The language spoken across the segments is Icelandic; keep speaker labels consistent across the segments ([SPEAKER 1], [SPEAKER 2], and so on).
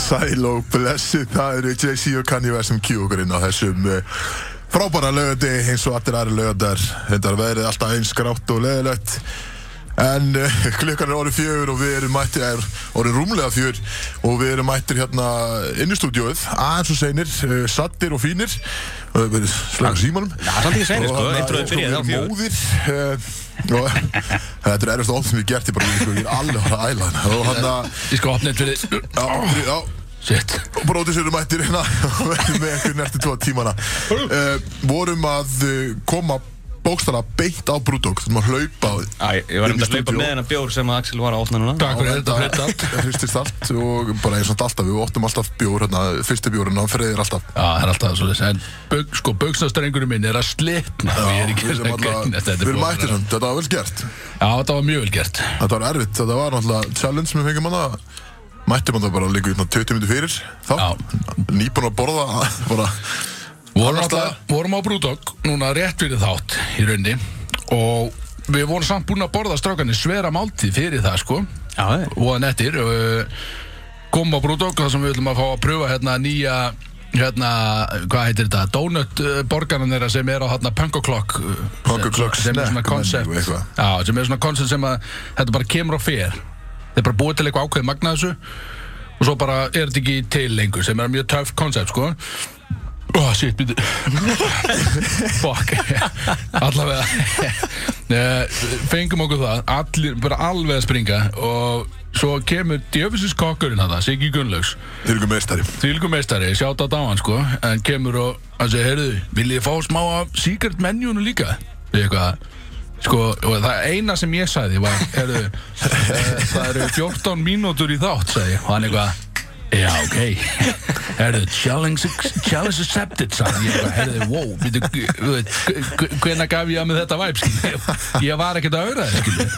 [SPEAKER 1] Sæl og blessuð, það eru Jay-Z og Kanye West sem kjú okkur inn á þessum uh, frábæra lögadegi eins og allir aðri lögadar þetta er verið alltaf eins grátt og leðilegt en uh, klukkan er orðið fjögur og við erum mættir er orðið rúmlega fjögur og við erum mættir hérna inn í stúdíóið aðeins og seinir, uh, sattir og fínir og við erum slagur símanum
[SPEAKER 2] Já, samt ekki seinir, sko, introið byrjaði á
[SPEAKER 1] á
[SPEAKER 2] fjögur.
[SPEAKER 1] móðir uh, og þetta er erfist ofn sem ég hef gert ég bara, sko, ég er alveg að fara að æla hana og hann að
[SPEAKER 3] Ég skal opna þetta fyrir þig.
[SPEAKER 1] Já, já,
[SPEAKER 3] Shit
[SPEAKER 1] og brótis eru mættir hérna og verðum með ykkur næstu tvo tímana uh, vorum að uh, koma bókstala beint á Brúdók þurfum að hlaupa
[SPEAKER 2] Æ, ég var um
[SPEAKER 1] Inn í
[SPEAKER 2] að hlaupa
[SPEAKER 1] stúdíó.
[SPEAKER 2] með hennar bjór sem að Axel var að opna núna
[SPEAKER 3] Takk fyrir þetta fyrir þetta
[SPEAKER 1] Það hristist allt og bara eins og alltaf, við óttum alltaf bjór, hérna, fyrsti bjórinn, hann freyðir alltaf.
[SPEAKER 3] Já, það er alltaf svolítið En bug, sko, bugsnastrengurinn minn er að slitna og ég er ekki
[SPEAKER 1] við
[SPEAKER 3] að
[SPEAKER 1] erum
[SPEAKER 3] gegna
[SPEAKER 1] alltaf,
[SPEAKER 3] þetta
[SPEAKER 1] við erum
[SPEAKER 3] búið að
[SPEAKER 1] mættir
[SPEAKER 3] vera-
[SPEAKER 1] hann, þetta var vel gert.
[SPEAKER 3] Já, þetta var mjög vel gert
[SPEAKER 1] Þetta var erfitt, þetta var náttúrulega challenge sem við fengum hann að mættum hann það bara líka út 20 minnir fyrir þá,
[SPEAKER 3] Já.
[SPEAKER 1] nýbúin að borða, bara,
[SPEAKER 3] Vorum,
[SPEAKER 1] Annars
[SPEAKER 3] alltaf, vorum á Brúdók núna rétt fyrir þátt í raunni og við vorum samt búin að borða strákanir svera máltíð fyrir það sko
[SPEAKER 2] Já, það er.
[SPEAKER 3] og að nettir ö, komum á Brúdók þar sem við ætlum að fá að pröfa hérna nýja hérna, hvað heitir þetta, donut borgarna þeirra sem er á hérna Punk O'Clock ö,
[SPEAKER 1] Punk O'Clock
[SPEAKER 3] sem er svona
[SPEAKER 1] snack
[SPEAKER 3] koncept
[SPEAKER 1] menu, eitthvað.
[SPEAKER 3] já, sem er svona koncept sem að þetta bara kemur og fer þeir bara búið til eitthvað ákveðið magna þessu og svo bara er þetta ekki til lengur sem er mjög töff koncept sko Oh shit, býttu Fuck Allavega Eh, Fengum okkur það, allir, bara alveg að springa Og svo kemur djöfisins kokkurinn að það, Siggi Gunnlaugs
[SPEAKER 1] þeir eru meistari.
[SPEAKER 3] Þvílgu meistari, sjátt á daman sko En kemur og, hann segir, heyrðu Viljið fá smá af secret menjunu líka Við eitthvað Sko, og það eina sem ég sagði var Heyrðu, eh, það eru 14 mínútur í þátt, sagði ég. Og hann eitthvað Já, ok Herðu, challenge, challenge accepted sagði ég bara, herðu, wow býtu, þú veit, hvenna gaf ég að með þetta væp ég, ég var ekkert að auðra það skilju.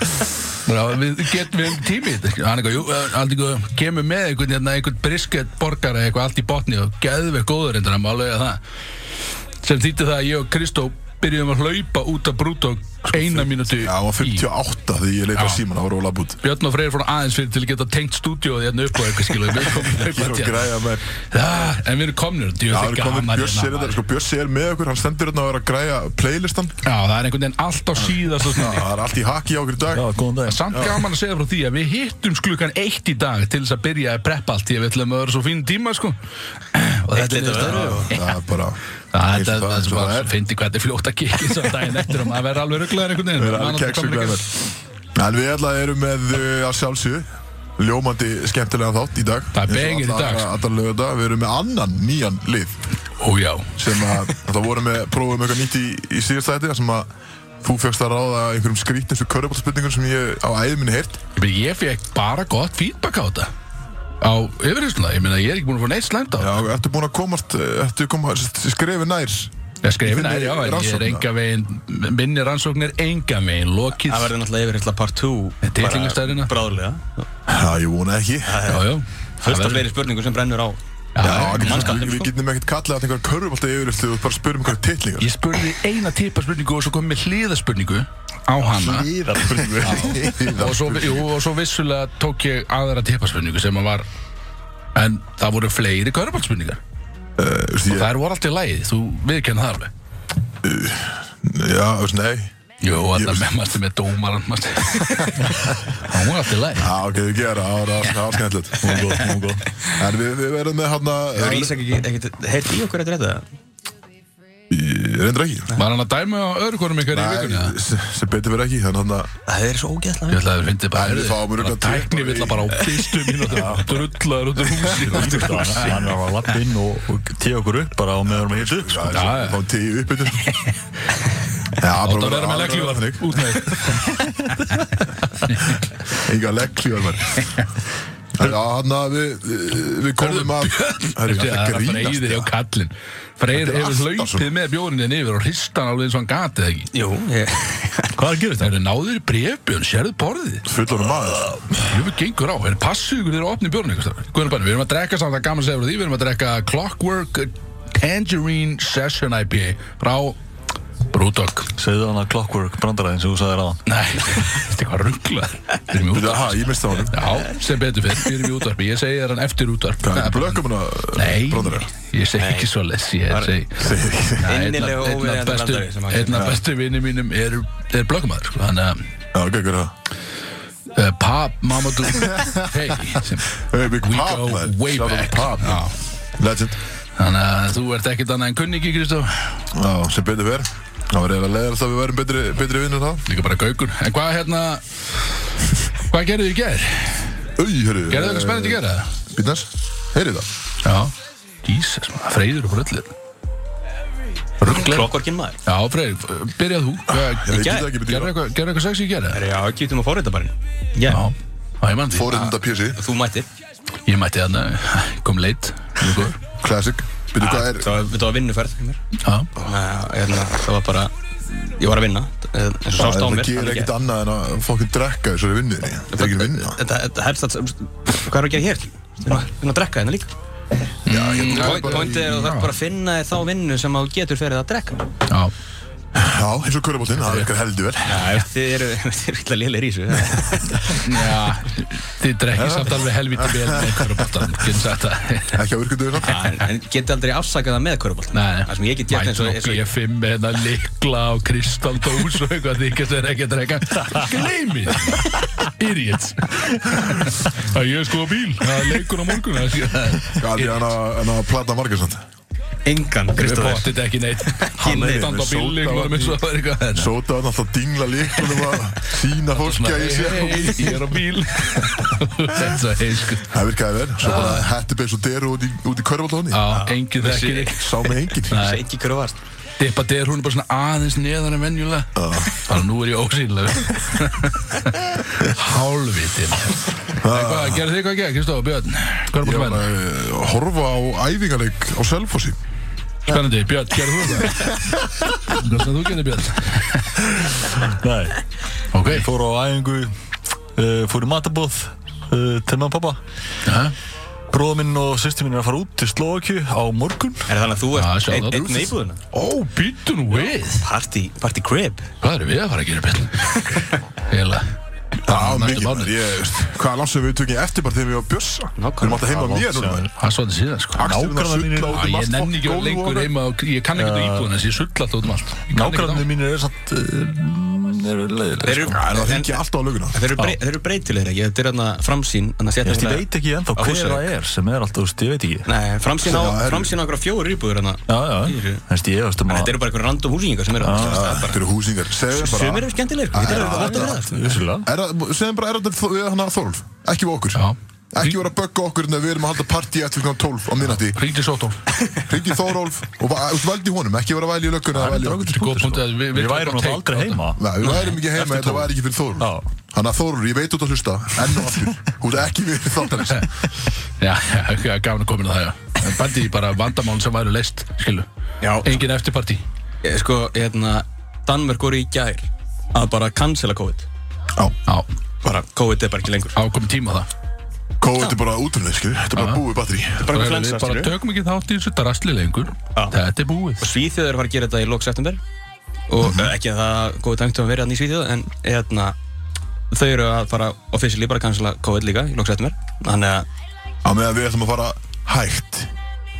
[SPEAKER 3] Bara, við getum við höfum tími í þetta, skilju. hann eitthvað, jú, eh, allt eitthvað kemur með einhvern, hérna, einhvern brisket borgara eitthvað allt í botni og geðveg góður reyndar, hann má alveg að það sem þýtti það að ég og Kristó byrjuðum að hlaupa út af Brútó eina mínútu
[SPEAKER 1] Sko, Já, hann var 58 þegar ég leita
[SPEAKER 3] Já.
[SPEAKER 1] á síman, það var ólega bútt.
[SPEAKER 3] Björn og Freyr fór aðeins fyrir til að geta tengt stúdíóði hérna upp og eitthvað skilu við komum
[SPEAKER 1] Ég er
[SPEAKER 3] hlaupandi
[SPEAKER 1] að
[SPEAKER 3] hérna.
[SPEAKER 1] græja með
[SPEAKER 3] Já, en við erum komnir djú,
[SPEAKER 1] Já,
[SPEAKER 3] það
[SPEAKER 1] það
[SPEAKER 3] er
[SPEAKER 1] er komin
[SPEAKER 3] gaman
[SPEAKER 1] Bjössi er
[SPEAKER 3] hérna,
[SPEAKER 1] þetta,
[SPEAKER 3] maður.
[SPEAKER 1] sko Bjössi er með okkur, hann stendur hérna og er að græja playlistan
[SPEAKER 3] Já, það er einhvern veginn allt á síðast og
[SPEAKER 1] Já,
[SPEAKER 3] sniði
[SPEAKER 1] það er allt í haki á okkur í dag
[SPEAKER 4] Já, góðan dag
[SPEAKER 3] Samt gaman að segja frá því að við hittum sklukan eitt í dag til þess að byrja að preppa allt því að við ætlum að vera svo fín tíma sko og þetta er
[SPEAKER 2] leit af öðru,
[SPEAKER 3] niðurstaðan.
[SPEAKER 1] Það er bara
[SPEAKER 3] Já,
[SPEAKER 1] eins
[SPEAKER 3] Þetta
[SPEAKER 1] og
[SPEAKER 3] er
[SPEAKER 1] eins og
[SPEAKER 3] það
[SPEAKER 1] það
[SPEAKER 3] sem finnir hvað þetta er fljótt að kikki svo daginn eftir og maður verður alveg rugglaður einhvern veginn
[SPEAKER 1] Við erum
[SPEAKER 3] Maður
[SPEAKER 1] alveg
[SPEAKER 3] náttúrulega
[SPEAKER 1] keks og
[SPEAKER 3] kominn ekki-
[SPEAKER 1] græmir En við alltaf erum með uh, að sjálfsögðu Ljómandi skemmtilega þátt í dag
[SPEAKER 3] Það er bengir í dag, sko.
[SPEAKER 1] Alltaf lögða, við erum með annan nýjan lið
[SPEAKER 3] Ó já,
[SPEAKER 1] Sem að það vorum með, prófum eitthvað nýtt í, í síðasta þætti þar Sem að þú fegst að ráða einhverjum skrítnum Svo körðabálspurningum sem ég á æði minni heyrt
[SPEAKER 3] Ég meina, ég fekk bara gott feedback á þetta á yfirheysluna, ég meina ég er ekki búin að fá neitt slæmt á
[SPEAKER 1] Já, ertu búin að komast, eh, ertu koma, skrefi nær
[SPEAKER 3] Ég skrifin er,
[SPEAKER 1] Þinni
[SPEAKER 3] já, en ég er
[SPEAKER 1] rannsóknar.
[SPEAKER 3] enga veginn minni rannsóknir enga veginn lokið,
[SPEAKER 2] Það verður náttúrulega yfirhersla part 2
[SPEAKER 3] Titlingastærðina.
[SPEAKER 2] Bráðlega
[SPEAKER 1] Já, ég vona ekki
[SPEAKER 3] já, já
[SPEAKER 2] Fullt af fleiri spurningum sem brennur á
[SPEAKER 1] Já, við getum-
[SPEAKER 2] mannskapnum,
[SPEAKER 1] við
[SPEAKER 2] sko.
[SPEAKER 1] getum ekkert kallað að einhverja körfubolta yfirliftu og bara spyrjum einhverja titlingar
[SPEAKER 3] Ég spurði eina tippaspurningu og svo kom ég með hliðaspurningu á hana og svo, jú, og svo vissulega tók ég aðra tippaspurningu sem að var en það voru fleiri körbáltspurningar
[SPEAKER 1] Eh, Það
[SPEAKER 3] Það voru alltaf lægið, þú viðkenn það alveg
[SPEAKER 1] Já, þú veist, nei
[SPEAKER 3] Jú,
[SPEAKER 1] Ég-
[SPEAKER 3] alltaf með maður með dómaran maður Það voru alltaf lægið
[SPEAKER 1] Já, ok, við gera, það var- það var skemmtilegt Hún góð, hún góð En við, við verðum með hann
[SPEAKER 2] Það
[SPEAKER 1] að
[SPEAKER 2] er Ísak ekki, ekki heilt í okkur eftir þetta
[SPEAKER 1] Reyndar ekki
[SPEAKER 3] Var hann að dæma á öðru konum ykkar í vikunni? eða?
[SPEAKER 1] Nei, se- sem betur verð ekki Þannig að
[SPEAKER 2] Það er svo ógeðslega
[SPEAKER 3] Ég ætla að það finnir bara
[SPEAKER 1] Nei, við
[SPEAKER 3] herðu,
[SPEAKER 1] fáum
[SPEAKER 3] bara
[SPEAKER 1] örugglega tvö
[SPEAKER 3] Tækni
[SPEAKER 1] bara í-
[SPEAKER 3] vill að bara á fyrstu mínútu Drullar út af húsi
[SPEAKER 4] Hann var að lappa inn og, og tíu okkur upp bara á meðan maður heilsu sko.
[SPEAKER 3] Já,
[SPEAKER 1] það
[SPEAKER 3] já.
[SPEAKER 1] er þá tíu uppbytun Já, bara
[SPEAKER 3] Það verður með
[SPEAKER 1] aðra-
[SPEAKER 3] legglífar Út með þig.
[SPEAKER 1] Enga legglífar maður. Já, hann að við Við komum að Herru,
[SPEAKER 3] Það
[SPEAKER 1] ég
[SPEAKER 3] er
[SPEAKER 1] ætla að
[SPEAKER 3] að
[SPEAKER 1] grínast,
[SPEAKER 3] freyðir hjá
[SPEAKER 1] já.
[SPEAKER 3] kallinn Freyr
[SPEAKER 1] Þetta er
[SPEAKER 3] hefur
[SPEAKER 1] alltaf
[SPEAKER 3] hlaupið
[SPEAKER 1] svona.
[SPEAKER 3] með bjórinni niður og hristan alveg eins og hann gatið ekki
[SPEAKER 2] Jú, ég
[SPEAKER 4] Hvað er að gera
[SPEAKER 3] Það
[SPEAKER 4] þetta?
[SPEAKER 3] eru náður í brefbjörn, sérðu borðið
[SPEAKER 1] Fullorðinn maður
[SPEAKER 3] Jöfum gengur á, er passið ykkur þeirra að opna bjórn Guðnabann, við erum að drekka samt að gaman segja frá því Við erum að drekka Clockwork Tangerine Session IPA frá Brúdokk
[SPEAKER 4] Segðu hann að Clockwork brandaræðin sem þú sagði ráðan
[SPEAKER 3] Nei, þetta er hvað rugglað Við erum í
[SPEAKER 1] Við
[SPEAKER 3] útvarp
[SPEAKER 1] það, hæ, ég misti það honum
[SPEAKER 3] Já, sem betur fyrir, við erum í útvarpi Ég segi þér hann eftir útvarp
[SPEAKER 1] Hvað,
[SPEAKER 3] Nei,
[SPEAKER 1] blökkum hana,
[SPEAKER 3] Nei,
[SPEAKER 1] bróðurinn?
[SPEAKER 3] ég segi ekki svo les Ég segi
[SPEAKER 1] Segir ekki
[SPEAKER 3] Nei, einn
[SPEAKER 2] Innilega
[SPEAKER 3] af- einn af
[SPEAKER 2] óviðeigandi
[SPEAKER 3] bestu-
[SPEAKER 2] brandari sem hann-
[SPEAKER 3] Einn af bestu vinni mínum er, er blökkumæður sko. Þannig að
[SPEAKER 1] Já, ok, hvað er það?
[SPEAKER 3] uh, Pab, Mamadou Hey sem,
[SPEAKER 1] Hey, Big
[SPEAKER 3] We
[SPEAKER 1] Pop,
[SPEAKER 3] go
[SPEAKER 1] man.
[SPEAKER 3] way
[SPEAKER 1] Shout out
[SPEAKER 3] back
[SPEAKER 1] to Pop, man.
[SPEAKER 3] Já.
[SPEAKER 1] Legend
[SPEAKER 3] Þannig að þú ert ekkert annað en kunningi Kristof
[SPEAKER 1] Já, sem betur verð Það var eiginlega leiðast að við værum betri, betri vinnur þá
[SPEAKER 3] Líka bara gaukur En hvað hérna Hvað gerðu þið í ger?
[SPEAKER 1] Új, hörru
[SPEAKER 3] Gerðu þið eitthvað spennandi í ger? eða?
[SPEAKER 1] Býtnars, heyrið það
[SPEAKER 3] Já Jesus, maður, freyður og bröllir Rugglar
[SPEAKER 2] Klokkvorkin maður
[SPEAKER 3] Já, freyður, byrjað þú
[SPEAKER 1] Ég veit ekki
[SPEAKER 3] Gerðu
[SPEAKER 2] gær.
[SPEAKER 1] það ekki betur
[SPEAKER 3] eitthvað, gerðu eitthvað sexy í ger? eða?
[SPEAKER 2] Já, kýtum að fórrita bara Já,
[SPEAKER 3] Já Já, ég mann því
[SPEAKER 1] Fórið þetta pjösi,
[SPEAKER 2] þú mættir
[SPEAKER 3] Ég mætti þarna Kom leitt Mjög góður
[SPEAKER 1] classic Býttu
[SPEAKER 3] Ah,
[SPEAKER 1] hvað er
[SPEAKER 2] Það var- þetta var vinnuferð hjá mér.
[SPEAKER 3] Já
[SPEAKER 2] Þannig að, hérna, Það var bara Ég var að vinna eh, eins og
[SPEAKER 1] Það
[SPEAKER 2] sást á mér
[SPEAKER 1] gerir
[SPEAKER 2] þannig
[SPEAKER 1] ekkert
[SPEAKER 2] að-
[SPEAKER 1] annað en að fokkin drekka þessari vinninni Það er ekki vinna
[SPEAKER 2] Þetta þetta helst að um, Hvað er að gera hér? Við erum að- við erum að drekka hérna líka
[SPEAKER 1] Já, ég
[SPEAKER 2] Point- Pointið er að þú þarf bara að finna þér þá vinnu sem þú getur fyrir að drekka
[SPEAKER 3] Já
[SPEAKER 1] Já, eins og körubóltinn, það er eitthvað heldur vel
[SPEAKER 2] Já, Þið eru þið eru illa lélir í þessu
[SPEAKER 3] Já, þið drekkið samt alveg helviti vel með einhverju bóttan, getur sagt það.
[SPEAKER 1] Ekki að virkundu þess
[SPEAKER 2] En, en geti aldrei afsakað það með körubolt
[SPEAKER 3] Nei,
[SPEAKER 2] Það sem ég get gert eins og, eins og
[SPEAKER 3] Mætum og B5 með hérna likla og kristaldós og eitthvað þykast þeir ekki að drekka. Gleimið! Idiots! Það ég er sko á bíl, það er leikur á morgun. Það er-
[SPEAKER 2] Sko,
[SPEAKER 1] Já, því hann að- hann að plata margarsand
[SPEAKER 2] engan
[SPEAKER 3] Við
[SPEAKER 2] Kristóður
[SPEAKER 3] bóttið ekki neitt. Hann er
[SPEAKER 2] neitt.
[SPEAKER 3] stand á bíl, ég var með svo að vera eitthvað. En-
[SPEAKER 1] Sota hann alltaf dingla líkunum að sína fólk að ég sé
[SPEAKER 3] Hey, hey, Ég er á bíl. Þetta er heilsku.
[SPEAKER 1] Það virkaði vel, svo bara hætti beins og deru út í, út í körubóltóni
[SPEAKER 3] Já, enginn þekkir þig.
[SPEAKER 1] Sá mig enginn
[SPEAKER 3] Ah. Nei.
[SPEAKER 2] Engi köruvast
[SPEAKER 3] Dippa der hún er bara svona aðeins neðar en venjulega Þannig að nú er ég ósýnlega Hálvitin Hvað, gerðu þið hvað ekki, Kristóf Björn? Hvað er
[SPEAKER 1] Ég
[SPEAKER 3] búin að
[SPEAKER 1] var
[SPEAKER 3] menna?
[SPEAKER 1] að eh, horfa á æfingarleik á Selfossi
[SPEAKER 3] Spennandi, Björn, gerðu þú það? Hvað sem þú gerði, Björn?
[SPEAKER 4] Nei,
[SPEAKER 3] Ok,
[SPEAKER 4] fór á æfingu uh, Fór í matabóð uh, Til maður pappa
[SPEAKER 3] já,
[SPEAKER 4] Bróða minn og sýsti minn er að fara út til Slovakju á morgun
[SPEAKER 2] Er það þannig að þú
[SPEAKER 3] Já,
[SPEAKER 2] ert
[SPEAKER 3] sjá
[SPEAKER 2] einn
[SPEAKER 3] það.
[SPEAKER 2] einn með íbúðuna?
[SPEAKER 3] Ó, býtun við
[SPEAKER 2] Party, party crib
[SPEAKER 3] Hvað erum við að fara að gera, Björn? Heila Ah,
[SPEAKER 1] Já, mikið
[SPEAKER 3] mánuð.
[SPEAKER 1] maður, ég veist Hvað langt sem við tökum ég eftir bara þegar við varum að bjössa Við erum alltaf heima á
[SPEAKER 4] Já,
[SPEAKER 1] mér
[SPEAKER 4] langt
[SPEAKER 1] núna
[SPEAKER 4] síðan.
[SPEAKER 1] maður.
[SPEAKER 3] Það er svolítið síðan, sko
[SPEAKER 1] Axlirnar
[SPEAKER 4] Nágrannar
[SPEAKER 1] sulla
[SPEAKER 4] mínir-
[SPEAKER 1] út
[SPEAKER 3] Já,
[SPEAKER 1] um
[SPEAKER 3] Ég
[SPEAKER 1] allt
[SPEAKER 3] nenni
[SPEAKER 1] fokk
[SPEAKER 3] ekki verið
[SPEAKER 1] gólf og
[SPEAKER 3] lengur
[SPEAKER 1] alveg.
[SPEAKER 3] heima og ég kann ekki þetta íbúðin þess ég sull alltaf út um allt Ég kann ekkert á.
[SPEAKER 4] Nágrannir mínir er samt uh, Er leiðilega
[SPEAKER 2] Þeir eru,
[SPEAKER 1] Já, en það
[SPEAKER 2] en-
[SPEAKER 1] hengi alltaf á löguna
[SPEAKER 2] þeir eru, brei, þeir eru breytilegir ekki? Þetta er þarna framsýn annars
[SPEAKER 4] Ég
[SPEAKER 2] þetta
[SPEAKER 4] veist, ég
[SPEAKER 2] svona-
[SPEAKER 4] veit ekki
[SPEAKER 2] Á
[SPEAKER 4] ennþá hver
[SPEAKER 2] Húsavík.
[SPEAKER 4] það er sem er alltaf, þú veist, ég veit ekki
[SPEAKER 2] Nei, framsýn
[SPEAKER 1] Já,
[SPEAKER 2] á,
[SPEAKER 1] það eru-
[SPEAKER 2] framsýn á okkur fjóru íbúður þarna
[SPEAKER 4] Já, já,
[SPEAKER 2] Í-
[SPEAKER 4] þú veist, ég veist um
[SPEAKER 2] Þetta
[SPEAKER 4] að
[SPEAKER 2] eru bara einhverjum random húsingar sem eru að
[SPEAKER 1] Já, Þetta eru húsingar Segðu þeim
[SPEAKER 2] Sumir
[SPEAKER 1] bara
[SPEAKER 2] eru skemmtilegir sko, Þetta eru
[SPEAKER 1] Já,
[SPEAKER 2] þetta vott að vera sko.
[SPEAKER 4] Vissulega
[SPEAKER 1] Er það- Segðu þeim bara, er þetta þó- við hann að Þorlf? Ekki við okkur
[SPEAKER 3] Já.
[SPEAKER 1] Ekki vera að bögga okkur en við erum að halda partí eftir klukkan 12 á minnati
[SPEAKER 3] Hringdu í Sótólf
[SPEAKER 1] Ringi Þorolf og va- þú veist, veldi honum Ekki vera að velja í lögguna eða velja í okkur
[SPEAKER 3] Þetta er
[SPEAKER 2] sko.
[SPEAKER 3] góð punkt að við- við
[SPEAKER 4] Við værum
[SPEAKER 3] tökum take
[SPEAKER 4] alltaf aldrei
[SPEAKER 3] á
[SPEAKER 4] heima
[SPEAKER 1] Nei, við værum ekki heima,
[SPEAKER 4] Eftir
[SPEAKER 1] þetta
[SPEAKER 4] 12.
[SPEAKER 1] væri ekki fyrir
[SPEAKER 4] Já.
[SPEAKER 1] Þorulf Þannig að Þorulf, ég veit út að hlusta Enn og aftur, hún er ekki við þáttarins
[SPEAKER 3] Já, já, já, gafn að komin að það, já. En bandi í bara vandamál sem væri leist, skilu.
[SPEAKER 2] Já.
[SPEAKER 3] Engin eftirparti.
[SPEAKER 2] Ég, Sko, hérna Danmörk voru í gær að bara cancela COVID
[SPEAKER 1] Já,
[SPEAKER 3] Já,
[SPEAKER 2] bara COVID er bara ekki lengur
[SPEAKER 3] ákomin tíma á það.
[SPEAKER 1] kóið er bara útrunni, skilur Þetta er bara búið batteri
[SPEAKER 2] bara
[SPEAKER 3] Bara
[SPEAKER 2] einhver
[SPEAKER 3] við
[SPEAKER 2] flensa
[SPEAKER 3] bara
[SPEAKER 2] skilurðu.
[SPEAKER 3] tökum ekki þátt í þessu drastli lengur.
[SPEAKER 2] Já.
[SPEAKER 3] Þetta er búið.
[SPEAKER 2] og Svíþjóð er að fara að gera þetta í lok september og
[SPEAKER 1] Mhm.
[SPEAKER 2] mm ekki að það góði tangt um að vera hann í Svíþjóð en hérna þau eru að fara officially bara að cancela COVID líka í lok september þannig að
[SPEAKER 1] Á meðan við ætlum að fara hægt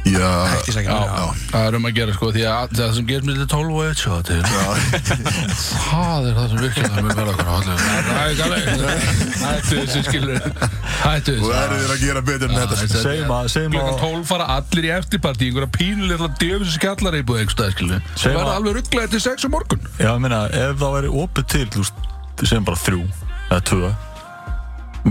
[SPEAKER 1] Já,
[SPEAKER 2] hægt í sækja
[SPEAKER 1] já.
[SPEAKER 3] Það er um að gera, sko, því að það sem gerist með þetta 12 og 1, sjá, þetta er... Það er það sem virkilega það mun verða okkur á allir. Það er galið. Hættu þessu, skilur. Hættu
[SPEAKER 1] og
[SPEAKER 3] þessu.
[SPEAKER 1] það eru þeir að gera betur en þetta skilur.
[SPEAKER 3] Þetta er-
[SPEAKER 4] Segjum að- segjum
[SPEAKER 3] Klukkan
[SPEAKER 4] að-
[SPEAKER 3] 12 fara allir í eftirparti í einhverja pínulega djöfis skjallareibúð einhver stað, skilur. Það
[SPEAKER 4] Segjum
[SPEAKER 3] verða
[SPEAKER 4] að-
[SPEAKER 3] alveg rugglaði til 6 á morgun.
[SPEAKER 4] Já, ég meina, ef það væri opið til, þú veist, segjum bara þrjú eða tvö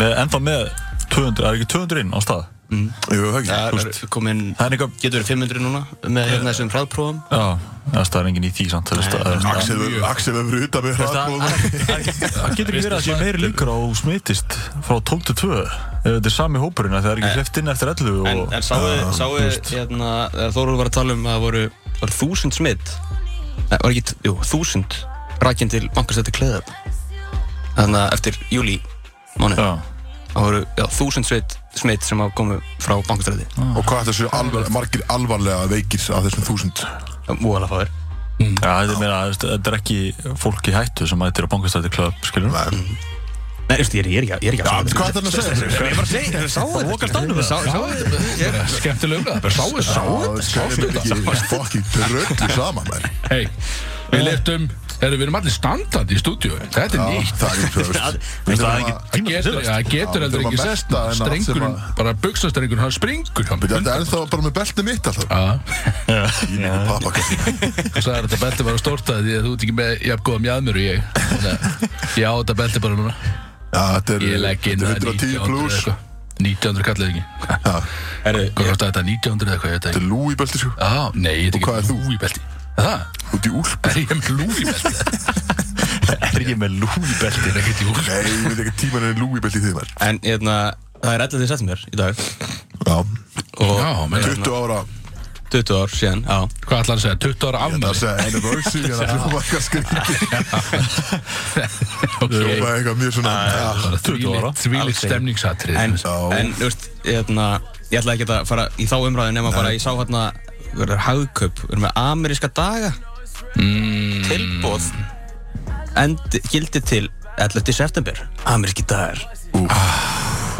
[SPEAKER 4] með, ennþá með 200, er ekki 200 inn á stað?
[SPEAKER 1] Jú, það ekki
[SPEAKER 2] það er komin
[SPEAKER 4] Það er eitthvað,
[SPEAKER 2] getur verið 500 núna með hérna þessum hraðprófum
[SPEAKER 4] já, það er- það er engin í því samt, þú veist, það er-
[SPEAKER 1] Axel verður- Axel verður utan með
[SPEAKER 4] það-
[SPEAKER 1] hraðbóðum
[SPEAKER 4] það getur ekki verið að sé meiri líkur á smitist frá 12 til 2 ef þetta er sami hópurinn, að það er ekki hleft inn eftir 11
[SPEAKER 2] en,
[SPEAKER 4] og
[SPEAKER 2] en sáu, sáu hérna, Þóru var að tala um að það voru var þúsund smitt Nei, var ekki, jú, þúsund rækinn til bankastætti kleðab þannig að eftir júli mánu
[SPEAKER 4] já,
[SPEAKER 2] það voru já, þúsund smitt, smitt sem hafa komið frá bankastræti
[SPEAKER 1] Og hvað þetta séu alvar, margir alvarlega veikir af þessum þúsund
[SPEAKER 2] múalega fáir
[SPEAKER 4] Já, þetta er meira, þú veist, þetta er ekki fólk í hættu sem mætir á bankastæti klöp, skilur við.
[SPEAKER 2] Nei, veistu, ég er- ég er ekki að- ég er ekki að
[SPEAKER 1] Já, hvað þarna að segja þessu?
[SPEAKER 2] Ég bara segi, ég sá þetta Vokast ánum við það Sá þetta Ég-
[SPEAKER 3] Skemmtileg umræða, bara sáu
[SPEAKER 1] Sá þetta? Sá þetta? Það er fokkin dröllu saman, menn.
[SPEAKER 3] Hei, við leftum, erum við erum allir standandi í stúdíu Þetta er
[SPEAKER 1] Já,
[SPEAKER 3] nýtt
[SPEAKER 1] Ah, það er ekki
[SPEAKER 4] Það-
[SPEAKER 1] það.
[SPEAKER 4] það er ekki
[SPEAKER 3] Það
[SPEAKER 4] tíma
[SPEAKER 3] getur,
[SPEAKER 4] fyrir
[SPEAKER 3] það
[SPEAKER 1] sko. Já,
[SPEAKER 3] getur heldur
[SPEAKER 1] við
[SPEAKER 3] ekki
[SPEAKER 1] þurfum að
[SPEAKER 3] sest
[SPEAKER 1] melta þennan allt sem
[SPEAKER 3] Strengurinn, bara buksastrengur, hann springur hann
[SPEAKER 1] Þetta er ennþá bara með beltið mitt
[SPEAKER 3] Ah.
[SPEAKER 1] alltaf.
[SPEAKER 3] Já,
[SPEAKER 1] Í mínu pappakassi.
[SPEAKER 3] þú sagði þetta belti var að stórta því að þú ert ekki með jafn góða mjadmur og ég Þannig að Ég á þetta belti bara núna
[SPEAKER 1] Já, þetta er
[SPEAKER 3] Ég legg inn að
[SPEAKER 1] 110
[SPEAKER 3] 1900
[SPEAKER 1] pluss.
[SPEAKER 3] eitthvað 1900 kallaði ekki
[SPEAKER 1] Já,
[SPEAKER 3] Hvað kostar þetta 1900 eitthvað, ég veit það
[SPEAKER 1] Þetta
[SPEAKER 3] ekki
[SPEAKER 1] er lúi beltið, sko.
[SPEAKER 3] Á, nei, ég
[SPEAKER 1] Og hvað
[SPEAKER 3] er
[SPEAKER 1] er
[SPEAKER 3] Ah, ekki
[SPEAKER 1] þú?
[SPEAKER 3] lúfibelti Það,
[SPEAKER 1] Út í úlp.
[SPEAKER 3] er ég með lúfibelti?
[SPEAKER 4] Er ég með lúðbelti?
[SPEAKER 3] Það er ekkert júl
[SPEAKER 1] Nei, ég veit ekki tíman er lúi beltið þið, menn.
[SPEAKER 2] En hérna, það er 11. september í dag
[SPEAKER 1] Já,
[SPEAKER 2] og
[SPEAKER 3] Já, meina.
[SPEAKER 1] 20 ára.
[SPEAKER 2] 20 ár síðan, já
[SPEAKER 3] Hvað ætlar að segja, 20 ára
[SPEAKER 1] Það er að
[SPEAKER 3] afmæli?
[SPEAKER 1] segja anniversary, en það hljóma eitthvað skrítið.
[SPEAKER 3] Ok,
[SPEAKER 1] Hljóma eitthvað mjög svona... já.
[SPEAKER 3] þvílíkt þvílíkt
[SPEAKER 2] Alls ekki.
[SPEAKER 3] stemningsatrið
[SPEAKER 2] En,
[SPEAKER 1] Já.
[SPEAKER 2] en þú veist, hérna, ég ætla ekki að fara í þá umræðu nema bara ég sá hérna verður hagkaup, verður með ameríska daga mm. tilbóð endi, gildi til 11. september, ameríski dagar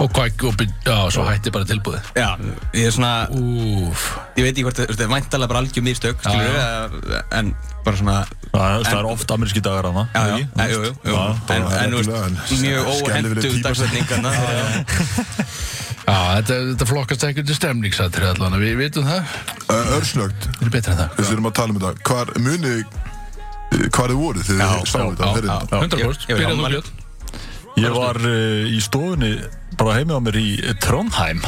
[SPEAKER 3] Og hvað, og, byrj- já, svo hætti bara tilbúðið
[SPEAKER 2] Já, ég er svona,
[SPEAKER 3] Úf,
[SPEAKER 2] ég veit ekki hvort þetta er væntalega bara algjör mistök, skilur en bara svona,
[SPEAKER 4] Það það er oft ameríski dagar hana,
[SPEAKER 2] já, já, já, jú, jú, jú. en, en þú veist, mjög óhendu dagsetningarna
[SPEAKER 3] já, þetta, þetta flokkast ekki til stemningsatrið allan Við vitum það,
[SPEAKER 1] ah, Örsnögt,
[SPEAKER 3] við erum betra en það
[SPEAKER 1] þess að við erum að tala um þetta. Hvar munið... Hvar þið voruð þegar þið sáu þetta? á ferðinni?
[SPEAKER 3] 100% byrjaðu þú björn
[SPEAKER 4] Ég var uh, í stofunni, bara heimi á mér í Trondheim.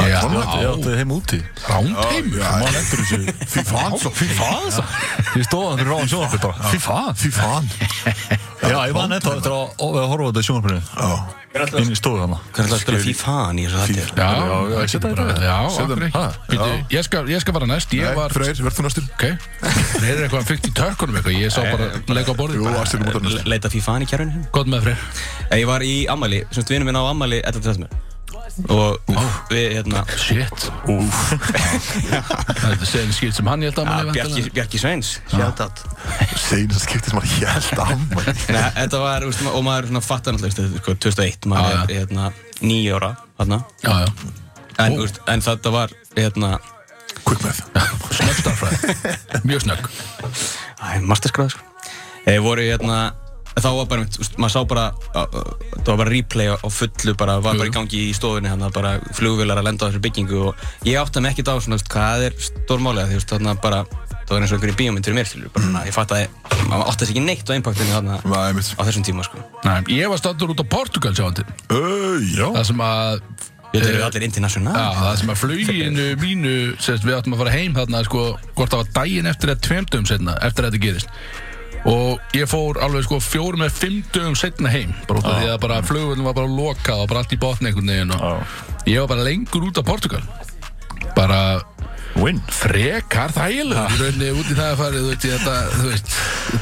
[SPEAKER 3] Já.
[SPEAKER 4] Ég átti heim úti.
[SPEAKER 3] Rándheim
[SPEAKER 1] Já,
[SPEAKER 4] Man eftir þessu.
[SPEAKER 1] Fy fan, svo, fy fan, svo,
[SPEAKER 4] Ég stóð hann fyrir ráðan sjónarfið bara. Fy fan.
[SPEAKER 1] fy fan.
[SPEAKER 4] Já, ég man eftir eftir að ó, að horfa á þetta sjónarfinu.
[SPEAKER 1] Já,
[SPEAKER 4] Inn í stofu hana.
[SPEAKER 2] Hvernig ætlaði að spila FIFA í þessu þætti?
[SPEAKER 3] Já,
[SPEAKER 4] Já, já,
[SPEAKER 3] það
[SPEAKER 4] setja
[SPEAKER 3] getur bara
[SPEAKER 4] þetta
[SPEAKER 3] verið. Já,
[SPEAKER 4] Setja
[SPEAKER 3] akkur
[SPEAKER 4] þetta.
[SPEAKER 3] ekki
[SPEAKER 4] Ha,
[SPEAKER 3] Býtu, Ég skal- ég skal fara næst, ég
[SPEAKER 1] Nei,
[SPEAKER 3] var
[SPEAKER 1] Eh, Freyr, verð þú næstur?
[SPEAKER 3] Ok, það er eitthvað hann fyrkt í tökkunum eitthvað Ég sá bara
[SPEAKER 1] Eh,
[SPEAKER 3] leika á
[SPEAKER 1] Jú,
[SPEAKER 3] borðið
[SPEAKER 1] Arsenal mótar næstur.
[SPEAKER 2] Le- Leita FIFA í kjærunum?
[SPEAKER 3] Gott með freyr
[SPEAKER 2] Ég var í ammali, semst vinur minn á ammali 11.30 og við, hérna,
[SPEAKER 3] Shit Þetta er sen skipt sem hann ég held að
[SPEAKER 2] ja,
[SPEAKER 1] Ah,
[SPEAKER 3] manni
[SPEAKER 2] Bjarki, Bjarki Sveins, sjátátt.
[SPEAKER 1] Seinast skipti sem hann held ammæli
[SPEAKER 2] Þetta var, veist, og maður svona fattar náttúrulega, veist, þetta er sko 2001, maður
[SPEAKER 3] Já,
[SPEAKER 2] er, hérna, níu ára, hérna,
[SPEAKER 3] Já, já
[SPEAKER 2] en, veist, en þetta var, hérna,
[SPEAKER 1] Quick math
[SPEAKER 3] Snögg starfræði Mjög snögg
[SPEAKER 2] æ, masterskráð, sko. Ég voru, hérna, þá var bara, mitt, veist, maður sá bara, á- á- það var bara replay á á fullu, bara, var bara í gangi í stofunni, hérna, bara flugvilar að lenda á þessari byggingu og ég átti mig ekkert á svona, veist, hvað er stórmálega, því, veist, þarna bara, það var eins og einhverju bíómyndur í mér, skilur, bara, mm. ég fattaði, maður átti sig ekki neitt á impactinu þarna
[SPEAKER 1] Það er mitt
[SPEAKER 2] á þessum tíma, sko.
[SPEAKER 3] Nei, ég var stattur út á Portugal sjáandi
[SPEAKER 1] Öy, já
[SPEAKER 3] Það sem að eh,
[SPEAKER 2] Við erum allir international.
[SPEAKER 1] Ah.
[SPEAKER 3] Já, það sem að fluginu mínu sérst, við áttum að fara heim þarna sko, hvort það var daginn eftir að tveim dögum setna eftir að þetta gerist og ég fór alveg sko fjórum eða fimm dögum setna heim bara út af því að
[SPEAKER 1] Mm.
[SPEAKER 3] bara flugvöldin var bara lokað og bara allt í botni einhvern veginn og ég var bara lengur út af Portugal bara
[SPEAKER 4] Win.
[SPEAKER 3] frekar þægilega í rauninni út í það að fara þú veist, ég, þetta, þú veist,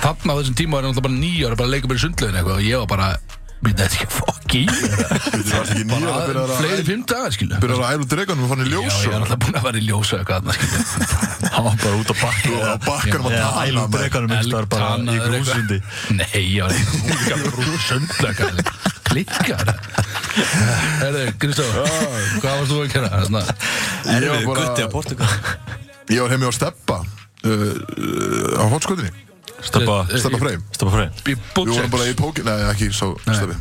[SPEAKER 3] þarna á þessum tíma var ég náttúrulega bara nýja ára bara að leika bara í sundlegin eitthvað og ég var bara "Bíddu, þetta er ekki fokk í mér."
[SPEAKER 1] Þetta var ekki nýja að byrja
[SPEAKER 3] bara
[SPEAKER 1] að
[SPEAKER 3] fleiri fimm dagar skilu
[SPEAKER 1] Byrja að æla út dreganum og fann í
[SPEAKER 3] Já,
[SPEAKER 1] ljós
[SPEAKER 3] ég er
[SPEAKER 1] og-
[SPEAKER 3] alltaf búinn að vera í ljósa eitthvað annars
[SPEAKER 4] Hann var bara út á bakku.
[SPEAKER 1] Og á bakkanum að
[SPEAKER 4] Já,
[SPEAKER 1] tala
[SPEAKER 4] ælum
[SPEAKER 1] maður.
[SPEAKER 4] dreganum ykkar bara í grúsundi.
[SPEAKER 3] Nei, ég var eitthvað grúsundlega klikkar Herðu, Kristof, hvað varst þú að gera? Það er svona-
[SPEAKER 1] Ég var bara-
[SPEAKER 2] Gutti á Portugal.
[SPEAKER 1] Ég var heimi á Steppa uh, uh, Á hotskotinni
[SPEAKER 4] Steppa,
[SPEAKER 1] Steppa Frey
[SPEAKER 4] steppa freyð.
[SPEAKER 3] Í
[SPEAKER 1] Við vorum bara
[SPEAKER 3] Butchers
[SPEAKER 1] í Pokémon Nei, ekki svo Steppi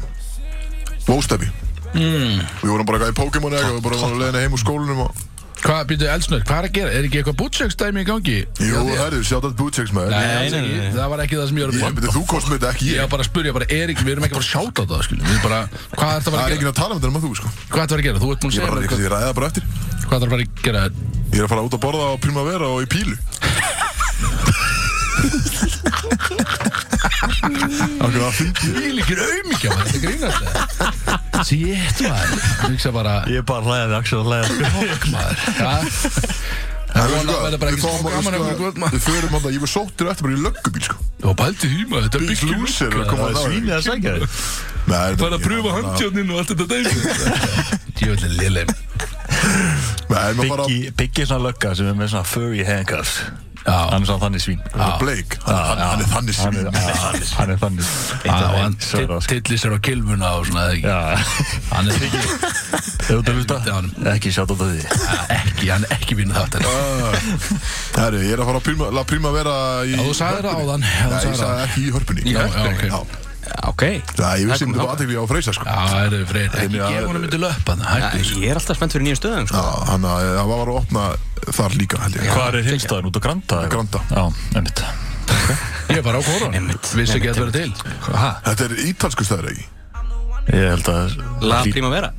[SPEAKER 1] Vó Steppi
[SPEAKER 3] Mm.
[SPEAKER 1] Við vorum bara eitthvað í Pokémon eða eitthvað, Við vorum bara að leiðina heim úr skólanum og
[SPEAKER 3] Hvað, býtu, Elsnur, hvað er að gera? Er ekki eitthvað Butchers dæmi í gangi?
[SPEAKER 1] Jú,
[SPEAKER 3] Já,
[SPEAKER 1] herru, sjátt að Butcheks maður
[SPEAKER 3] Nei,
[SPEAKER 2] Nei,
[SPEAKER 3] alls
[SPEAKER 2] nei, nei,
[SPEAKER 3] ekki.
[SPEAKER 2] nei.
[SPEAKER 3] það var ekki það sem ég
[SPEAKER 1] Ég
[SPEAKER 3] var að
[SPEAKER 1] myndi þú kost með þetta, ekki
[SPEAKER 3] Ég var
[SPEAKER 1] ég
[SPEAKER 3] bara að spurja, bara, er ekki, við erum ekki að fara að sjáta á það, skilum Við erum bara, hvað er
[SPEAKER 1] Það
[SPEAKER 3] það að
[SPEAKER 1] er
[SPEAKER 3] vera að gera?
[SPEAKER 1] enginn að tala um þetta nema þú, sko
[SPEAKER 3] Hvað er það að gera? Þú ert búin að
[SPEAKER 1] Ég
[SPEAKER 3] segja
[SPEAKER 1] bara,
[SPEAKER 3] mér
[SPEAKER 1] ég
[SPEAKER 3] hvað-
[SPEAKER 1] ég ræði það bara eftir
[SPEAKER 3] hvað er það að vera að gera
[SPEAKER 1] Ég er að fara út að borða á Primavera og í Pílu Akkur að fyndi
[SPEAKER 3] Ég líkir auðmikið á það, þetta grínast það Sétt maður Ég hugsa bara,
[SPEAKER 4] Ég er bara að hlæða við Axel að hlæða
[SPEAKER 3] fokk maður ja.
[SPEAKER 1] Það
[SPEAKER 3] vona að verða bara ekki svo gaman að vera kvöld, maður.
[SPEAKER 1] Við förum hann ég var sóttur eftir bara í löggubíl sko
[SPEAKER 3] Og bælti því maður, þetta er
[SPEAKER 1] Big
[SPEAKER 3] byggjum
[SPEAKER 1] loser að koma
[SPEAKER 4] Það
[SPEAKER 1] að
[SPEAKER 4] er svínið að sækja þig
[SPEAKER 1] Nei,
[SPEAKER 3] Það er að pröfa handjónin og allt þetta dæmi Djöfnlega liðlega
[SPEAKER 1] Nei, maður bara
[SPEAKER 4] Biggi, Biggi er svona lögga sem er með svona furry handcuffs
[SPEAKER 3] Já, Já,
[SPEAKER 4] hann er svona þannig svín
[SPEAKER 3] Ah.
[SPEAKER 1] Þetta er Blake, hann, hann, hann er þannig
[SPEAKER 4] hann er,
[SPEAKER 1] svín
[SPEAKER 4] hann er- hann er þannig
[SPEAKER 3] Já, hann
[SPEAKER 4] Sverra, sko.
[SPEAKER 3] tillir sér á kilmuna og svona, eða ekki?
[SPEAKER 4] Já,
[SPEAKER 3] Hann er ekki,
[SPEAKER 4] ef þú hluta
[SPEAKER 3] Helviti á honum.
[SPEAKER 4] Ekki sjátt á því
[SPEAKER 3] ekki, hann er ekki vinnu þáttir.
[SPEAKER 1] Herri, Ah. ég er að fara að príma, la príma vera í
[SPEAKER 3] Já, þú sagðir það áðan. Já, þú
[SPEAKER 1] Nei, ég
[SPEAKER 3] sagðir það.
[SPEAKER 1] sagði ekki í hörpunni
[SPEAKER 3] Já, já, ok.
[SPEAKER 2] Ok
[SPEAKER 1] Það, ég vissi
[SPEAKER 2] kom
[SPEAKER 1] um þetta
[SPEAKER 2] þangað.
[SPEAKER 1] aðtegli á Freysa sko
[SPEAKER 3] Já, það eru freyr, ekki
[SPEAKER 1] Þannig að-
[SPEAKER 3] gefa honum myndi löpa það, hættu þessu.
[SPEAKER 2] Ég er alltaf spennt fyrir nýjum stöðum sko.
[SPEAKER 1] Já, hann að eh, það var að opna þar líka held ég
[SPEAKER 4] Hvað er hinstaðin út á Granda? eða?
[SPEAKER 1] Granda.
[SPEAKER 4] Já, einmitt
[SPEAKER 3] Ég er bara á korun,
[SPEAKER 2] Einmitt,
[SPEAKER 3] vissi
[SPEAKER 2] einmitt,
[SPEAKER 3] ekki að þetta verið til. Hæ?
[SPEAKER 1] Þetta er ítalsku staður ekki?
[SPEAKER 4] Ég held að
[SPEAKER 2] La
[SPEAKER 4] Lí-
[SPEAKER 2] Primavera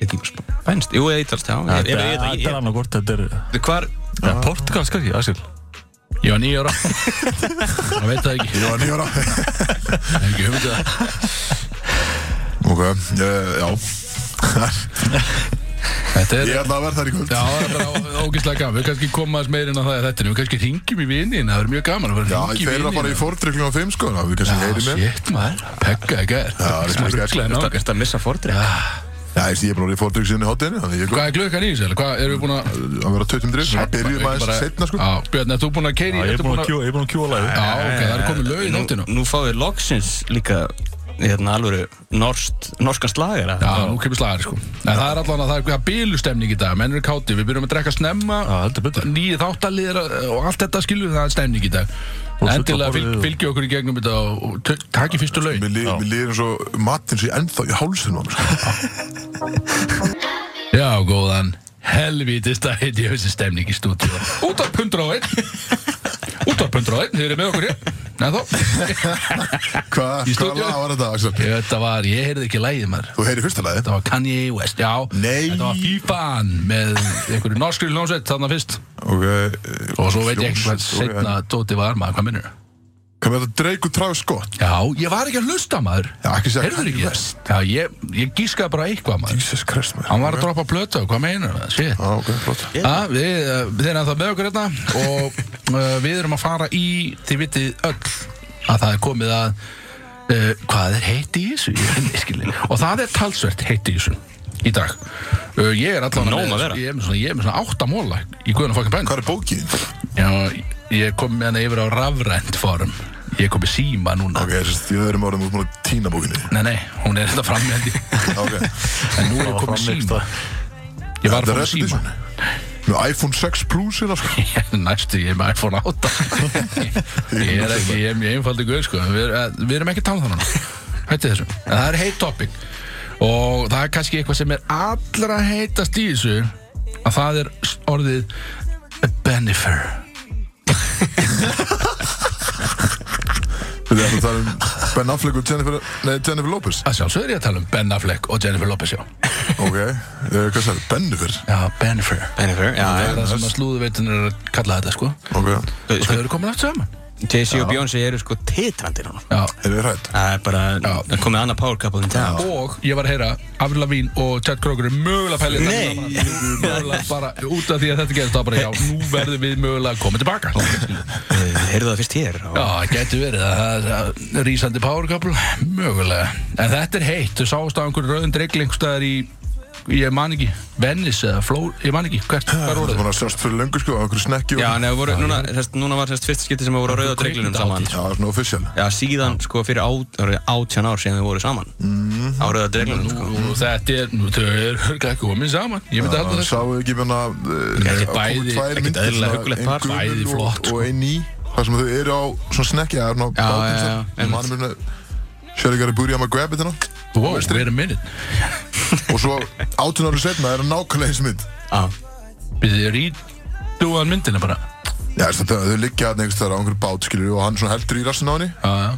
[SPEAKER 2] Ég ekki spænst Jú, eða ítalst, já Ég- ég-
[SPEAKER 4] Þetta
[SPEAKER 2] ég-
[SPEAKER 4] þetta er
[SPEAKER 2] ég-
[SPEAKER 4] annað hvort Þetta er
[SPEAKER 2] ég- Hvar
[SPEAKER 4] ja, Portugal skar ég, Asil
[SPEAKER 3] Ég var nýja ára. Hann veit það ekki,
[SPEAKER 1] Já, nýjara
[SPEAKER 3] ég hef ekki hugmyndið það.
[SPEAKER 1] Ok, eh, já
[SPEAKER 3] Þetta er
[SPEAKER 1] Ég ætla að verða þar í kvöld
[SPEAKER 3] Já, það er bara ógeðslega gaman, við kannski komum aðeins meirinn á það í þættinu, við kannski ringjum í vinnin, það verður mjög gaman að
[SPEAKER 1] Já,
[SPEAKER 3] fara að
[SPEAKER 1] þeir
[SPEAKER 3] ringja í
[SPEAKER 1] eru að fara í
[SPEAKER 3] vinnin.
[SPEAKER 1] fordryggling á þeim sko Það við kannski heyri með Já,
[SPEAKER 3] Shit maður, pekka ekki er
[SPEAKER 1] það er smá skært.
[SPEAKER 3] Rugglaði
[SPEAKER 2] Ertu
[SPEAKER 3] nákvæm.
[SPEAKER 2] ertu að missa fordrið?
[SPEAKER 1] ég sé, ég er bara í fordrygg sinni hotinu Þannig ég er
[SPEAKER 3] Hvað er glöggan í þessu, eða hvað erum við búin að
[SPEAKER 1] að vera 23 Það byrjum aðeins
[SPEAKER 3] Bara-
[SPEAKER 1] setna sko
[SPEAKER 3] Já, Björn, ert þú búin að keiri,
[SPEAKER 4] Ég er búinn að kjúa- ég er búinn að kjúa
[SPEAKER 3] Já,
[SPEAKER 4] lagi
[SPEAKER 3] ok, það er komið lög í nóttinu
[SPEAKER 2] Eh, Nú fáið loksins líka Hérna alveg Norst Norskan slagara
[SPEAKER 3] Já, nú kemur slagari sko En það er allan að það er- það er bílustemning í dag Menn eru káti, við byrjum að drekka snemma
[SPEAKER 4] Já, heldur betur.
[SPEAKER 3] Nýja þáttalýðir eh, og allt þetta skilur við, það er stemning í dag
[SPEAKER 4] Og
[SPEAKER 3] Endilega fylg,
[SPEAKER 4] fulla borðið og-
[SPEAKER 3] fylgja okkur í gegnum þetta og- og t- takið fyrstu lög
[SPEAKER 1] Mér
[SPEAKER 4] Já.
[SPEAKER 1] líður eins og matinn sé ennþá í hálsinn á mér sko
[SPEAKER 3] Já, góðan Helvítist að heit ég þessi stemning í stúdíu Útarp 101 Útarp 101, þið eru með okkur hér Nei þó
[SPEAKER 1] Hvað hva
[SPEAKER 3] Í stúdíu?
[SPEAKER 1] lag var þetta, Axel?
[SPEAKER 3] Ég veit það var, ég heyrði ekki lægið maður
[SPEAKER 1] Þú heyri fyrsta lagið
[SPEAKER 3] Þetta var Kanye West, já
[SPEAKER 1] Nei.
[SPEAKER 3] Þetta var FIFA-an með einhverju norskri hljómsveit þarna fyrst
[SPEAKER 1] Ok eh,
[SPEAKER 3] Og svo veit ég ekki hvað
[SPEAKER 1] Hljóms- ok, en-
[SPEAKER 3] setna Dóti var maður, hvað minnur
[SPEAKER 1] Hvað með þetta Drake og Travis Scott?
[SPEAKER 3] Já, ég var ekki að hlusta maður
[SPEAKER 1] Já, ekki segja
[SPEAKER 3] Heyrður
[SPEAKER 1] Kanye
[SPEAKER 3] ekki
[SPEAKER 1] West.
[SPEAKER 3] Já, ég, ég gískaði bara eitthvað maður
[SPEAKER 1] Jesus Christ, maður
[SPEAKER 3] Hann
[SPEAKER 1] Ok.
[SPEAKER 3] var að droppa plötu, hvað meinar það? Shit
[SPEAKER 1] Já, ok, flott
[SPEAKER 3] Já, við, uh, við erum það með okkur hérna og uh, við erum að fara í, þið vitið öll að það er komið að uh, hvað er heitt í þessu? Ég skilin. og það er talsvert heitt í þessu í dag. Uh, ég er allan
[SPEAKER 2] Nóg
[SPEAKER 1] um
[SPEAKER 3] með,
[SPEAKER 2] að vera.
[SPEAKER 3] ég er með svona, ég er með svona átta móla í guðan og fokkin benn.
[SPEAKER 1] Hvað er bókin?
[SPEAKER 3] Já, ég kom með hana yfir á rafrænt form. Ég kom með síma núna.
[SPEAKER 1] Ok, þess að ég öðrum orðum út múin að týna bókinni
[SPEAKER 3] Nei, nei, hún er þetta frammendi.
[SPEAKER 1] Ok
[SPEAKER 3] En nú er ég
[SPEAKER 4] Það var
[SPEAKER 3] komið
[SPEAKER 4] framleiðsla.
[SPEAKER 3] síma. Ég var
[SPEAKER 1] Þetta
[SPEAKER 3] að
[SPEAKER 1] er
[SPEAKER 3] fá síma.
[SPEAKER 1] repetition. Nú, iPhone 6 Plus er það sko
[SPEAKER 3] Næstu, ég er með iPhone 8 Ég er ekki, ég er mjög einfaldi guð sko. við, við erum ekki að tala þannig Hætti þessu, en það er heitt topic Og það er kannski eitthvað sem er allra heitast í þessu Að það er orðið Benifer
[SPEAKER 1] Við erum að tala um Ben Affleck og Jennifer, nei, Jennifer Lopez
[SPEAKER 3] Að sjálfsögur ég að tala um Ben Affleck og Jennifer Lopez já
[SPEAKER 1] Ok, uh, hvað sagði, Bennifer
[SPEAKER 3] Já, Benifer
[SPEAKER 2] Bennifer,
[SPEAKER 3] Það
[SPEAKER 2] já
[SPEAKER 3] er það sem að slúðuveitunir er að kalla þetta sko
[SPEAKER 1] Ok,
[SPEAKER 3] Og þau eru komin aftur saman
[SPEAKER 2] Jay-Z og Beyoncé eru sko titrandir núna
[SPEAKER 3] Já
[SPEAKER 1] er þið rætt?
[SPEAKER 2] Það er bara Það komið annað power couple en það
[SPEAKER 3] Og ég var að heyra Avril Lavín og Chad Kroger er mögulega pælið
[SPEAKER 2] Nei.
[SPEAKER 3] Mögulega bara út af því að þetta gerist þá bara já, nú verðum við mögulega að koma tilbaka Já,
[SPEAKER 2] Eh, Heyrðu það fyrst hér og-
[SPEAKER 3] það getur verið að það er að- rísandi power couple, mögulega En þetta er heitt, þú sást á einhverju rauðin dregli einhverstaðar í, ég man ekki Venice eða Flór, ég man ekki, hvert, hvað
[SPEAKER 1] Það
[SPEAKER 3] voru
[SPEAKER 1] er
[SPEAKER 3] þau?
[SPEAKER 1] búin að sjást fyrir löngu sko, á einhverju snekki og-
[SPEAKER 2] Já, nei, voru, núna, þess, núna var þess fyrsta skipti sem við voru sko. á rauða dreglinum saman
[SPEAKER 1] Já, svona official
[SPEAKER 2] Já, síðan sko fyrir át- það voru átján ár síðan við voru saman Á rauða dreglinum sko
[SPEAKER 3] Nú, Þetta er, nú, þau eru ekki komin saman Ég myndi halda
[SPEAKER 1] Það
[SPEAKER 3] þetta
[SPEAKER 1] sáu ekki eh, menna
[SPEAKER 3] Ekkert bæði- ekkert
[SPEAKER 2] eðlilega huggulegt par,
[SPEAKER 3] bæði flott,
[SPEAKER 1] Og ein ný, þar sem þau eru á svona snekki Það er svona
[SPEAKER 2] Já,
[SPEAKER 1] bátum
[SPEAKER 2] já, já,
[SPEAKER 1] sem- sem
[SPEAKER 2] einmitt.
[SPEAKER 1] mann minn Sjöri gæri búri á maður grab it hérna
[SPEAKER 3] Wow, wait a minute
[SPEAKER 1] Og svo 18 árið setna er það nákvæmlega eins mynd
[SPEAKER 2] Já,
[SPEAKER 3] Við rítúan myndina bara
[SPEAKER 1] Já, þess að þau- þau liggja hann einhvers þar á einhverju bát skilur og hann svona heldur í rassin á henni
[SPEAKER 3] Já, já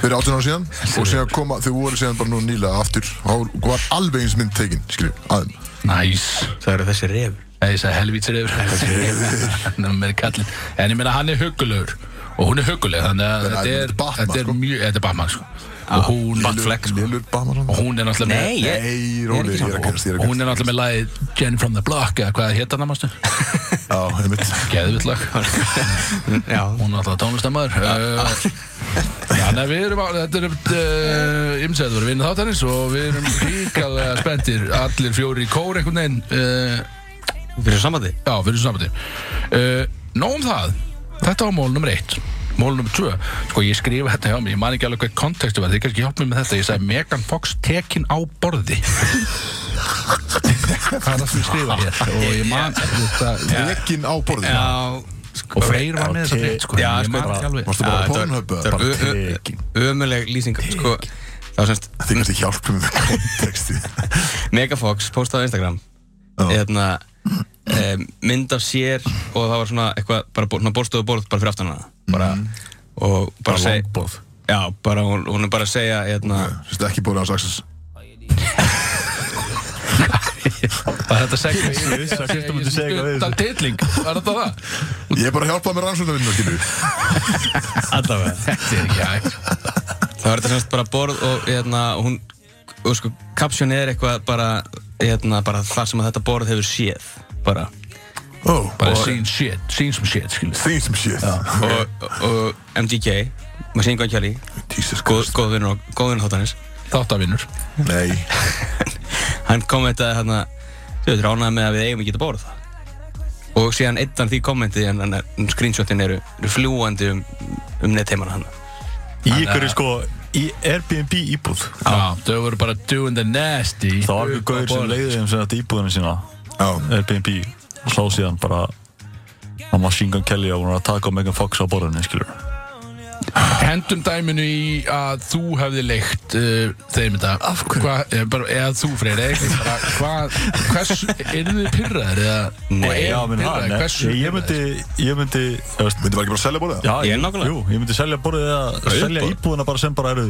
[SPEAKER 1] fyrir 18 ára síðan og síðan koma, þau voru síðan bara nú nýlega aftur og þá var alveg eins mynd tekin skilur, aðeim
[SPEAKER 3] Næs
[SPEAKER 2] það eru þessi ref
[SPEAKER 3] Nei, ég sagði helvítsir yfir Númer kallinn En ég meina hann er hugulegur Og hún er huguleg Þannig að
[SPEAKER 1] Þetta
[SPEAKER 3] þetta
[SPEAKER 1] er
[SPEAKER 3] er
[SPEAKER 1] Batman,
[SPEAKER 3] Þetta er
[SPEAKER 1] sko.
[SPEAKER 3] mjög Þetta er Batman sko Og hún
[SPEAKER 2] Batfleck, sko.
[SPEAKER 1] Lillur Bahman
[SPEAKER 3] Og hún er náttúrulega með-
[SPEAKER 2] Nei, ég-
[SPEAKER 1] Nei, róli, ég er að gerast, ég er
[SPEAKER 3] Og
[SPEAKER 1] að
[SPEAKER 3] hún er náttúrulega með lagið Jen from the Block Eða hvað hétt hann að mástu
[SPEAKER 1] gerast Já, einmitt
[SPEAKER 3] Geðvitt lag
[SPEAKER 2] Já,
[SPEAKER 3] Hún er náttúrulega tónlistamæður Já, nei, við erum á- Þetta eh, er Ymsæður voru vinnu þáttanins Og við erum ríkalega spenntir Allir fjóri í kór einhvern veginn uh,
[SPEAKER 2] fyrir sambandi
[SPEAKER 3] Já, fyrir sambandi uh, Nóum Eh, það Þetta var mól nummer eitt Mól nummer tvö Sko ég skrifa þetta hjá mig Ég man ekki alveg hvað kontekstu var Þið kannski hjálp mér með þetta Ég sagði Megan Fox tekin á borði Það er það sem ég skrifa hér Og ég man þetta,
[SPEAKER 1] Rekin á borðið
[SPEAKER 2] Já, sko,
[SPEAKER 3] Og Freyr var með þessa
[SPEAKER 4] Já,
[SPEAKER 3] frétt sko
[SPEAKER 2] já,
[SPEAKER 3] Ég
[SPEAKER 2] sko,
[SPEAKER 3] man ekki alveg
[SPEAKER 1] Varstu bara á
[SPEAKER 2] Já, þetta var-
[SPEAKER 1] Pornhub eða
[SPEAKER 2] þetta var
[SPEAKER 1] bara
[SPEAKER 2] ö- ö-
[SPEAKER 4] tekin?
[SPEAKER 2] ömurleg lýsing sko, það var semst
[SPEAKER 1] Þið kannski hjálpum við með konteksti
[SPEAKER 2] Megafox postaði á Instagram eðna, um, mynd af sér og það var svona eitthvað bara bor- svona borðstofu borð bara fyrir aftan hana bara,
[SPEAKER 1] Mhm.
[SPEAKER 2] og bara,
[SPEAKER 4] Bara
[SPEAKER 2] seg,
[SPEAKER 4] langborð
[SPEAKER 2] já, bara hún, hún er bara að segja hérna, eðna,
[SPEAKER 1] Þú veist ekki búin á saksins
[SPEAKER 3] Var þetta segja
[SPEAKER 4] Ég vissi að Kristján myndi segja eitthvað við
[SPEAKER 3] Undan um titling Var þetta það?
[SPEAKER 1] Ég er bara að hjálpa með rannsóknarvinnu, skilju
[SPEAKER 2] allavega
[SPEAKER 3] Þetta er ekki hægt
[SPEAKER 2] það var þetta semst bara borð og eðna, hún og sko kapsjón er eitthvað bara, eðna, bara það sem að þetta borð hefur séð bara
[SPEAKER 1] Ó,
[SPEAKER 3] Bara
[SPEAKER 1] og
[SPEAKER 3] seen shit Seen some shit skilur
[SPEAKER 1] Seen some shit
[SPEAKER 2] og, og MGK Machine Gun Kelly
[SPEAKER 1] Jesus
[SPEAKER 2] góð-
[SPEAKER 1] Christ
[SPEAKER 2] góð vinur og góðvinn hóttanis
[SPEAKER 3] Þáttavinnur
[SPEAKER 1] Nei
[SPEAKER 2] hann kommentaði hérna þú veit, ránaði með að við eigum ekki að bóra það og síðan eittan því kommenti en, en, en screenshotin eru, eru fljúandi um, um netteimana hann
[SPEAKER 4] Í ykkur er sko Í Airbnb íbúð
[SPEAKER 3] Já, þau voru bara doing the nasty
[SPEAKER 4] Það var ykkur gauður sem leiði þeim sem þetta íbúðinu sína
[SPEAKER 1] Já,
[SPEAKER 4] Airbnb Slá síðan bara að Machine Gun Kelly og hún var að taka á Megan Fox á borðinu, skilur
[SPEAKER 3] Hendum dæminu í að þú hefði leikt uh, þeim þetta Af hverju? Hva, eh, bara, eða þú freyr, eða eitthvað bara Hvað, hversu, eru þið pyrraðir eða
[SPEAKER 2] Nei,
[SPEAKER 3] og eru
[SPEAKER 4] Já,
[SPEAKER 3] þið
[SPEAKER 4] menn
[SPEAKER 3] pirraðir?
[SPEAKER 4] hann
[SPEAKER 3] Hversu
[SPEAKER 4] Ég ég myndi, ég myndi þú veist,
[SPEAKER 1] myndi bara ekki bara selja búin það?
[SPEAKER 4] Já,
[SPEAKER 2] Ég er nákvæmlega.
[SPEAKER 4] Jú, ég myndi selja borðið eða selja
[SPEAKER 2] bara.
[SPEAKER 4] íbúðina bara sem bara eru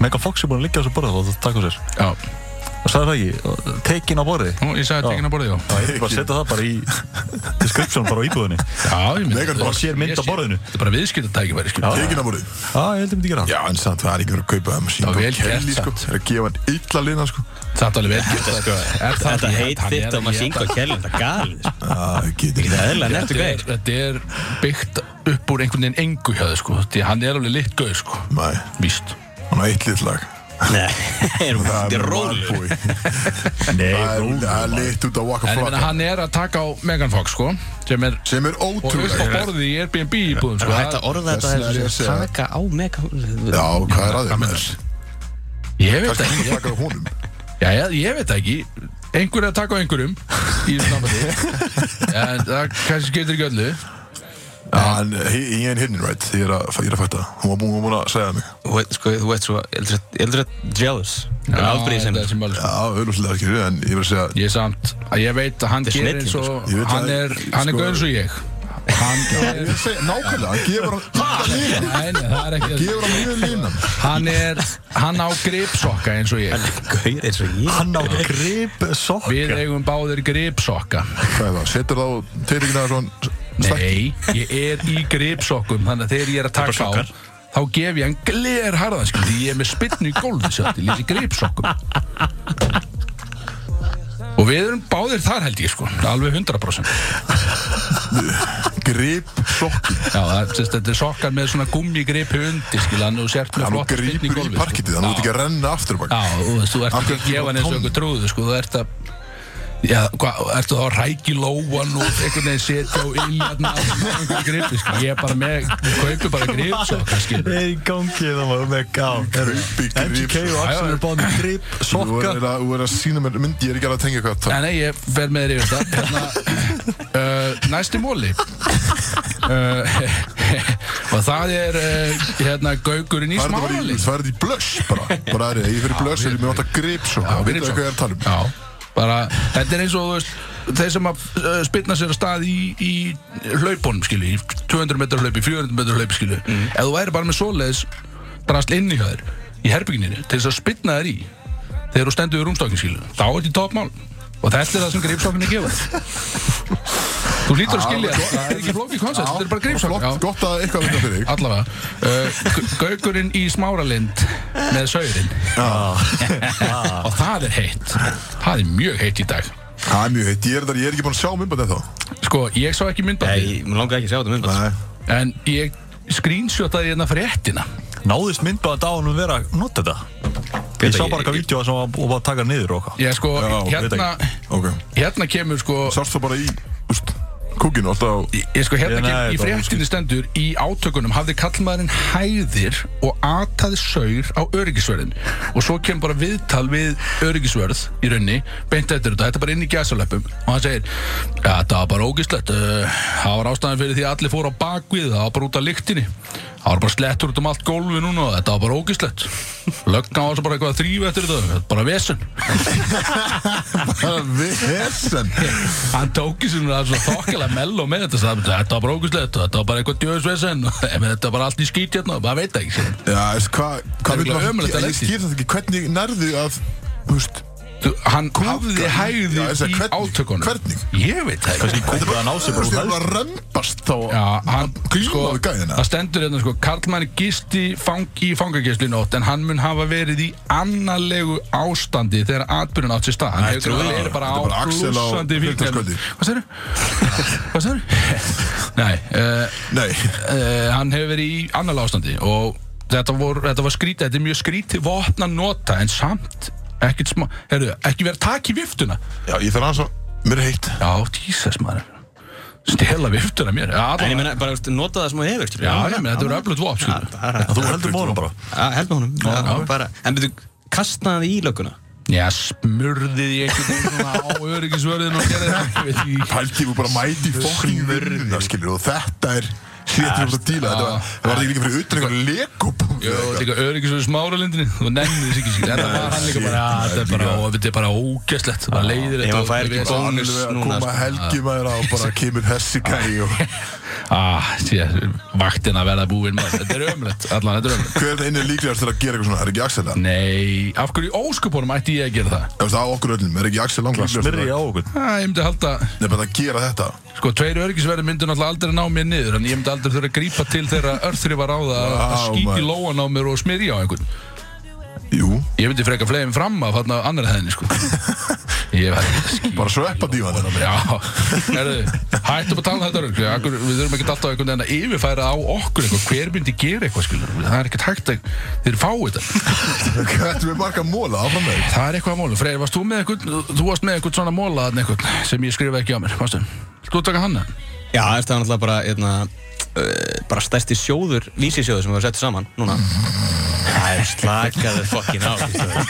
[SPEAKER 4] Megan Fox er búin að liggja á þessu borðið og það taka á sér
[SPEAKER 3] pirraðir? Já,
[SPEAKER 4] Og sagði það ekki, og tekin á borðið
[SPEAKER 3] Nú, ég sagði
[SPEAKER 4] Já.
[SPEAKER 3] tekinn að borðið, já
[SPEAKER 4] Já, ég myndi bara setja það bara í description bara á íbúðinni Já,
[SPEAKER 3] Já, ég myndi
[SPEAKER 1] Megan
[SPEAKER 4] Fox sér mynd af
[SPEAKER 3] Ég sé-
[SPEAKER 4] borðinu.
[SPEAKER 3] Þetta er bara viðskiptatækifæri, sko. skil Já,
[SPEAKER 1] Tekin á borðið
[SPEAKER 4] ég held ég myndi gera það
[SPEAKER 1] Já, en samt það er ekki verið að kaupa það Machine
[SPEAKER 3] Það var
[SPEAKER 1] Gun
[SPEAKER 3] vel
[SPEAKER 1] Kelly, sko Það er að gefa hann illa lina, sko Já, það getur
[SPEAKER 2] þetta heit þitt á Machine Gun Kelly þetta er galið sko. Þetta er eðlilega nettu gæðir
[SPEAKER 3] gert samt. þetta er alveg vel gert, sko. Er það ekki- hann er ekki- Þetta er, þetta er byggt upp úr einhvern veginn engu hjá þau sko Því að hann er alveg lit gauð sko
[SPEAKER 1] Nei,
[SPEAKER 3] Víst
[SPEAKER 1] hann á eitt lit lag
[SPEAKER 2] Nei, þetta er rólu
[SPEAKER 1] Malboy.
[SPEAKER 4] Nei,
[SPEAKER 1] Það er-
[SPEAKER 4] rólegur,
[SPEAKER 1] það er
[SPEAKER 4] maður.
[SPEAKER 1] lit út á Waka
[SPEAKER 3] En ég meina
[SPEAKER 1] Flocka
[SPEAKER 3] hann er að taka á Megan Fox sko Sem er
[SPEAKER 1] Sem er
[SPEAKER 3] og upp á
[SPEAKER 1] ótrúlega
[SPEAKER 3] borðið í Airbnb íbúðum sko
[SPEAKER 2] Þetta orða
[SPEAKER 1] Þess vegna er
[SPEAKER 2] þetta
[SPEAKER 1] ég að
[SPEAKER 2] er
[SPEAKER 1] segja það.
[SPEAKER 2] taka á mega
[SPEAKER 1] Já, hvað er aðeins með þess?
[SPEAKER 3] Það- Ég veit
[SPEAKER 1] Kannski
[SPEAKER 3] ekki
[SPEAKER 1] hún taka á honum
[SPEAKER 3] Já, já, ég veit ekki Einhver er að taka á einhverjum Í þessu námaði En það kannski getur ekki öllu
[SPEAKER 1] Já, Ah, en eh, he- he ain't hidden right Ég er að, ég er að fætta Hún var búin hún var búin að segja það mig
[SPEAKER 2] Þú veit, sko, þú veit svo, ég heldur að- ég heldur að jealous Það er aldrei sem
[SPEAKER 3] þetta er sem alveg
[SPEAKER 1] Já, auðvitað ekki En ég verið að segja
[SPEAKER 3] Ég er samt að ég veit að hann
[SPEAKER 2] Þetta er
[SPEAKER 3] gerir eins
[SPEAKER 2] snillingur, sko.
[SPEAKER 3] og
[SPEAKER 1] Ég veit
[SPEAKER 3] Hann
[SPEAKER 1] það,
[SPEAKER 3] er,
[SPEAKER 1] sko.
[SPEAKER 3] hann er gauð eins og ég Hann er
[SPEAKER 1] Ég segi nákvæmlega Hann gefur hann illa línan.
[SPEAKER 3] Nei, nei, það er ekki
[SPEAKER 1] Gefur hann mjög línan
[SPEAKER 3] Hann er, hann á gripsokka eins og ég
[SPEAKER 2] Gauðir eins og ég
[SPEAKER 4] Hann á grip sokka
[SPEAKER 3] Við eigum báðir gripsokka
[SPEAKER 1] Hvað er það? Setur það á teitingina svona stakk-
[SPEAKER 3] Nei, ég er í gripsokkum Þannig að þegar ég er að taka á
[SPEAKER 4] sokkar.
[SPEAKER 3] Þá gef ég hann gler harðan skil Því ég er með spynnu í gólfi sjátti Lýs í gripsokkum Og við erum báðir þar held ég sko Alveg 100%
[SPEAKER 1] Grip sokki
[SPEAKER 3] Já, það, sérst, þetta er sokkar með svona gummi gripi undir skil Þannig að þú sért með
[SPEAKER 1] Hann
[SPEAKER 3] flott spynnu í sko.
[SPEAKER 1] gripur í sko.
[SPEAKER 3] gólfi
[SPEAKER 1] parkitið Hann út ekki að renna aftur bak
[SPEAKER 3] Já, þú veist, þú ert
[SPEAKER 1] Af
[SPEAKER 3] ekki
[SPEAKER 1] hverju
[SPEAKER 3] að
[SPEAKER 1] ertu
[SPEAKER 3] gefa
[SPEAKER 1] bara
[SPEAKER 3] hann eins og
[SPEAKER 1] tóm?
[SPEAKER 3] einhver trúðu, sko, þú ert að Já, hvað, ertu þá að rækja í lóan og einhvern veginn setja á iljarna og einhvern gripi, sko, ég er bara með, við kaupum bara grip, svo, kannski
[SPEAKER 4] er í gangi það maður með gá
[SPEAKER 1] Grip í grip
[SPEAKER 4] MGK og Axel er báðið með grip
[SPEAKER 1] Þú
[SPEAKER 4] sokka
[SPEAKER 1] verður að, þú verður að sína mér myndi Ég er ekki alveg að tengja hvað það
[SPEAKER 3] Nei, nei, ég fer með þér yfir þetta hérna, uh, Næsti móli uh, Og það er uh, hérna, gaugurinn í
[SPEAKER 1] Það er þetta bara
[SPEAKER 3] smáli
[SPEAKER 1] í, það er þetta í blush bara Bara aðrið, ég fyrir blush er ég með alltaf grip sokka
[SPEAKER 3] Já,
[SPEAKER 1] Það veit
[SPEAKER 3] grip
[SPEAKER 1] það
[SPEAKER 3] sokka.
[SPEAKER 1] hvað ég er að tala um
[SPEAKER 3] Já, bara, þetta er eins og þú veist þeir sem að uh, spilna sér að stað í, í hlaupunum skilju í 200 metrar hlaupi, 400 metrar hlaupi skilju
[SPEAKER 1] Mm.
[SPEAKER 3] ef þú væri bara með svoleiðis drast inn í hjá þér, í herbygginni til þess að spilna þér í þegar þú stendur við rúmstokkin skilju, þá er þetta í toppmál og þetta er það sem greipstokkin er gefað þú lítur að skilja þetta það er ekki flókið koncept, þetta er bara greipstokkin
[SPEAKER 1] Flott, gott að eitthvað vita fyrir þig
[SPEAKER 3] Allavega uh, Gau- Gaugurinn í smáralind með saurinn og það er heitt það er mjög heitt í dag
[SPEAKER 1] Það er mjög heitt, ég er, þar- ég er ekki búin að sjá myndbætt eða þá
[SPEAKER 3] sko, ég sá ekki myndbæti
[SPEAKER 2] Nei, mér langar ekki að sjá þetta mynd
[SPEAKER 1] Nei,
[SPEAKER 3] en ég screenshotaði hérna fréttina
[SPEAKER 4] Náðist myndbæðan dag hún vera að nota þetta Ég sá bara eitthvað vídeo sem var var að taka niður og okkar
[SPEAKER 3] ég sko,
[SPEAKER 4] Já,
[SPEAKER 3] hérna
[SPEAKER 1] ok
[SPEAKER 3] hérna kemur sko
[SPEAKER 1] Sást þú bara í, úst, kúkinu alltaf á
[SPEAKER 3] Ég, ég sko hérna
[SPEAKER 4] Ég- nei,
[SPEAKER 3] kemur í
[SPEAKER 4] þetta var
[SPEAKER 3] fréttinni stendur Í átökunum hafði kallmaðurinn hæðir Og ataði saur á öryggisverðin Og svo kemur bara viðtal við öryggisverð Í raunni, beint eftir þetta Þetta er bara inn í gæsalöpum Og hann segir, ja það var bara ógislegt uh, Það var ástæðan fyrir því að allir fóru á bakvið Það var bara út af lyktinni Það var bara slettur út um allt gólfi núna og Þetta var bara ógislegt Löggan var svo bara eitthvað að þrýfa eftir þetta Þetta er Bara vesen
[SPEAKER 1] Bara vesen
[SPEAKER 3] hann tók í svona það svona þokkilega melló með þetta sagði, þetta var bara ógustlegt og þetta var bara eitthvað djöðsvesen en þetta var bara allt í skýt hérna og maður veit það ekki sér.
[SPEAKER 1] Já, veist, hvað hva
[SPEAKER 3] Það er
[SPEAKER 1] vil
[SPEAKER 3] örugglega
[SPEAKER 1] maður
[SPEAKER 3] ömurlegt að
[SPEAKER 1] Ég
[SPEAKER 3] lenda í.
[SPEAKER 1] skil þetta ekki, hvernig nærðu að Þú veist
[SPEAKER 3] Þú- hann hafði hægði
[SPEAKER 1] Já, ég sagði,
[SPEAKER 3] í
[SPEAKER 1] hvernig?
[SPEAKER 3] átökunum
[SPEAKER 1] Hvernig?
[SPEAKER 3] ég veit það ekki
[SPEAKER 4] Kannski kúpið að ná sig
[SPEAKER 1] Þú veist,
[SPEAKER 4] bara úr
[SPEAKER 1] það
[SPEAKER 4] hæð
[SPEAKER 1] var römbast þá
[SPEAKER 3] Já, hann,
[SPEAKER 1] glíma
[SPEAKER 3] sko,
[SPEAKER 1] við gæðina.
[SPEAKER 3] það stendur hérna sko Karlmann gisti fang, í fangageslu í nótt en hann mun hafa verið í annarlegu ástandi þegar atbyrjun átt sér stað hann hefur
[SPEAKER 1] trúi
[SPEAKER 3] verið
[SPEAKER 1] því.
[SPEAKER 3] verið bara
[SPEAKER 1] Þetta er bara
[SPEAKER 3] á
[SPEAKER 1] Axel á
[SPEAKER 3] blússandi
[SPEAKER 1] fimmtudagskvöldi.
[SPEAKER 3] hvað sér hvað sér nei uh,
[SPEAKER 1] Nei,
[SPEAKER 3] uh, hann hefur verið í annar ástandi og þetta, vor, þetta var skrítið, þetta er mjög skrítið vopna nota en samt ekkert smá, herru, ekki vera takk í viftuna
[SPEAKER 1] já, ég þarf aðeins að Mér er heitt
[SPEAKER 3] já, Jesus maður stela viftuna mér, já,
[SPEAKER 2] En ég
[SPEAKER 3] allavega.
[SPEAKER 2] meina, bara veist, nota það sem þú hefur skilur.
[SPEAKER 3] já, já, menn, þetta verður öflut vopn,
[SPEAKER 2] Já,
[SPEAKER 3] sko
[SPEAKER 2] það er-
[SPEAKER 4] Þú heldur mórum bara
[SPEAKER 2] Já, held með honum Já, bara, En byrju, kastnaði í lögguna
[SPEAKER 3] já, smurðið ég einhvern veginn svona á öryggisvörðin og gerði það, ég veit ekki
[SPEAKER 1] Pælti ég bara mæti fokkin vinnuna skilur og þetta er Sétur um að díla Þetta var, það var ekki líka fyrir utan eitthvað legobúð
[SPEAKER 3] Jó, líka öryggisvörður smáralindinni þú nefnir þess ekki, skilur, þetta var hann líka bara já, þetta er bara, ó, þetta er bara ógæslegt bara leiðir
[SPEAKER 2] Ef hann fær ekki
[SPEAKER 3] þetta
[SPEAKER 2] bón-
[SPEAKER 1] Bónus
[SPEAKER 2] núna,
[SPEAKER 1] núna Koma
[SPEAKER 2] sko.
[SPEAKER 1] helgi maður á og bara kemur þessi gæi og
[SPEAKER 3] ah, sé, vaktin að verða búinn maður. þetta er ömlegt, allan þetta er ömlegt
[SPEAKER 1] hver er einu líklegast til að gera eitthvað svona, er ekki Axel það?
[SPEAKER 3] Nei, af hverju í óskupunum ætti ég að gera það?
[SPEAKER 1] Þú veist, á okkur öllum, er ekki Axel langt
[SPEAKER 4] Það
[SPEAKER 1] líklegast
[SPEAKER 4] smyrri
[SPEAKER 1] til
[SPEAKER 4] á
[SPEAKER 1] að
[SPEAKER 4] okkur
[SPEAKER 3] Æ, ég myndi halda,
[SPEAKER 1] Nei, bara að gera þetta
[SPEAKER 3] sko, tveir öryggisverði myndu náttúrulega aldrei ná mér niður En ég myndi aldrei þurfa að grípa til þegar örþri var á það wow, að
[SPEAKER 1] Vá,
[SPEAKER 3] skýti
[SPEAKER 1] maður.
[SPEAKER 3] lóan á mér og smyrja á einhvern
[SPEAKER 1] Jú,
[SPEAKER 3] Ég myndi freka flegin fram af þarna annar hæðinni, sko Ég var skýt
[SPEAKER 1] bara sveppa dívan
[SPEAKER 3] Já, herðu, hættum að tala um þetta rugl Akkur, Við þurfum ekkert alltaf einhvern veginn að yfirfæra á okkur eitthvað Hver myndi gera eitthvað, skilur Það er ekkert hægt að þeir fá þetta
[SPEAKER 1] Þetta er marga móla áfram með þig.
[SPEAKER 3] Það er eitthvað að móla. Freyr, varst þú með eitthvað, þú varst með eitthvað svona móla þarna eitthvað sem ég skrifa ekki á mér, varstu? Þú taka hann það?
[SPEAKER 2] Já, það er það náttúrulega bara, hérna uh, bara stærsti sjóður, vísisjóður sem við settum saman núna Það er slakaður fokkin á Kristofur.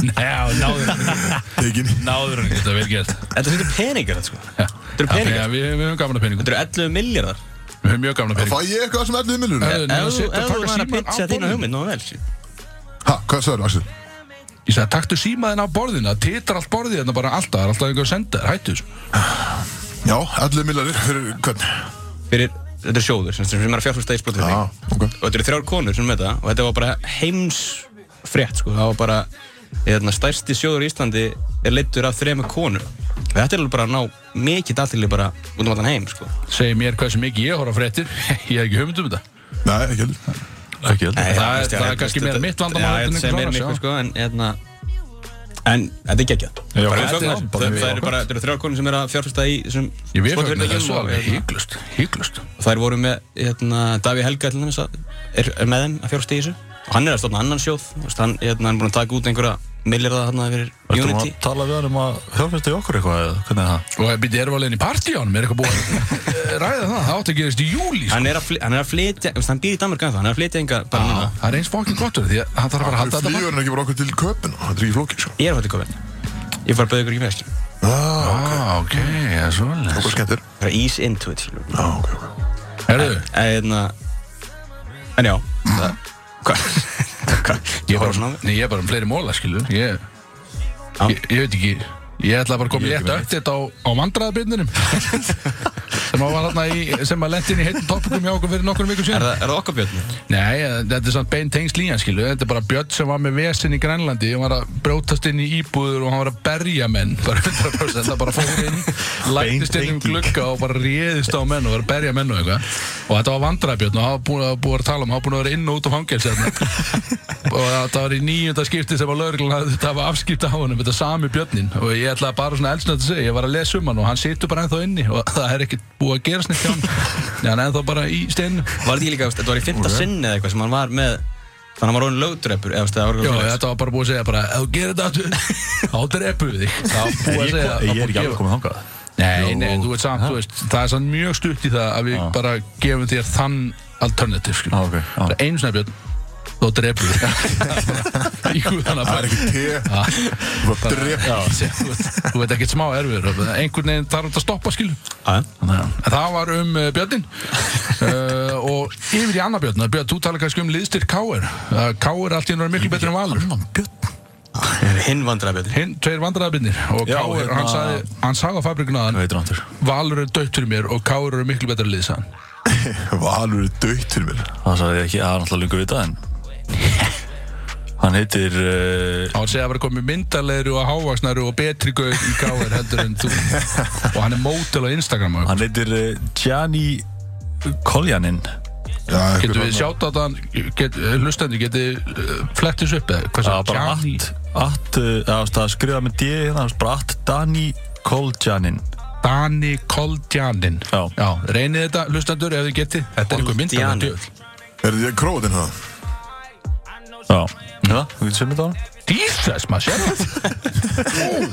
[SPEAKER 3] Já, náður hann.
[SPEAKER 1] Tekin
[SPEAKER 3] Náður hann. Þetta er vel gert.
[SPEAKER 2] Þetta setur peningar þetta sko
[SPEAKER 3] Já.
[SPEAKER 2] Þetta eru peningar
[SPEAKER 3] Já, við, við höfum gamla peningum.
[SPEAKER 2] Þetta eru 11 miljardar
[SPEAKER 3] Við höfum mjög gamla
[SPEAKER 1] Fæ
[SPEAKER 3] peningum.
[SPEAKER 1] ég eitthvað sem elluði miljón?
[SPEAKER 3] Herðu, nei,
[SPEAKER 2] Ef þú
[SPEAKER 3] settu-
[SPEAKER 2] ef
[SPEAKER 3] taka
[SPEAKER 2] þú væri að
[SPEAKER 3] símann á
[SPEAKER 2] pitcha þína
[SPEAKER 3] borðinu.
[SPEAKER 2] hugmynd, ná vel sí.
[SPEAKER 1] Ha, hvað sagður Axel?
[SPEAKER 3] Ég sagði, taktu símaðin á borðinu, það titrar allt borðið hérna bara alltaf, það er alltaf einhver að senda þér, hættu þessu.
[SPEAKER 1] Já, elluði miljónir fyrir hvern?
[SPEAKER 2] Fyrir, þetta er sjóður sem, sem er að fjárfyrsta í
[SPEAKER 1] Já,
[SPEAKER 2] spurningunni
[SPEAKER 1] ok
[SPEAKER 2] og þetta eru þrjár konur sem með það og þetta var bara heims frétt sko, það var bara hérna, stærsti sjóður í Íslandi er leittur af þrema konur og þetta er alveg bara að ná mikið aðtili bara út um allan heim sko.
[SPEAKER 3] Segir mér hversu mikið ég horf á fréttir, ég hef ekki hugmynd um þetta.
[SPEAKER 1] Nei, ekki heldur
[SPEAKER 4] Ekki
[SPEAKER 3] það
[SPEAKER 4] heldur
[SPEAKER 3] er-
[SPEAKER 2] veist,
[SPEAKER 3] það er
[SPEAKER 2] ég-
[SPEAKER 3] kannski
[SPEAKER 2] veist,
[SPEAKER 3] meira
[SPEAKER 2] þetta-
[SPEAKER 3] mitt vandamál
[SPEAKER 2] Já, þetta er
[SPEAKER 3] en einhver
[SPEAKER 2] meira
[SPEAKER 3] annars,
[SPEAKER 2] mikið
[SPEAKER 3] já.
[SPEAKER 2] sko, en hérna En þetta er geggjað.
[SPEAKER 4] Já,
[SPEAKER 2] Bara við
[SPEAKER 4] já, þetta
[SPEAKER 2] fögnum
[SPEAKER 4] er
[SPEAKER 2] þessu.
[SPEAKER 4] bara
[SPEAKER 2] Það
[SPEAKER 4] mjög
[SPEAKER 2] það eru bara, þetta eru þrjár konur sem er að fjárfesta í þessum
[SPEAKER 3] Ég við höfum
[SPEAKER 2] sprotafyrirtækjum
[SPEAKER 3] þessu
[SPEAKER 2] og,
[SPEAKER 3] alveg
[SPEAKER 2] hérna,
[SPEAKER 3] hygglust, hygglust.
[SPEAKER 2] og þær voru með hérna, Daví Helga til þess að er, er með þeim að fjárfesta í þessu og hann er að stofna annan sjóð þú veist, hann, hérna, hann er búin að taka út einhverja milljarða hérna fyrir
[SPEAKER 4] Ertu maður að
[SPEAKER 2] Unity
[SPEAKER 4] tala við hann um að fjárfesta í okkur eitthvað eða hvernig er það?
[SPEAKER 3] Og ég byrja erum alveg inn í partíjónum, er eitthvað búið að ræða það, það átt að gerast í júli, sko.
[SPEAKER 2] hann er að, fly, hann er að flytja, þú veist, hann býr í Danmark að það hann er að flytja enga bara núna
[SPEAKER 3] Það er eins fokkin gottur því að hann þarf bara að halda þetta
[SPEAKER 1] Flýgur hann ekki bara okkur til köpun Þetta er ekki flókið, sko
[SPEAKER 2] ég er að fæta komin ég fara að bauða ykkur ekki með ekki
[SPEAKER 1] Já,
[SPEAKER 3] Ah, ok, það er
[SPEAKER 1] það
[SPEAKER 3] svolítið
[SPEAKER 1] var skemmtir
[SPEAKER 2] bara ease into it skilur við.
[SPEAKER 1] Já, ok, ok
[SPEAKER 3] Herðu,
[SPEAKER 2] en hérna en já það- hvað hvað
[SPEAKER 3] ég er
[SPEAKER 2] Mm. horfði
[SPEAKER 3] bara,
[SPEAKER 2] svona á mig.
[SPEAKER 3] nei, ég er bara um fleiri móla, skilur ég, ég, ég veit ekki Ég ætla bara að koma í eitt öktið á, á vandræðabindunum sem að var hérna í sem að lendi inn í heitum topikum hjá okkur fyrir nokkur vikum
[SPEAKER 2] er
[SPEAKER 3] síðan
[SPEAKER 2] það, er það okkar björn
[SPEAKER 3] Nei, eh, þetta er samt bein tengst líðan skilu þetta er bara Björn sem var með vesinn í Grænlandi og var að brjótast inn í íbúður og hann var að berja menn bara 100% það bara fór inn lættist inn um
[SPEAKER 4] tenging.
[SPEAKER 3] glugga og bara réðist á menn og var að berja menn og eitthvað og þetta var vandræðabjörn og hann var búin að, búin að tala um hann var búin að vera inn og út á fangelsi þarna. og þetta var í nýjunda skipti sem að lauruglan hafði þetta var afskipta á hann þetta sami björnin og ég ætlaði bara svona elsnöð að segja, ég var að lesa um hann og hann situr bara ennþá inni og það er ekkert búið að gera snitt hjá hann Nei, hann er ennþá bara í steinu
[SPEAKER 2] var þetta ekki líka þú veist, þetta var í fymta sinni eða eitthvað sem hann var með þannig að hann var orðin lögdreppur eða þú veist, það var
[SPEAKER 3] Já,
[SPEAKER 2] eitthvað svoleiðis.
[SPEAKER 3] þetta var bara búið að segja bara, ef þú gerir þetta aftur, þá drepum við þig. Það var búið að
[SPEAKER 4] Ég
[SPEAKER 3] segja,
[SPEAKER 4] ég er
[SPEAKER 3] það var búið
[SPEAKER 4] ekki alveg
[SPEAKER 3] að gefa-
[SPEAKER 4] komið þangað
[SPEAKER 3] Nei, nei, þú veist samt, þú veist, það er samt mjög stutt í það að við bara gefum þér þann alternativ, skil.
[SPEAKER 4] Já, Ah, ok, já.
[SPEAKER 3] Það er einu snæbjörn, þá drefur við. Í guðana
[SPEAKER 1] Það er
[SPEAKER 3] bara.
[SPEAKER 1] ekki te,
[SPEAKER 3] Já,
[SPEAKER 1] þú var drep
[SPEAKER 3] já, þú veist- þú veit ekkert smá erfiður, einhvern veginn þarf þetta að stoppa, skil. En það var um uh, Björnin uh, og yfir í annar Björn, Björn, þú talar kannski um liðstyrk K.R. Uh, K.R. allt í hennu er miklu betur en Valur.
[SPEAKER 4] Annan björn
[SPEAKER 2] Hinn vandræðabjörn
[SPEAKER 3] Hinn, tveir vandræðabinnir og
[SPEAKER 4] Já,
[SPEAKER 3] K.R.
[SPEAKER 4] hérna-
[SPEAKER 3] hann sagði, hann sagði á fabrikunaðan,
[SPEAKER 4] Veitur ándur
[SPEAKER 3] Valur er dött fyrir mér og K.R. er miklu betur en liðsan.
[SPEAKER 1] Valur er dött til mér
[SPEAKER 4] Það sagði ég ekki, það er náttúrulega lungur við það en Hann heitir uh,
[SPEAKER 3] Hann segja að vera komið myndarlegri og hávaksnari og betri gauð í K.R. heldur en þú. og hann er mótel á Instagram.
[SPEAKER 4] Hann heitir uh, Gianni Koljanin
[SPEAKER 1] Já,
[SPEAKER 3] Getur við
[SPEAKER 1] einhver
[SPEAKER 3] sjátt að hann, get, hlustendur, getur uh, flettis upp eða? Hvað
[SPEAKER 4] Það
[SPEAKER 3] sagði-
[SPEAKER 4] var bara
[SPEAKER 3] Gianni?
[SPEAKER 4] att Att, uh, það var að skrifa með D hérna, það var bara att Dani Koljanin
[SPEAKER 3] Dani Koldjanin
[SPEAKER 4] Já.
[SPEAKER 3] reynið þetta, hlustendur, ef þið getið Þetta er einhver
[SPEAKER 2] Koldjanin.
[SPEAKER 3] myndarlega
[SPEAKER 1] Er þetta króðin það?
[SPEAKER 4] Já, já, þú getur sem þetta á hann
[SPEAKER 3] Jesus, maður sér það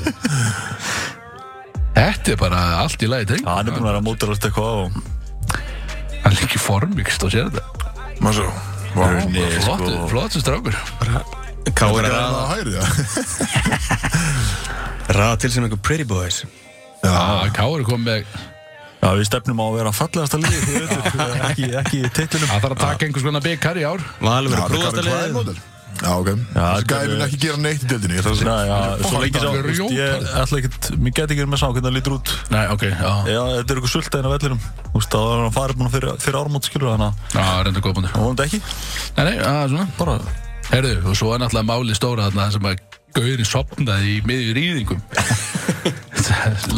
[SPEAKER 3] Þetta er bara allt í lagi
[SPEAKER 4] Já, hann er búin að vera að mótilast eitthvað og
[SPEAKER 3] Hann er ekki formvíkst og sér þetta
[SPEAKER 1] Má svo Vá
[SPEAKER 4] Nei,
[SPEAKER 3] Flott,
[SPEAKER 4] sko.
[SPEAKER 3] flottu strákur
[SPEAKER 2] Káur
[SPEAKER 1] Það
[SPEAKER 2] er
[SPEAKER 1] er
[SPEAKER 2] að
[SPEAKER 1] það að hæri það
[SPEAKER 2] ræða til sem einhver pretty boys
[SPEAKER 3] ah, Káur kom með
[SPEAKER 4] Já, við stefnum á að vera fallegasta liðið því auðvitað, ekki, ekki titlinum.
[SPEAKER 3] Það þarf að taka einhvers konar byggar í ár
[SPEAKER 1] Já,
[SPEAKER 2] Valur verið
[SPEAKER 1] það er
[SPEAKER 2] brúðasta
[SPEAKER 1] hvað er
[SPEAKER 2] liðið
[SPEAKER 1] mótel? Já, ok Þessi
[SPEAKER 4] þetta
[SPEAKER 1] gæði
[SPEAKER 4] er-
[SPEAKER 1] vil ekki gera neitt í deildinni ég ætla að segja.
[SPEAKER 4] Nei, já, svo lengi sá,
[SPEAKER 3] alveg
[SPEAKER 4] þú veist, ég
[SPEAKER 3] rjópar.
[SPEAKER 4] ætla ekkert, mér get ekki verið með að sá hvernig það lítur út.
[SPEAKER 3] Nei, ok, já
[SPEAKER 4] Já, þetta er eitthvað sultaðin af vellinum, þú veist, þá er hann farið búin fyrir, fyrir ármót, skilur þannig að,
[SPEAKER 3] Já, reynda góð búinu
[SPEAKER 4] það vonandi ekki,
[SPEAKER 3] Nei, nei, að, svona
[SPEAKER 4] bara,
[SPEAKER 3] Herðu, og svo er náttúrulega máli stóra þarna þar sem að Gaurin sopnaði í miðjur rýðingum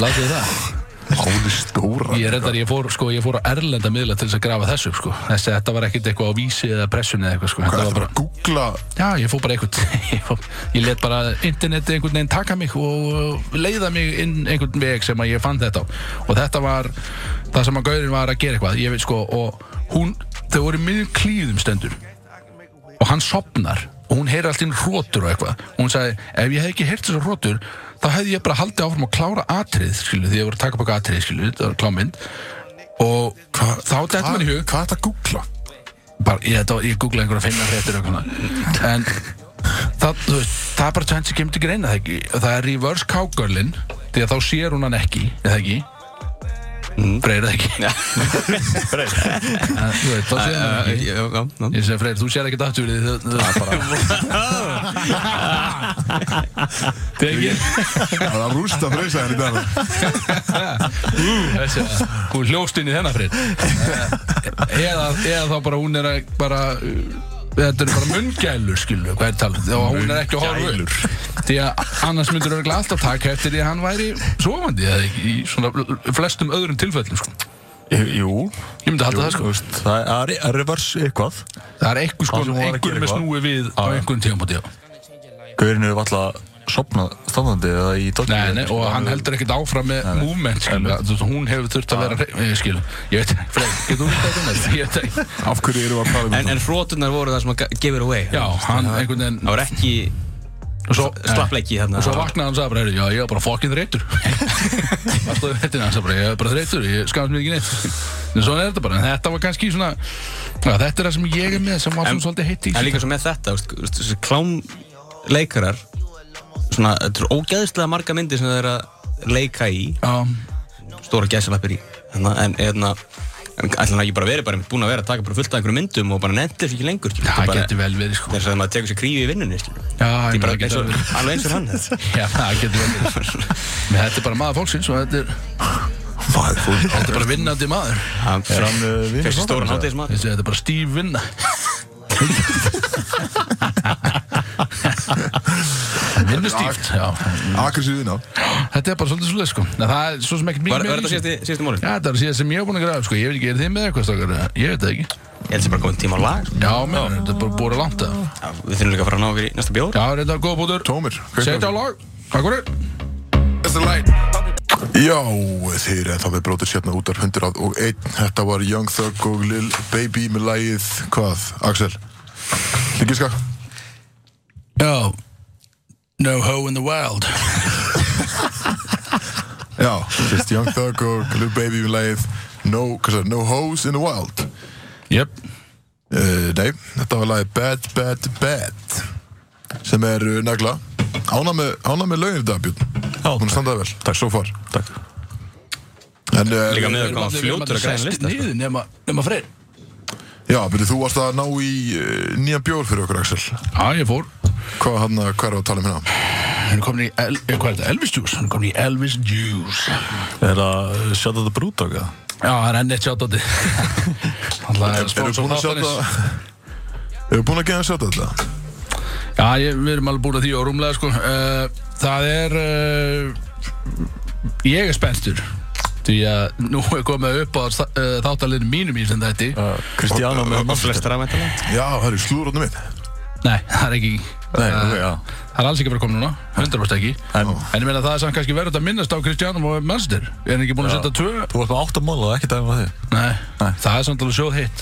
[SPEAKER 3] Láttu það
[SPEAKER 1] Máli stóra
[SPEAKER 3] Ég reyndar, ég fór, sko, ég fór á erlenda miðla til þess að grafa þessu, sko. Þessi, þetta var ekkert eitthvað á vísi eða pressunni eða eitthvað, sko.
[SPEAKER 1] Hvað
[SPEAKER 3] Þetta
[SPEAKER 1] er
[SPEAKER 3] var
[SPEAKER 1] það
[SPEAKER 3] bara,
[SPEAKER 1] að googla
[SPEAKER 3] já, ég fór bara eitthvað, ég, fór, ég let bara interneti einhvern veginn taka mig og uh, leiða mig inn einhvern veg sem að ég fann þetta á. Og þetta var það sem að gaurinn var að gera eitthvað, ég veit, sko, og hún, þau voru miður klíðum stendur og hann sopnar og hún heyri allt inn hrótur og eitthvað og hún sagði, ef ég hef ekki heyrt þessar hrótur þá hefði ég bara haldið áfram að klára atrið skilu, því ég voru að taka baka atrið skilu, þetta var klámynd og þá dætt
[SPEAKER 1] Hvað
[SPEAKER 3] mann í
[SPEAKER 1] hvað er
[SPEAKER 3] hug
[SPEAKER 1] það að googla?
[SPEAKER 3] bara, ég, þetta, var- ég googlaði einhverja finna hréttur og eitthvað en það, þú veist, það er bara tvennt sem kemur til greina það, ekki, það er reverse cowgirlin því að þá sér hún hann ekki eða ekki mm. freyrað ekki En, þú veist, þá sér hún hann ekki
[SPEAKER 2] Já,
[SPEAKER 3] ég segi Freyr, þú sér ekkert aftur í því það er bara Degir
[SPEAKER 1] Það er að rústa hérna freysa henni þetta
[SPEAKER 3] Þessi, hún hljóst inn í þennan Freyr Eh, eða, eða þá bara hún er að bara uh, þetta er bara munngælur skilu hvað er talað, um. og hún er ekki að horfa upp því að annars myndur örgulega alltaf taka eftir því að hann væri sofandi eða ekki, í svona flestum öðrum tilfellum sko.
[SPEAKER 4] jú,
[SPEAKER 3] ég myndi halda það
[SPEAKER 4] þú
[SPEAKER 3] sko
[SPEAKER 4] veist, það er- það er reverse eitthvað,
[SPEAKER 3] það er einhvers
[SPEAKER 4] Það sem
[SPEAKER 3] konar,
[SPEAKER 4] hún var að
[SPEAKER 3] einhver með
[SPEAKER 4] gera eitthvað.
[SPEAKER 3] snúi við á einhverjum tíðanbúti já
[SPEAKER 4] gaurin eru alltaf sopnað standandi eða í dottinu.
[SPEAKER 3] Nei, nei, og hann heldur ekkert áfram með movement, skil, að, þú veist, hún hefur þurft að vera, hreif- eh, skil, ég veit, Freyr, getur þú þetta um þetta? Ég veit ekki.
[SPEAKER 1] Af hverju eru að tala um
[SPEAKER 2] En, en hrótunar voru það sem að give it away hérna.
[SPEAKER 3] Já, hann einhern veginn,
[SPEAKER 2] Það var ekki
[SPEAKER 3] og svo,
[SPEAKER 2] slappleiki hérna. þarna
[SPEAKER 3] og svo vaknaði hann og sagði bara, heyrðu, já, ég var bara fucking þreytur. Alltaf við hættina, hann sagði bara, ég var bara þreytur, ég skamst mér ekki neitt. En svona er þetta bara, en þetta var kannski svona, já, þetta er það sem ég er með, sem var svona svolítið heitt í.
[SPEAKER 2] En líka svo með þetta, veist, veist, þessi klámleikarar Svona, þetta eru ógæðislega marga myndir sem það er að leika í
[SPEAKER 3] Já,
[SPEAKER 2] Stóra gæsalappir í Þannig, En, en, en ætla hann ekki bara verið bara Búin að vera að taka bara fullt af einhverjum myndum Og bara nefndir þessu ekki lengur skilur,
[SPEAKER 3] það
[SPEAKER 2] bara-
[SPEAKER 3] getur vel verið, sko.
[SPEAKER 2] Þess að maður tekur sér krífi í vinnunni skilur.
[SPEAKER 3] Já,
[SPEAKER 2] Því
[SPEAKER 3] ég meina,
[SPEAKER 2] bara
[SPEAKER 3] það
[SPEAKER 2] eins og,
[SPEAKER 3] getur vel verið.
[SPEAKER 2] alveg eins og hann
[SPEAKER 3] Já, það getur vel verið. Men Þetta er bara maður fólksins og þetta er,
[SPEAKER 1] Hvað er það?
[SPEAKER 3] þetta er bara vinnandi maður.
[SPEAKER 2] Hann
[SPEAKER 4] Er hann uh, vinur
[SPEAKER 2] Þessi
[SPEAKER 4] þáttarins,
[SPEAKER 2] stóran
[SPEAKER 4] eða?
[SPEAKER 2] hátis maður
[SPEAKER 3] Þessi, þetta er bara stíf vinna Vinnu stíft, já
[SPEAKER 1] Akrisiðin á
[SPEAKER 3] Þetta er bara svolítið svolítið, sko Nei, Það er svo sem ekkert
[SPEAKER 2] Var,
[SPEAKER 3] mikið
[SPEAKER 2] var
[SPEAKER 3] meira
[SPEAKER 2] þetta
[SPEAKER 3] í þessu.
[SPEAKER 2] síðasti, síðasti mólin?
[SPEAKER 3] Já, þetta er síðast sem ég er búin að græða, sko Ég veit ekki, er þið með eitthvað, stakar? eða? Ég veit það ekki
[SPEAKER 2] Ég held sem bara komið tíma á lag sko.
[SPEAKER 3] Já, menn, þetta er bara búin að langt það
[SPEAKER 2] Já, Við þurfum líka að fara að ná okkur í næsta bjór
[SPEAKER 3] Já, þetta er góð bútur
[SPEAKER 1] Tómir
[SPEAKER 3] Setja á lag, takk fyrir
[SPEAKER 1] Já, þeir en þá við brótið sérna út af 101 Þetta var Young Thug og Lil Baby með lagið, hvað, Axel? Líkiska?
[SPEAKER 3] Já No hoe in the wild
[SPEAKER 1] Já, fyrst Young Thug og Lil Baby við lagið No, hvað sagði, no Hoes in the Wild
[SPEAKER 3] Jöp
[SPEAKER 1] uh, Nei, þetta var lagið Bad, Bad, Bad sem er uh, negla Ána með, ána með lögin þetta, Björn
[SPEAKER 4] Já,
[SPEAKER 1] Hún standaði vel, takk, svo far
[SPEAKER 4] takk.
[SPEAKER 1] En, uh,
[SPEAKER 2] Líka með-
[SPEAKER 3] Við
[SPEAKER 2] hvað
[SPEAKER 3] erum
[SPEAKER 2] fljótur að
[SPEAKER 3] allir- við erum allir
[SPEAKER 2] græða
[SPEAKER 3] sestir
[SPEAKER 2] lista, sko.
[SPEAKER 3] niður nema, nema freyr
[SPEAKER 1] Já, byrju, þú varst að ná í uh, nýjan bjór fyrir okkur, Axel
[SPEAKER 3] Já, ég fór
[SPEAKER 1] Hvað hann, hvað er að tala um hérna?
[SPEAKER 3] Hann er komin í, El, eh, hvað er þetta, Elvis Juice? Hann er komin í Elvis Juice
[SPEAKER 4] Er það uh, Shadow of the Brewdog eða?
[SPEAKER 3] Já, það er enn eitt sjátt á því Hann er
[SPEAKER 1] Erum við
[SPEAKER 3] sponsor
[SPEAKER 1] búin að sjá
[SPEAKER 3] þáttanins
[SPEAKER 1] þetta? Erum við búin að geða að sjá þetta?
[SPEAKER 3] Já, ég, við erum alveg búin að því á rúmlega sko. uh, Það er uh, Ég er spenstur Því að nú er komið upp á uh, þáttalinu mínum í sem þetta
[SPEAKER 4] Uh, Kristjana með
[SPEAKER 2] Og flestar að væntanlega.
[SPEAKER 1] Já, það eru slúðrótni mitt
[SPEAKER 3] Nei, það er ekki
[SPEAKER 4] Nei,
[SPEAKER 3] það-
[SPEAKER 4] ok, já.
[SPEAKER 3] Það er alls ekki bara komið núna, 100% ekki
[SPEAKER 4] En
[SPEAKER 3] En ég meina það er samt kannski verið að minnast á Kristjánum og Manchester Er hann ekki búin að setja tvö?
[SPEAKER 4] þú varst með 8 mál og ekki dæmi á því.
[SPEAKER 3] Nei,
[SPEAKER 4] Nei.
[SPEAKER 3] það er samt alveg sjóð hitt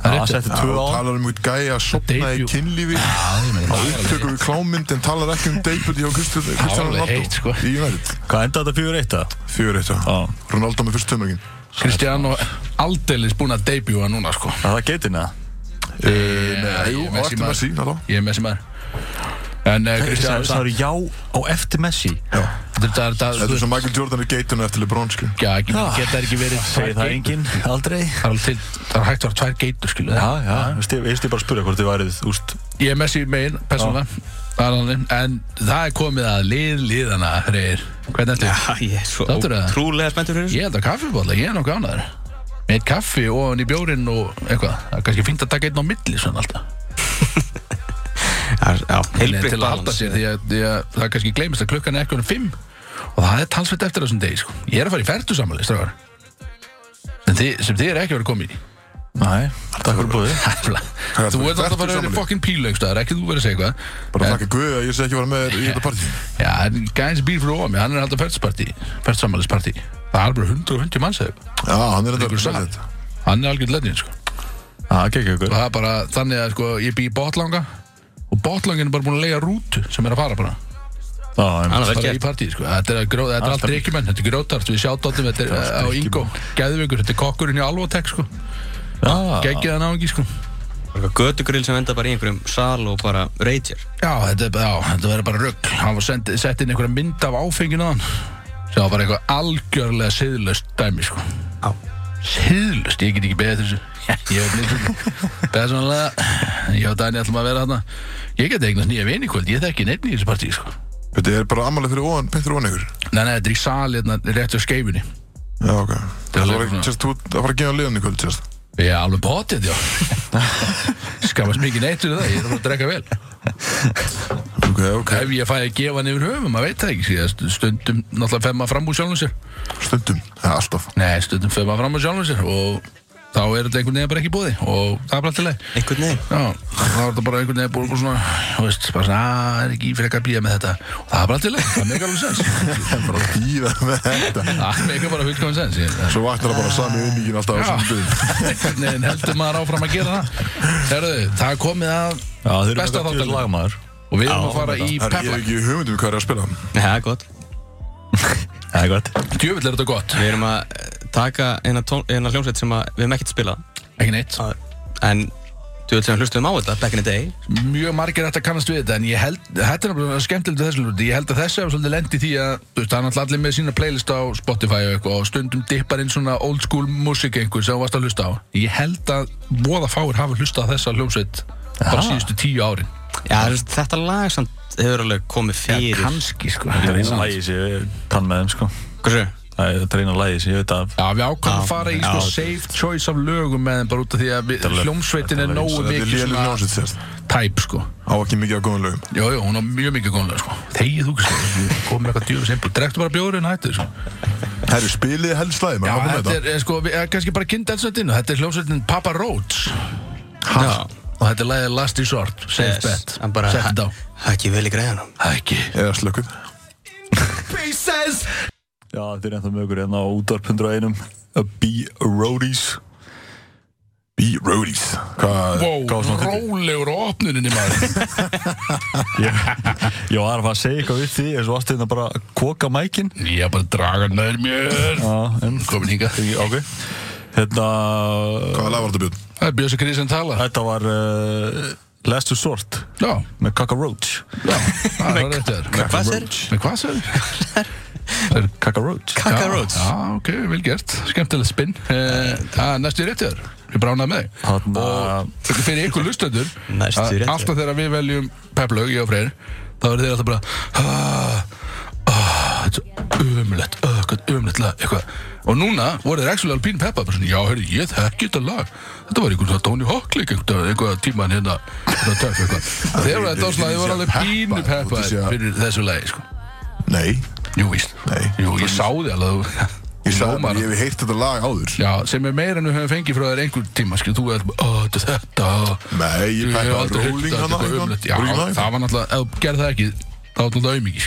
[SPEAKER 3] Það er
[SPEAKER 4] Það
[SPEAKER 3] rétt
[SPEAKER 4] setti
[SPEAKER 1] Þú
[SPEAKER 4] 2 á.
[SPEAKER 1] talar um út gæja að sopna í
[SPEAKER 3] Debut.
[SPEAKER 1] kynlífi
[SPEAKER 3] Já, ég meina,
[SPEAKER 1] á
[SPEAKER 3] það er alveg-
[SPEAKER 1] upptöku við klámynd en talar ekki um debut hjá Kristján
[SPEAKER 3] Það var
[SPEAKER 1] Kristján
[SPEAKER 3] alveg heitt,
[SPEAKER 1] Ronaldo
[SPEAKER 3] sko.
[SPEAKER 1] í United
[SPEAKER 4] Hvað enda þetta 4-1 eða?
[SPEAKER 1] Fjör eitt
[SPEAKER 4] Já.
[SPEAKER 1] Ronaldo með fyrst tömörgin
[SPEAKER 3] Kristján og aldeilis búin að debuta núna sko
[SPEAKER 4] Er það hérna. geitin eða?
[SPEAKER 1] Eh, Nei, jú,
[SPEAKER 3] ég-
[SPEAKER 1] og eftir
[SPEAKER 3] Eh,
[SPEAKER 1] með
[SPEAKER 3] Messi
[SPEAKER 1] sín alltaf
[SPEAKER 3] Ég er með sem er En uh, Kristján,
[SPEAKER 4] Það eru já á eftir Messi.
[SPEAKER 3] þetta er
[SPEAKER 1] Þetta
[SPEAKER 3] þetta þú
[SPEAKER 1] er
[SPEAKER 3] veist,
[SPEAKER 1] svo Michael Jordan er geitun eftir LeBron sko. skil
[SPEAKER 3] Já, ekki, geta þær ekki verið
[SPEAKER 4] Segir það enginn aldrei?
[SPEAKER 3] Það er alveg til, það er hægt að vera tvær geitur skilu
[SPEAKER 4] Já, já, þú veist, ég veist ég bara að spyrja hvort þið værið, úst,
[SPEAKER 3] Ég er Messi megin, persónulega Það er alveg, en það er komið að lið liðana, Freyr Hvernig ertu?
[SPEAKER 2] Æ, ég er svo
[SPEAKER 3] Þáttur eða?
[SPEAKER 2] trúlega spenntur fyrir þessu.
[SPEAKER 3] Ég held að kaffibóla, ég er nokkuð ánæður Með eitt kaffi og hann í bjórin og eitthvað Það er kannski fínt að taka einn á milli svona alltaf
[SPEAKER 2] Það er- Já,
[SPEAKER 3] Nei,
[SPEAKER 2] heilbrigt
[SPEAKER 3] Til að halda
[SPEAKER 2] balans.
[SPEAKER 3] sér því að, því að það kannski gleymist að klukkan er ekki um fimm Og það er talsveit eftir þessum degi sko. Ég er að fara í ferdu samanlega, strafar En þið, sem þið er ekki að vera komin í
[SPEAKER 4] næ, takk fyrir búið
[SPEAKER 3] Æfla.
[SPEAKER 1] Það er
[SPEAKER 3] Þú
[SPEAKER 1] bara
[SPEAKER 3] ert alltaf að fara
[SPEAKER 1] fertugsafmæli.
[SPEAKER 3] verið fokkin pílu einhverstaðar, ekki þú verið að segja eitthvað
[SPEAKER 1] Bara þakka Guði að ég sé ekki að vera með
[SPEAKER 3] Eh.
[SPEAKER 1] þér í þetta partí
[SPEAKER 3] Já, en gæðins býr fyrir ofan mig, hann er alltaf ferdsparti, ferdsamalisparti Það er bara 150 manns eða eitthvað.
[SPEAKER 1] Já, hann er enda
[SPEAKER 3] Liggur saman.
[SPEAKER 1] þetta
[SPEAKER 3] Hann er algjörn leðin, sko
[SPEAKER 4] Það gekk ykkur
[SPEAKER 3] Og það er bara þannig að, sko, ég bý í botlanga Og botlangin er bara búin að leiga rútu sem er að fara bara
[SPEAKER 4] Já, einmitt.
[SPEAKER 2] Hann er vel
[SPEAKER 3] bara í
[SPEAKER 2] gert.
[SPEAKER 3] partí, sko. Þetta er, að gró, þetta er allt
[SPEAKER 4] Alltaf.
[SPEAKER 3] drikkjumenn, þetta er grótart, við sjátátum, þetta er uh, á Ingo, Gæðvíkur, þetta er kokkurinn í Alvotek, sko.
[SPEAKER 2] Ah.
[SPEAKER 4] Já,
[SPEAKER 3] Gæggiðan á ekki, sko.
[SPEAKER 2] Götugrill sem enda bara í einhverjum sal og bara reytjar.
[SPEAKER 3] Já, þetta er bara, já, þetta verður bara rugg. Hann var send, sett inn einhverja mynd af áfenginu á hann. Það var bara eitthvað algjörlega siðlöst dæmi, sko.
[SPEAKER 2] Já.
[SPEAKER 3] Siðlöst, ég get ekki beðið þessu. Ég hef nýtt Personlega, ég og Dani ætlum að vera þarna. Ég get eignast nýja vini í kvöld, ég þekki neitt í þessu partí, sko.
[SPEAKER 1] Þetta er bara ammalið fyrir ofan, peintur ofan ykkur
[SPEAKER 3] Nei, nei, þetta er í sali, hérna, rétt á skeifinni.
[SPEAKER 1] Já, ok
[SPEAKER 3] er
[SPEAKER 1] Það var
[SPEAKER 3] alveg
[SPEAKER 1] ekki,
[SPEAKER 3] svona.
[SPEAKER 1] sérst, þú ert að fara að gefa liðan í kvöld, sérst
[SPEAKER 3] Já, alveg potið, já Skammast mikið neitt fyrir það, ég er að fara að drekka vel
[SPEAKER 1] Ok, ok,
[SPEAKER 3] Ef ég fæ að gefa hann yfir höfum, maður veit það ekki síðast Stundum náttúrulega fer maður fram úr sjálfum sér
[SPEAKER 1] stundum Já, alltaf
[SPEAKER 3] Nei, stundum fer maður fram úr sjálfum sér Og þá er þetta einhvern veginn bara ekki búði Og það er bara alltaf leið
[SPEAKER 2] Einhvern veginn.
[SPEAKER 3] Já, þá er þetta bara einhvern veginn búið svona Þú veist, bara svona, að, er ekki frekar að býja með þetta Og það er bara alltaf leið, það er mega alveg sens
[SPEAKER 1] Það er bara að býða með þetta
[SPEAKER 3] Það er mega bara fullkomin sens ég-
[SPEAKER 1] Svo vaknar það bara sami umíkin alltaf á
[SPEAKER 3] Já.
[SPEAKER 1] þessum döðum
[SPEAKER 3] Einhvern veginn heldur maður áfram að gera það Herðu, það er komið að
[SPEAKER 4] já þeir
[SPEAKER 3] Besta
[SPEAKER 4] eru með
[SPEAKER 3] þáttalinn.
[SPEAKER 4] þetta lagmaður
[SPEAKER 3] Og við erum að fara í
[SPEAKER 1] Það er
[SPEAKER 3] Peppa
[SPEAKER 1] ég hef ekki hugmyndum hvað er að spila
[SPEAKER 2] Nei, það er gott.
[SPEAKER 4] Það er gott
[SPEAKER 3] Djöfull er þetta gott
[SPEAKER 2] Við erum að eh, taka eina, tón, eina hljómsveit sem að við hefum ekkert spilað
[SPEAKER 3] Ekki neitt
[SPEAKER 2] En þú veit sem hlustuðum á þetta, back in the day
[SPEAKER 3] Mjög margir ætti að kannast við þetta En ég held, þetta er náttúrulega skemmtilegt þessu luti Ég held að þessi hefur svolítið lendi því að Þú veist, það er náttúrulega allir með sína playlist á Spotify og eitthvað Og stundum dippar inn svona old school music einhver sem þú varst að hlusta á Ég held að voða fáir hafa hlustað á þessa hljómsveit Bara síðustu tíu árin
[SPEAKER 2] Já, þú veist, þetta lag samt hefur alveg komið fyrir
[SPEAKER 3] kannski sko
[SPEAKER 4] Það er eina lagi sem ég kann með þeim sko
[SPEAKER 2] Hversu?
[SPEAKER 4] Það er- þetta er eina lagi sem ég veit af
[SPEAKER 3] Já, við ákvæmum að fara í
[SPEAKER 2] Já,
[SPEAKER 3] sko
[SPEAKER 2] já.
[SPEAKER 3] safe choice af lögum með þeim bara út af því að við-
[SPEAKER 4] lög-
[SPEAKER 3] hljómsveitin
[SPEAKER 4] þetta
[SPEAKER 3] er
[SPEAKER 4] er lög-
[SPEAKER 3] nógu
[SPEAKER 1] Þetta er
[SPEAKER 3] mikið
[SPEAKER 1] lélir
[SPEAKER 3] svona
[SPEAKER 1] hljómsveit sérst
[SPEAKER 3] tæp sko
[SPEAKER 1] Á ekki mikið af góðum lögum
[SPEAKER 3] Jó, jó, hún á mjög mikið góðlega, sko. Þegið þú, sko. Komum eitthvað djúfið simpul. Drektu bara bjórið en hættu, sko.
[SPEAKER 1] Herru, spilið helst lagi,
[SPEAKER 3] Já,
[SPEAKER 1] maður hann
[SPEAKER 3] þetta
[SPEAKER 1] búið með
[SPEAKER 3] er, er, sko, við, er kannski bara kynnt elsöndinu. Þetta er hljómsveitin Papa Roach.
[SPEAKER 2] Já,
[SPEAKER 3] Og þetta er lagið Last Resort, Safe
[SPEAKER 2] yes,
[SPEAKER 3] Bet.
[SPEAKER 2] en bara
[SPEAKER 3] Sett þetta á.
[SPEAKER 2] Hækki vel í greiðanum
[SPEAKER 3] Það er ekki.
[SPEAKER 1] þetta Eða slökuð
[SPEAKER 4] Já, þetta er ennþá með ykkur hérna á útvarp 101 Be Roadies
[SPEAKER 1] Í Roadies Hvað
[SPEAKER 3] Wow,
[SPEAKER 1] hvað var svona fyndið?
[SPEAKER 3] rólegur á opnuninni maður
[SPEAKER 4] Ég var að fara að segja eitthvað við því En svo varstu þetta hérna bara að koka mækin
[SPEAKER 3] Ég er bara að draga nær mér
[SPEAKER 4] Já, en
[SPEAKER 3] Mm, Komin hingað
[SPEAKER 4] Ok Hérna
[SPEAKER 1] Hvaða lag var þetta björn?
[SPEAKER 3] Það er Bjössi Krís sem tala
[SPEAKER 4] Þetta var uh, Last to Sort
[SPEAKER 3] Já,
[SPEAKER 4] Með Cockroach
[SPEAKER 3] já, það var rétt þér
[SPEAKER 2] Hvað sér?
[SPEAKER 3] Með hvað sér?
[SPEAKER 4] Cockroach
[SPEAKER 2] Cockroach
[SPEAKER 3] Já, ok, vel gert, skemmtilegt spinn Eh, Það er næstu rétt þér, ég bránaði með þig
[SPEAKER 4] Þarna
[SPEAKER 3] Og þetta er fyrir ykkur lustöndur
[SPEAKER 2] Næstu rétt hjá þér.
[SPEAKER 3] Alltaf þegar við veljum pepplaug, ég og Freyr Þá eru þeir alltaf bara "Ah, ah, Þetta er umlegt Þetta er umlegt lag eitthvað. Og núna voru þeir actually alpín peppa bara svona, Já, hörru, ég þekki þetta lag Þetta var einhvern svona Tony Hawk leik einhvern einhvern tíman hérna hérna töff, eitthvað. Og Þeir voru þetta á svona, þeir voru alveg
[SPEAKER 1] Peppaðir,
[SPEAKER 3] pínu
[SPEAKER 1] þú
[SPEAKER 3] peppa
[SPEAKER 1] veist, já.
[SPEAKER 3] Fyrir þessu lagi, sko
[SPEAKER 1] Nei
[SPEAKER 3] Jú, víst
[SPEAKER 1] Nei.
[SPEAKER 3] Jú, ég sá þið alveg þú-
[SPEAKER 1] Ég
[SPEAKER 3] þú
[SPEAKER 1] sagði
[SPEAKER 3] ljómar-
[SPEAKER 1] bara, ég hef heyrt þetta lag áður
[SPEAKER 3] Já, sem er meira en við höfum fengið frá þér einhver tíma skil, þú er bara, "Ó, þetta er þetta
[SPEAKER 1] Nei, ég
[SPEAKER 3] Ég hef
[SPEAKER 1] peppaði
[SPEAKER 3] aldrei heyrt
[SPEAKER 1] Rolling
[SPEAKER 3] þetta,
[SPEAKER 1] hana
[SPEAKER 3] þetta er
[SPEAKER 1] eitthvað.
[SPEAKER 3] ömurlegt. Já,
[SPEAKER 1] Rolling Live.
[SPEAKER 3] það var náttúrulega, ef þú gerði það ekki þá var náttúrulega aumingi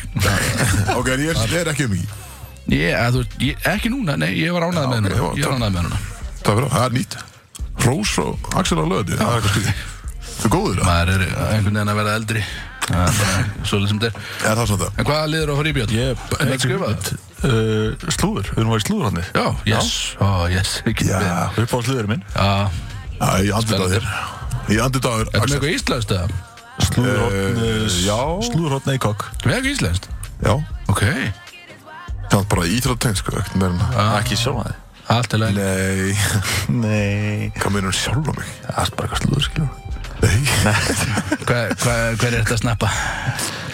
[SPEAKER 1] Ok, en ég er- er ekki um í
[SPEAKER 3] Ég, að þú veist, ég, ekki núna, nei, ég var ánægð
[SPEAKER 1] Já,
[SPEAKER 3] með
[SPEAKER 1] ok,
[SPEAKER 3] hennar
[SPEAKER 1] já,
[SPEAKER 3] Ég var
[SPEAKER 1] takk.
[SPEAKER 3] ánægð með hennar
[SPEAKER 1] Það er það er nýtt Rós og Axel á löðu Það er eitthvað skrið Þú er góður það?
[SPEAKER 3] Maður er einhvern veginn að verða eldri Það er bara Svolítið sem þetta er
[SPEAKER 1] Er það svona það?
[SPEAKER 3] En hvaða liður á Fríbjörn?
[SPEAKER 4] Ég
[SPEAKER 3] Er þetta skrifað?
[SPEAKER 4] Uh, slúður, við erum að vera í slúður hann
[SPEAKER 3] Já, yes, ó, yes ekki
[SPEAKER 1] Já.
[SPEAKER 3] beðið.
[SPEAKER 4] Upp á slúður minn
[SPEAKER 3] Já,
[SPEAKER 1] Já, ég andið á þér Ég andið á þér
[SPEAKER 3] Ertu með
[SPEAKER 1] Axel
[SPEAKER 3] eitthvað íslenskt eða?
[SPEAKER 4] Slúðurhotn
[SPEAKER 1] Eh, já.
[SPEAKER 4] Slúðurhotn Eikok
[SPEAKER 3] Ertu Með eitthvað íslenskt?
[SPEAKER 1] Já
[SPEAKER 3] Ok,
[SPEAKER 1] Það er bara íþrótteng sko ekkert meira en það.
[SPEAKER 4] Ah. Ekki sjálf að þið
[SPEAKER 3] allt er leið
[SPEAKER 1] Nei
[SPEAKER 4] Nei
[SPEAKER 1] Hvað meinar sjálf á mig?
[SPEAKER 4] Það er bara eitthvað slúður skilur
[SPEAKER 1] Nei
[SPEAKER 3] Hver hver- hver er þetta að snappa?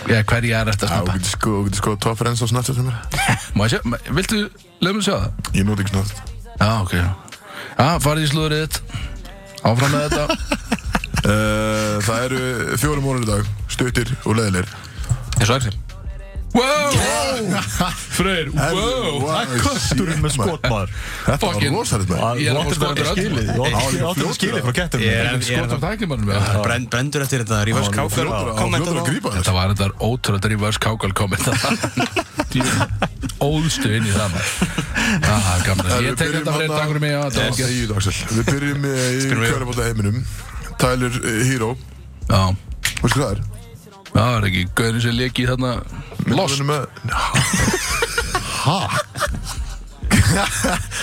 [SPEAKER 3] Já, hverja er þetta að
[SPEAKER 1] Já, þú
[SPEAKER 3] snappa?
[SPEAKER 1] getur sko, þú getur sko að tóa fyrir enn svo snart sem er
[SPEAKER 3] Má ég sjá, ma- viltu, leið mér að sjá það?
[SPEAKER 1] Ég nóti ekki snart
[SPEAKER 3] Já, ok Já, farið í slúðrið þitt Áfram með þetta
[SPEAKER 1] uh, Það eru fjórum mónur í dag Stuttir og leðilegir
[SPEAKER 2] Eins og Axel
[SPEAKER 3] Wow Freyr, wow
[SPEAKER 1] hérna,
[SPEAKER 4] Kötturinn með
[SPEAKER 1] sko.
[SPEAKER 4] skotmaður
[SPEAKER 1] Þetta var
[SPEAKER 3] Fucking-
[SPEAKER 1] rosalegt með
[SPEAKER 4] Ég
[SPEAKER 3] er
[SPEAKER 4] er
[SPEAKER 3] eftir
[SPEAKER 4] eftir
[SPEAKER 3] bara
[SPEAKER 4] að skilið Ég
[SPEAKER 1] Á, ég
[SPEAKER 4] átti
[SPEAKER 1] fljótur
[SPEAKER 4] þetta skilið frá ketturinn
[SPEAKER 2] Ég er enn- ég er
[SPEAKER 3] Skot af
[SPEAKER 2] enn-
[SPEAKER 3] tæknimannum með það
[SPEAKER 2] Brenn- Brenndur eftir þetta Reverse kákar
[SPEAKER 1] Fljótur að-
[SPEAKER 2] Komment á
[SPEAKER 1] fljótur að grípa
[SPEAKER 3] Þetta
[SPEAKER 1] þess
[SPEAKER 3] var þetta ótrúlega reverse kákal komment Óðstu inn í það maður Það er gamla
[SPEAKER 1] Herru,
[SPEAKER 3] Ég tek
[SPEAKER 1] byrjum
[SPEAKER 3] þetta fyrir
[SPEAKER 1] þarna-
[SPEAKER 3] takkur mig á þetta var
[SPEAKER 1] Yes.
[SPEAKER 3] ekki-
[SPEAKER 1] Þegiðu, Axel. Við byrjum eh, í
[SPEAKER 2] Spyrum við.
[SPEAKER 1] kjörabóta heiminum Tyler eh, Hero
[SPEAKER 3] Já,
[SPEAKER 1] Veistu hvað það er?
[SPEAKER 3] já, það er ekki Gaurin sem leki í þarna Lost
[SPEAKER 1] Myndavélunum með- Ha?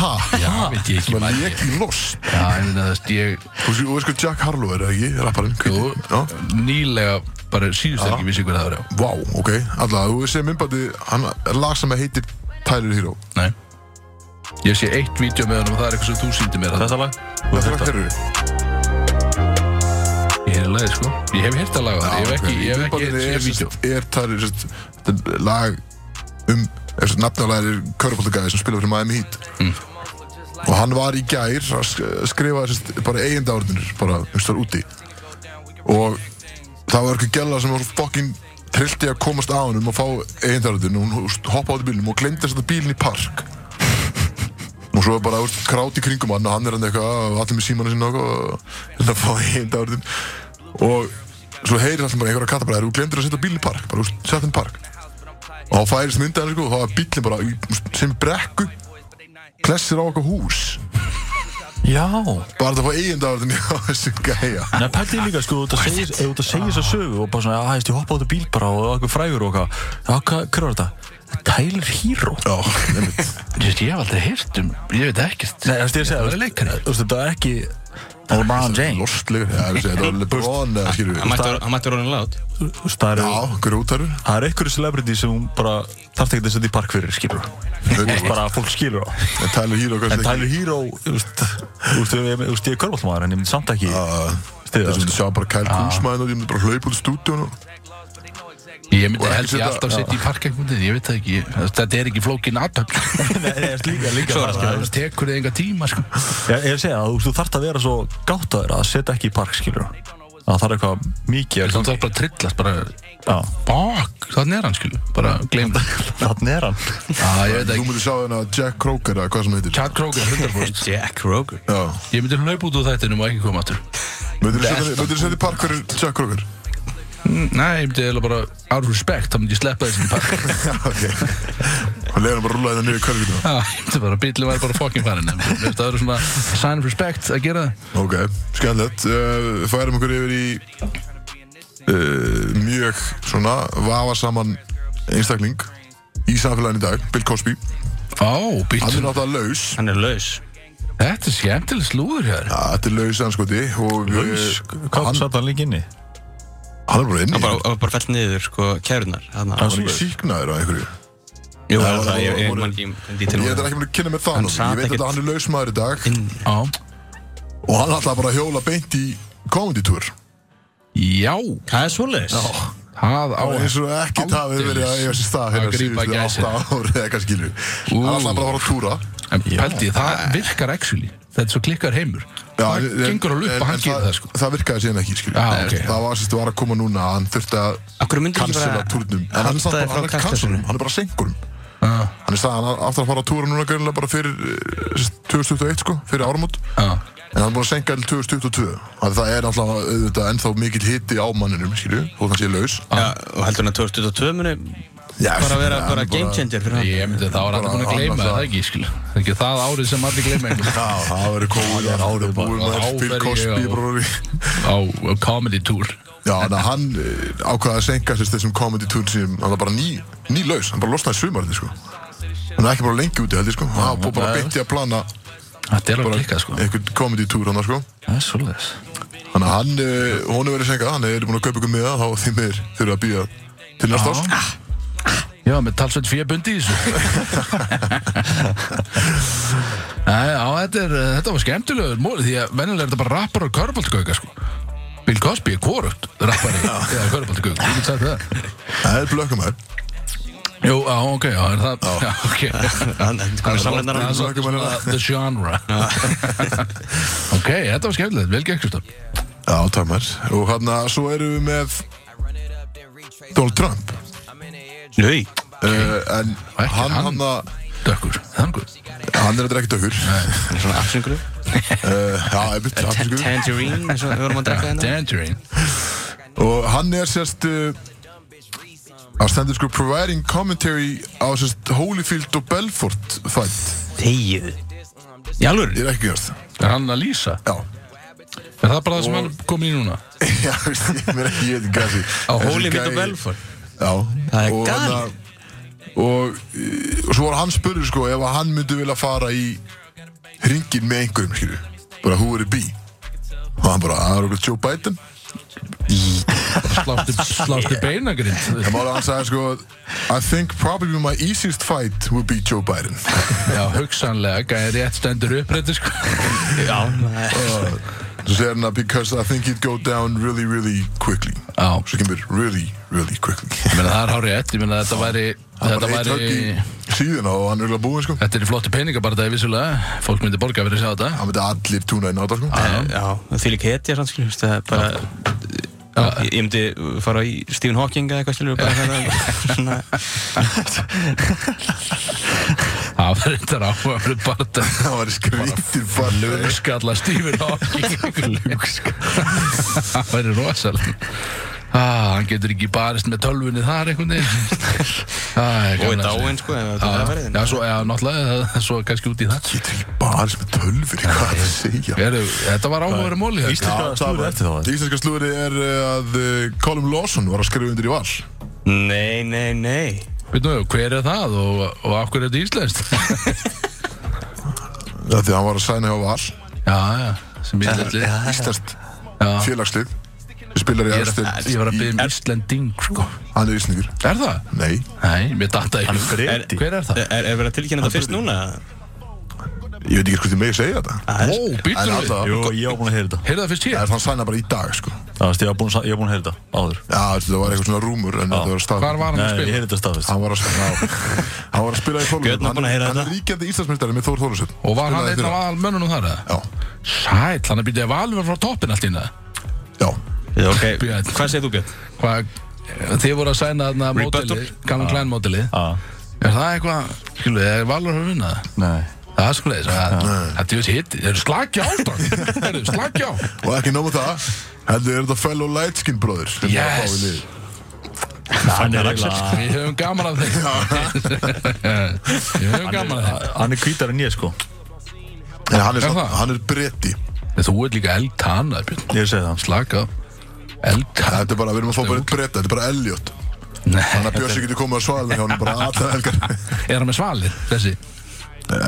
[SPEAKER 1] Ha?
[SPEAKER 3] Já, veit ég ekki
[SPEAKER 1] Sem að
[SPEAKER 3] maður.
[SPEAKER 1] lék í lost
[SPEAKER 3] Já, ég meina þess Ég
[SPEAKER 1] Þú veist- þú veist hvað Jack Harlow er, eða ekki? Rapparinn
[SPEAKER 3] Jú.
[SPEAKER 1] hvíti. Já
[SPEAKER 3] nýlega bara síðust
[SPEAKER 1] Já.
[SPEAKER 3] ekki vissi hver það var já.
[SPEAKER 1] Vá, ok Alla, þú veist sem myndbandi Hann er lag sem heitir Tyler Hero
[SPEAKER 3] Nei Ég sé eitt vídeo með honum og það er eitthvað sem þú síndi mér að
[SPEAKER 4] Þetta lag
[SPEAKER 1] Það er þetta
[SPEAKER 3] Ég hef leið sko Ég hef hirt að laga það, ég hef ekki, ég hef ekki hirt sér vídeo
[SPEAKER 1] er, er Tyler sest, Þetta er lag um Nafnalega er körfaldagæði sem spila fyrir Miami Heat
[SPEAKER 3] Mm.
[SPEAKER 1] Og hann var í gær að sk- skrifa sest, bara eigenda orðinir Bara, þú veist, þar úti Og það var eitthvað gæla sem var fokkin Trillti að komast á honum og fá eigenda orðin Og hún þú veist, hoppaði út í bílnum og glemdi að setja bílinn í park og svo er bara úr, krát í kringum hann og hann er hann eitthvað "Ah, og allir með símanu sinna og eitthvað, og hann að fá einda orðin og svo heyrir allir bara einhverja katta bara þú glemdur að setja bíl í park bara úr setjum park og þá færist mynda hann sko og þá er bílinn bara í- úst, sem brekku klessir á okkar hús
[SPEAKER 4] Já
[SPEAKER 1] bara þetta fá einda orðin á þessu gæja
[SPEAKER 4] Nei, pældi ég líka, sko, ef þú ert að segja- ef þú ert að segja þess að sögu og bara svona, aðeins, ég hoppa á þetta bíl bara og okkur frægur og eitthvað Já, hvað, hver var þetta? Tyler Hero
[SPEAKER 1] Já, einmitt.
[SPEAKER 3] Ég veist, ég hef aldrei hirt um, ég veit ekkert
[SPEAKER 4] Nei, það er að segja,
[SPEAKER 3] Það er leikari
[SPEAKER 4] þú veist, þetta er ekki LeBron James
[SPEAKER 1] Lostlegur, já, þessi, þetta var LeBron eða skilur
[SPEAKER 2] Hann
[SPEAKER 1] við
[SPEAKER 2] mætti or- hann mætti orðin lát
[SPEAKER 4] Þú veist, það
[SPEAKER 1] Já,
[SPEAKER 4] eru
[SPEAKER 1] grútaru
[SPEAKER 4] Það er einhverju celebrity sem hún bara þarf ekki að setja í park fyrir, skilur Bara að fólk skilur á
[SPEAKER 1] Tyler Hero
[SPEAKER 4] En
[SPEAKER 1] kannski
[SPEAKER 4] Tyler Hero, þú veist, þú veist, ég- þú veist, ég er körbóltmaður en ég myndi samt ekki
[SPEAKER 1] Uh,
[SPEAKER 4] stiða
[SPEAKER 1] Það sem þú sjá bara Kyle Kuzmaðin og ég myndi bara hlaupa út í stúdíun og
[SPEAKER 3] Ég myndi
[SPEAKER 1] Og
[SPEAKER 3] held ég
[SPEAKER 1] ekki
[SPEAKER 3] alltaf setja í park einhvern veginn, ég veit það ekki Þetta er ekki flókin aðtöp
[SPEAKER 4] Nei, líka, líka
[SPEAKER 2] Svo er
[SPEAKER 4] það,
[SPEAKER 2] það.
[SPEAKER 4] skilurðu.
[SPEAKER 3] Það tekur þig enga tíma sko
[SPEAKER 4] Ég ég er að segja að þú veist, þú þarft að vera svo gáttaður að setja ekki í park, skilur Það þarf eitthvað mikið að
[SPEAKER 3] Þú
[SPEAKER 4] gangi
[SPEAKER 3] þarf bara að trillast, bara
[SPEAKER 4] Já,
[SPEAKER 3] Bak, þannig er hann skilu, bara gleym það
[SPEAKER 4] þannig er hann
[SPEAKER 3] Já, ég veit
[SPEAKER 1] Þú
[SPEAKER 3] ekki
[SPEAKER 1] myndi sjá hérna Jack Croker eða hvað sem hann heitir
[SPEAKER 3] Chad Kroger, 100%
[SPEAKER 2] Jack Roger
[SPEAKER 1] Já,
[SPEAKER 3] Ég myndi hlaupa út úr þættinum og ekki koma aftur
[SPEAKER 1] myndir þú setja í park fyrir Jack Croker?
[SPEAKER 3] Nei, ég myndi eiginlega bara, out of respect, þá myndi ég sleppa þessum í park
[SPEAKER 1] Já, ok og leiðum bara að rúla þetta niður hérna. körfinu
[SPEAKER 3] Já, ég myndi bara, bílinn væri bara fucking farinn en mér finnst það eru svona sign of respect að gera það
[SPEAKER 1] Ok, skemmtilegt uh, Færum okkur yfir í uh, mjög svona vafa saman einstakling í samfélaginu í dag, Bill Cosby
[SPEAKER 3] Ó,
[SPEAKER 1] Hann er
[SPEAKER 3] bílinn,
[SPEAKER 1] náttúrulega laus
[SPEAKER 2] Hann er laus
[SPEAKER 3] þetta er skemmtileg slúður hér
[SPEAKER 1] ja, Þetta er laus anskoti og uh,
[SPEAKER 4] Laus? Hvað
[SPEAKER 1] hann,
[SPEAKER 4] satt hann líka inni?
[SPEAKER 1] hann er bara inni
[SPEAKER 2] Hann bara, hann bara fell niður, sko, kærunar Hann
[SPEAKER 1] Hann er ekki síknaður á einhverju
[SPEAKER 2] Jú,
[SPEAKER 1] Já,
[SPEAKER 2] það er það, ég- ég
[SPEAKER 1] voru-
[SPEAKER 2] man ekki um dítil
[SPEAKER 1] Ég er ekki með að kynna með það
[SPEAKER 2] Hann
[SPEAKER 1] nú.
[SPEAKER 2] sat
[SPEAKER 1] Ég veit
[SPEAKER 2] ekkert-
[SPEAKER 1] að hann er laus maður í dag
[SPEAKER 3] Á,
[SPEAKER 1] og hann ætlaði bara að hjóla beint í comedy tour
[SPEAKER 3] já,
[SPEAKER 2] Það er svoleiðis
[SPEAKER 3] það á
[SPEAKER 1] eins og ekkert hafi verið að eiga sér stað
[SPEAKER 3] Að
[SPEAKER 1] hérna
[SPEAKER 3] grípa
[SPEAKER 1] síðustu
[SPEAKER 3] gæsir.
[SPEAKER 1] 8 ári eða eitthvað skilju Hann ætlaði bara að fara að túra
[SPEAKER 3] En pældi, það virkar actually Þetta er svo klikkar heimur Það
[SPEAKER 1] en-
[SPEAKER 3] gengur alveg
[SPEAKER 1] en-
[SPEAKER 3] upp og hann
[SPEAKER 1] en
[SPEAKER 3] gerir það sko
[SPEAKER 1] Það virkaði síðan ekki, skilju.
[SPEAKER 3] Já, ok.
[SPEAKER 1] Það var, sérst, var að koma núna, hann þurfti að
[SPEAKER 2] Akkur myndi ekki
[SPEAKER 1] cancela
[SPEAKER 2] bara
[SPEAKER 1] túrnum. En hann er
[SPEAKER 2] halda
[SPEAKER 1] samt
[SPEAKER 2] þér
[SPEAKER 1] bara,
[SPEAKER 2] frá
[SPEAKER 1] hann er
[SPEAKER 2] kastasinu?
[SPEAKER 1] cancelum, hann er bara senkurum.
[SPEAKER 3] Ah.
[SPEAKER 1] Hann er staðan aftur að fara að túra núna greinilega bara fyrir eh, sérst, 2021, sko, fyrir áramót.
[SPEAKER 3] Já,
[SPEAKER 1] En hann er búin að senka til 2022. Þannig það er alltaf auðvitað ennþá mikill hiti á manninum, skilju, þó hann sé laus.
[SPEAKER 2] Já, og heldur hann að 2022 muni
[SPEAKER 1] Já,
[SPEAKER 2] bara vera
[SPEAKER 1] hann
[SPEAKER 2] bara
[SPEAKER 1] er
[SPEAKER 2] game changer fyrir hann
[SPEAKER 3] ég myndi að það var allir búin að
[SPEAKER 1] Bara
[SPEAKER 3] gleyma
[SPEAKER 1] annað
[SPEAKER 3] það
[SPEAKER 1] það.
[SPEAKER 3] ekki, skil Það er ekki það árið sem allir gleyma einhvern
[SPEAKER 1] Já, það verður kóður að árið búin
[SPEAKER 3] bara-
[SPEAKER 1] með
[SPEAKER 3] þá
[SPEAKER 1] Bill
[SPEAKER 3] fer ég
[SPEAKER 1] Cosby,
[SPEAKER 3] á-
[SPEAKER 1] bróri.
[SPEAKER 3] á á comedy tour
[SPEAKER 1] Já, þannig að hann eh, ákvaði að senka sérst, þessum comedy tour sínum, hann var bara ný, ný laus, hann bara losnaði sumarið, sko. Hann er ekki bara lengi úti, heldur, sko. Hann var búið bara beint í að plana
[SPEAKER 3] Þetta er alveg klikkað sko
[SPEAKER 1] einhvern comedy tour hann, sko.
[SPEAKER 3] Það er svolítið
[SPEAKER 1] Þannig að hann, eh, hún er verið senkað, hann er búin að kaupa ykkur miða, þá því meður þurfa að býja til næsta árs.
[SPEAKER 3] Já, með talsveit fjöbundi í þessu Nei, Já, þetta, er, eh, þetta var skemmtilegur móli Því að venjulega er þetta bara rappar og körbóltgauka sko Bill Cosby er korugt rappari eða körbóltgauka, ég get sagt það
[SPEAKER 1] Það er blökkum þær.
[SPEAKER 3] Jú, á, ok, já, er það Já, ok
[SPEAKER 2] hann hann er samlendan
[SPEAKER 3] Það er
[SPEAKER 2] hann
[SPEAKER 1] Blökkum
[SPEAKER 3] svolítið
[SPEAKER 1] þær.
[SPEAKER 3] svona The genre Ok, þetta var skemmtilegt, vel gekk Kristofn
[SPEAKER 1] Já, takk maður. Og hann, svo erum við með Donald Trump.
[SPEAKER 2] Nei,
[SPEAKER 1] Uh, en
[SPEAKER 3] Ekki
[SPEAKER 1] hann,
[SPEAKER 3] hann.
[SPEAKER 1] hann, að-
[SPEAKER 3] Dökkur, þangur
[SPEAKER 1] hann er þetta ekkert okkur.
[SPEAKER 2] hann er svona afsengru
[SPEAKER 1] Uh, já,
[SPEAKER 2] Eh,
[SPEAKER 1] einmitt, aftur ykkur.
[SPEAKER 2] Tangerine, eins og við vorum að drekka hérna
[SPEAKER 3] Tangerine
[SPEAKER 1] Og hann er sérst uh, að stendur sko providing commentary á sérst Holyfield og Belfort fætt.
[SPEAKER 2] Þegið Í alvöru?
[SPEAKER 1] Ég er ekki gerast.
[SPEAKER 3] Er hann að lýsa?
[SPEAKER 1] Já.
[SPEAKER 3] Er það bara það sem hann kom í núna?
[SPEAKER 1] Já, veist, ég meina ekki, ég veit ekki hvað
[SPEAKER 2] Á Holyfield og Belfort
[SPEAKER 1] Já.
[SPEAKER 2] Það er
[SPEAKER 1] Og hann
[SPEAKER 2] galið.
[SPEAKER 1] að- Og, uh, og svo var hann spurður sko ef að hann myndi vilja fara í ringin með einhverjum, skilju. Bara who would it be? Og hann bara, "Ah, það er okkur Joe Biden.
[SPEAKER 3] Sláttu, sláttu beinagrind
[SPEAKER 1] En málega hann sagði sko, I think probably my easiest fight would be Joe Biden.
[SPEAKER 3] Já, hugsanlega, gæði rétt stendur upprætti sko
[SPEAKER 2] Já
[SPEAKER 1] Svo segir hann að uh, because I think it go down really, really quickly.
[SPEAKER 3] Já,
[SPEAKER 1] Svo kemur really, really quickly.
[SPEAKER 3] ég meina það er hár rétt, ég meina þetta væri
[SPEAKER 1] Það er
[SPEAKER 3] Þetta
[SPEAKER 1] bara eitt högg
[SPEAKER 3] væri,
[SPEAKER 1] í síðuna og hann er eiginlega búinn sko.
[SPEAKER 3] þetta er í flottu peningabardagi vissulega Fólk myndi borga fyrir að sjá þetta
[SPEAKER 1] Það myndi allir túna inn á þetta sko.
[SPEAKER 2] Eh, Já, því líka hetja sann skilur Það er bara Já, ég ég myndi fara í Stephen Hawking eða eitthvað skilur bara hérna, svona,
[SPEAKER 3] Það var þetta ráfamlu bardag
[SPEAKER 1] Það var skrítir fallur.
[SPEAKER 3] Skalla Stephen Hawking Það væri rosalega Ah, hann getur ekki barist með tölvunni þar einhvern veginn ah,
[SPEAKER 2] og er dáinn sko ef þetta er verið.
[SPEAKER 3] Já, svo, já, náttúrulega, svo kannski út í það
[SPEAKER 1] Bara sem er tölfur, hvað er það að segja?
[SPEAKER 3] Heru, þetta var áhugaverið móli hér.
[SPEAKER 4] Íslenska slúðrið eftir þá, eða?
[SPEAKER 1] Íslenska slúri er eh, að eh, Colin Lawson var að skrifa undir í val.
[SPEAKER 2] Nei, nei, nei
[SPEAKER 3] Veit nú, hver er það og, og af hverju er þetta íslenskt?
[SPEAKER 1] Það því að hann var að sæna hjá val.
[SPEAKER 3] já, já, sem íslenskt. Já,
[SPEAKER 1] Íslenskt
[SPEAKER 3] já.
[SPEAKER 1] félagslið. Spilar í
[SPEAKER 3] Ég, er
[SPEAKER 1] efstu
[SPEAKER 3] að,
[SPEAKER 1] deild
[SPEAKER 3] ég var að
[SPEAKER 1] í-
[SPEAKER 3] byggja um Íslending, sko.
[SPEAKER 1] Hann er ísningur.
[SPEAKER 3] Er það?
[SPEAKER 1] Nei.
[SPEAKER 3] Nei, mér datta ekki.
[SPEAKER 4] Hann
[SPEAKER 2] Breti.
[SPEAKER 3] Hver er það?
[SPEAKER 2] Er, er verið að tilkynna þetta fyrst núna?
[SPEAKER 1] Ég veit ekki hvort ég megi segja þetta.
[SPEAKER 2] Það er-
[SPEAKER 3] Ó, býtum
[SPEAKER 1] En
[SPEAKER 3] við.
[SPEAKER 1] alltaf,
[SPEAKER 4] Jú, ég var búin að heyra þetta
[SPEAKER 3] Heyrðu það fyrst
[SPEAKER 1] það
[SPEAKER 3] hér?
[SPEAKER 1] er þann sæna bara í dag sko.
[SPEAKER 4] Það veist, ég var búin að, ég var búin að heyra þetta áður
[SPEAKER 1] Já, þetta var eitthvað svona rúmur en þetta var stað
[SPEAKER 3] Hvar var hann að
[SPEAKER 4] Nei, ég
[SPEAKER 3] spila?
[SPEAKER 4] heyri þetta staðfest
[SPEAKER 1] Hann var að, já, hann var að spila í Þorlúsöld
[SPEAKER 2] Björn var búinn að heyra
[SPEAKER 1] Hann er
[SPEAKER 2] þetta.
[SPEAKER 1] ríkjandi Íslandsmeistari með Þór Þorlúsöld
[SPEAKER 3] Og var hann einn af aðal mönnunum þar? eða?
[SPEAKER 1] Já,
[SPEAKER 3] Sæll, hann er býtið að valver frá toppin allt í hérna.
[SPEAKER 1] já
[SPEAKER 2] Já, ok,
[SPEAKER 3] Björn.
[SPEAKER 2] hvað segir þú Björn?
[SPEAKER 3] Hvað, þið voru að sæna þarna
[SPEAKER 2] Rebuttal.
[SPEAKER 3] mótilið, Calvin Klein mótilið.
[SPEAKER 4] Já,
[SPEAKER 3] Er það eitthvað, skilu, er valver að vinna það?
[SPEAKER 4] nei
[SPEAKER 3] Það er sko leiðis, þetta er hitt, þeir eru slagja á strákar, þeir eru slagja á.
[SPEAKER 1] Og ekki nóg með það Heldur er þetta fellow lightskin bróður
[SPEAKER 3] Yes.
[SPEAKER 4] Hann er eiginlega-
[SPEAKER 3] Við höfum gaman af þeim Við höfum gaman af þeim
[SPEAKER 4] Hann er hvítar en ég sko
[SPEAKER 1] En hann er,
[SPEAKER 3] Er
[SPEAKER 1] samt,
[SPEAKER 3] það?
[SPEAKER 1] hann er bretti
[SPEAKER 3] En Þú ert líka eldtanað, Björn
[SPEAKER 4] Ég segi það
[SPEAKER 3] Slaka á. Eldtanað
[SPEAKER 1] Þetta er bara, við erum að fá bara einn bretta, þetta er bara Elliot
[SPEAKER 3] Nei,
[SPEAKER 1] Þannig að Björsi getur komið að svara hjá hann bara alltaf helgar
[SPEAKER 3] er hann með svalir, þessi?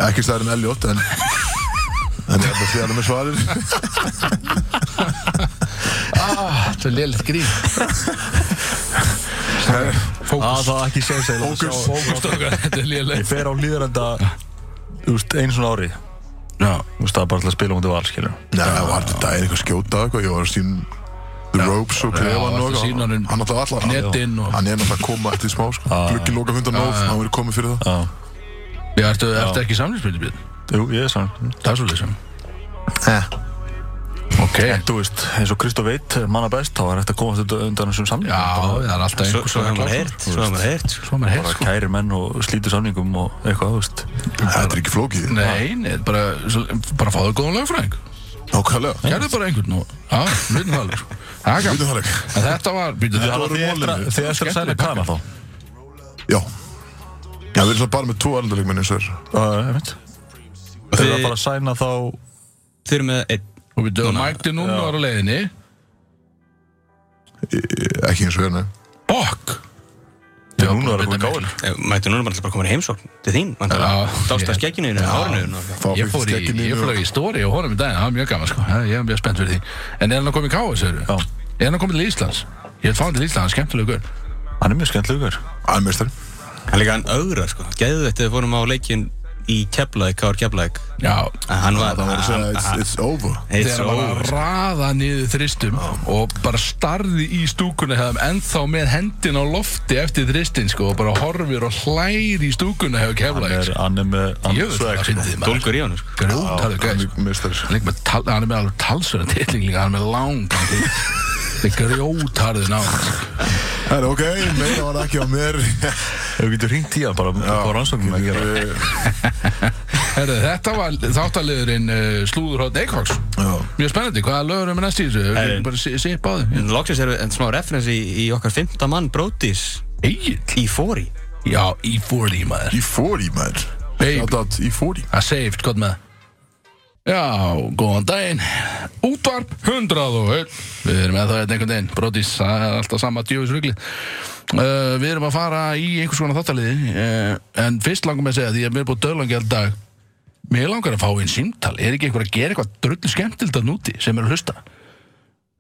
[SPEAKER 1] Ekki stærri en Elliot, en En ég held að því hann er með svarir
[SPEAKER 3] Ah, Þetta er lélitt grín
[SPEAKER 4] Að
[SPEAKER 3] Fókus,
[SPEAKER 4] það er ekki séu segil
[SPEAKER 1] Fókus.
[SPEAKER 3] fókus okkar, þetta er
[SPEAKER 4] Ég
[SPEAKER 3] lélitt
[SPEAKER 4] fer á líðarenda Þú veist, einu svona ári Þú
[SPEAKER 3] Já,
[SPEAKER 4] veist, það er bara til að spila mútið val, skilur
[SPEAKER 1] Nei, það var þetta daginn eitthvað skjóta eitthvað, ég var að sín The ropes og klefan
[SPEAKER 3] varstu
[SPEAKER 1] og
[SPEAKER 3] að sýna honum
[SPEAKER 1] Hann náttúrulega allar
[SPEAKER 3] netin og-
[SPEAKER 1] Hann er náttúrulega að koma eftir smá, sko
[SPEAKER 3] Ah.
[SPEAKER 1] Gluggi loka hundar nóf, hann verið komið fyrir það
[SPEAKER 4] Já
[SPEAKER 3] Já, ertu, ertu ekki samlingsbyrði, Björn?
[SPEAKER 4] Jú, ég er saman
[SPEAKER 3] Það er svo leysum Ok
[SPEAKER 4] En þú veist, eins og Kristof veit, manna best Þá er þetta komast þetta undan þessum samlingum
[SPEAKER 3] Já, það er alltaf
[SPEAKER 2] Svo
[SPEAKER 3] einhver
[SPEAKER 2] svo hefur maður heyrt, svo hefur maður heyrt sko.
[SPEAKER 3] Svo er maður heyrt,
[SPEAKER 4] Bara
[SPEAKER 3] sko
[SPEAKER 4] kæri menn og slítur samlingum og eitthvað, þú veist
[SPEAKER 1] Þetta er ekki flókið
[SPEAKER 3] Nei, nei, bara, svo- bara fáðu góðan lögfræðing
[SPEAKER 1] Nákvæmlega
[SPEAKER 3] Gerðu bara einhvern og Já, hlutin það alveg sko. Það er gaman
[SPEAKER 1] Vitum það leik
[SPEAKER 3] En þetta var, býttu þetta
[SPEAKER 1] voru
[SPEAKER 4] Þið eftir að-
[SPEAKER 1] málinu.
[SPEAKER 4] þið eftir að sæla
[SPEAKER 3] Skemmtileg
[SPEAKER 4] kana þá
[SPEAKER 1] Já Já, við erum svona bara með tvo erlendarleikmenn eins og er
[SPEAKER 4] Já, ég veit Þið er að bara sæna þá
[SPEAKER 2] Þeir eru með einn
[SPEAKER 3] Og býttu, og mækti núna var á leiðinni
[SPEAKER 1] Eh, Ekki eins og er, nei
[SPEAKER 3] Bokk
[SPEAKER 4] Já, núna er það komið gáður
[SPEAKER 2] Eh, Mættu núna bara til bara komin í heimsókn til þín
[SPEAKER 3] Já.
[SPEAKER 2] Dásta skekkinu þínu, hárinu þínu.
[SPEAKER 1] Fá fyrir
[SPEAKER 3] Ég fór í,
[SPEAKER 1] skegginu
[SPEAKER 3] ég
[SPEAKER 1] og-
[SPEAKER 3] flög í stóri og honum í daginn, það var mjög gaman sko, Það- ég er mjög spennt fyrir því En er hann að koma í káa, segir
[SPEAKER 4] Já.
[SPEAKER 3] Er hann að koma til Íslands? Ég er fáin til Íslands, hann er skemmtilegur gaur.
[SPEAKER 4] Hann er mjög skemmtlugur
[SPEAKER 1] Hann er meistari
[SPEAKER 2] Hann líka hann ögra sko Gæðu þetta við fórum á leikin í Keflæk, Kár Keflæk
[SPEAKER 3] Já,
[SPEAKER 2] Hann var
[SPEAKER 1] Það var að segja,
[SPEAKER 2] hann-
[SPEAKER 1] it's, it's over
[SPEAKER 2] It's
[SPEAKER 3] þegar hann var
[SPEAKER 2] over
[SPEAKER 3] að raða niður þristum og bara starði í stúkunni hefðum ennþá með hendin á lofti eftir þristin sko og bara horfir og hlæri í stúkunni hefur
[SPEAKER 4] Hann
[SPEAKER 3] keflaði
[SPEAKER 4] er, hann er með, hann
[SPEAKER 3] Jöfull,
[SPEAKER 4] er
[SPEAKER 3] það
[SPEAKER 4] sveg
[SPEAKER 3] fyndið maður.
[SPEAKER 2] Dólgur í hann sko
[SPEAKER 3] grjótarðu
[SPEAKER 1] Hann
[SPEAKER 3] gæði
[SPEAKER 1] er meistari
[SPEAKER 3] hann er með tal- hann er með alveg talsverðan tilling líka, hann er með langan titling. þetta er sko. grjótarðu ná
[SPEAKER 1] Það er ok, meira var ekki á mér
[SPEAKER 4] Ef við getum ringt í hann bara á rannsóknum að gera
[SPEAKER 1] Eh,
[SPEAKER 3] Herðu, þetta var þáttaliðurinn uh, slúðurhótt Eikváks
[SPEAKER 1] Já
[SPEAKER 3] mjög spennandi, hvaða lögur er með næst í þessu við
[SPEAKER 2] Herðu.
[SPEAKER 3] erum bara að sipa á þau
[SPEAKER 2] En loksins er en smá referens í, í okkar 15 mann Brodís
[SPEAKER 3] Egil,
[SPEAKER 2] í fóri
[SPEAKER 3] já, E40 maður
[SPEAKER 1] Í 40 maður
[SPEAKER 3] Babe.
[SPEAKER 1] Shout out í 40
[SPEAKER 3] að saved, gott með Já, góðan daginn Útvarp 101 Við erum með það hérna einhvern daginn Brodís, það er alltaf sama djöfisrugli uh, Við erum að fara í einhvers konar þáttaliði uh, En fyrst langar mig að segja Því að mér er búið döðlangi all dag Mér langar að fá einn símtal Er ekki einhver að gera eitthvað drullu skemmtild að núti Sem er að hlusta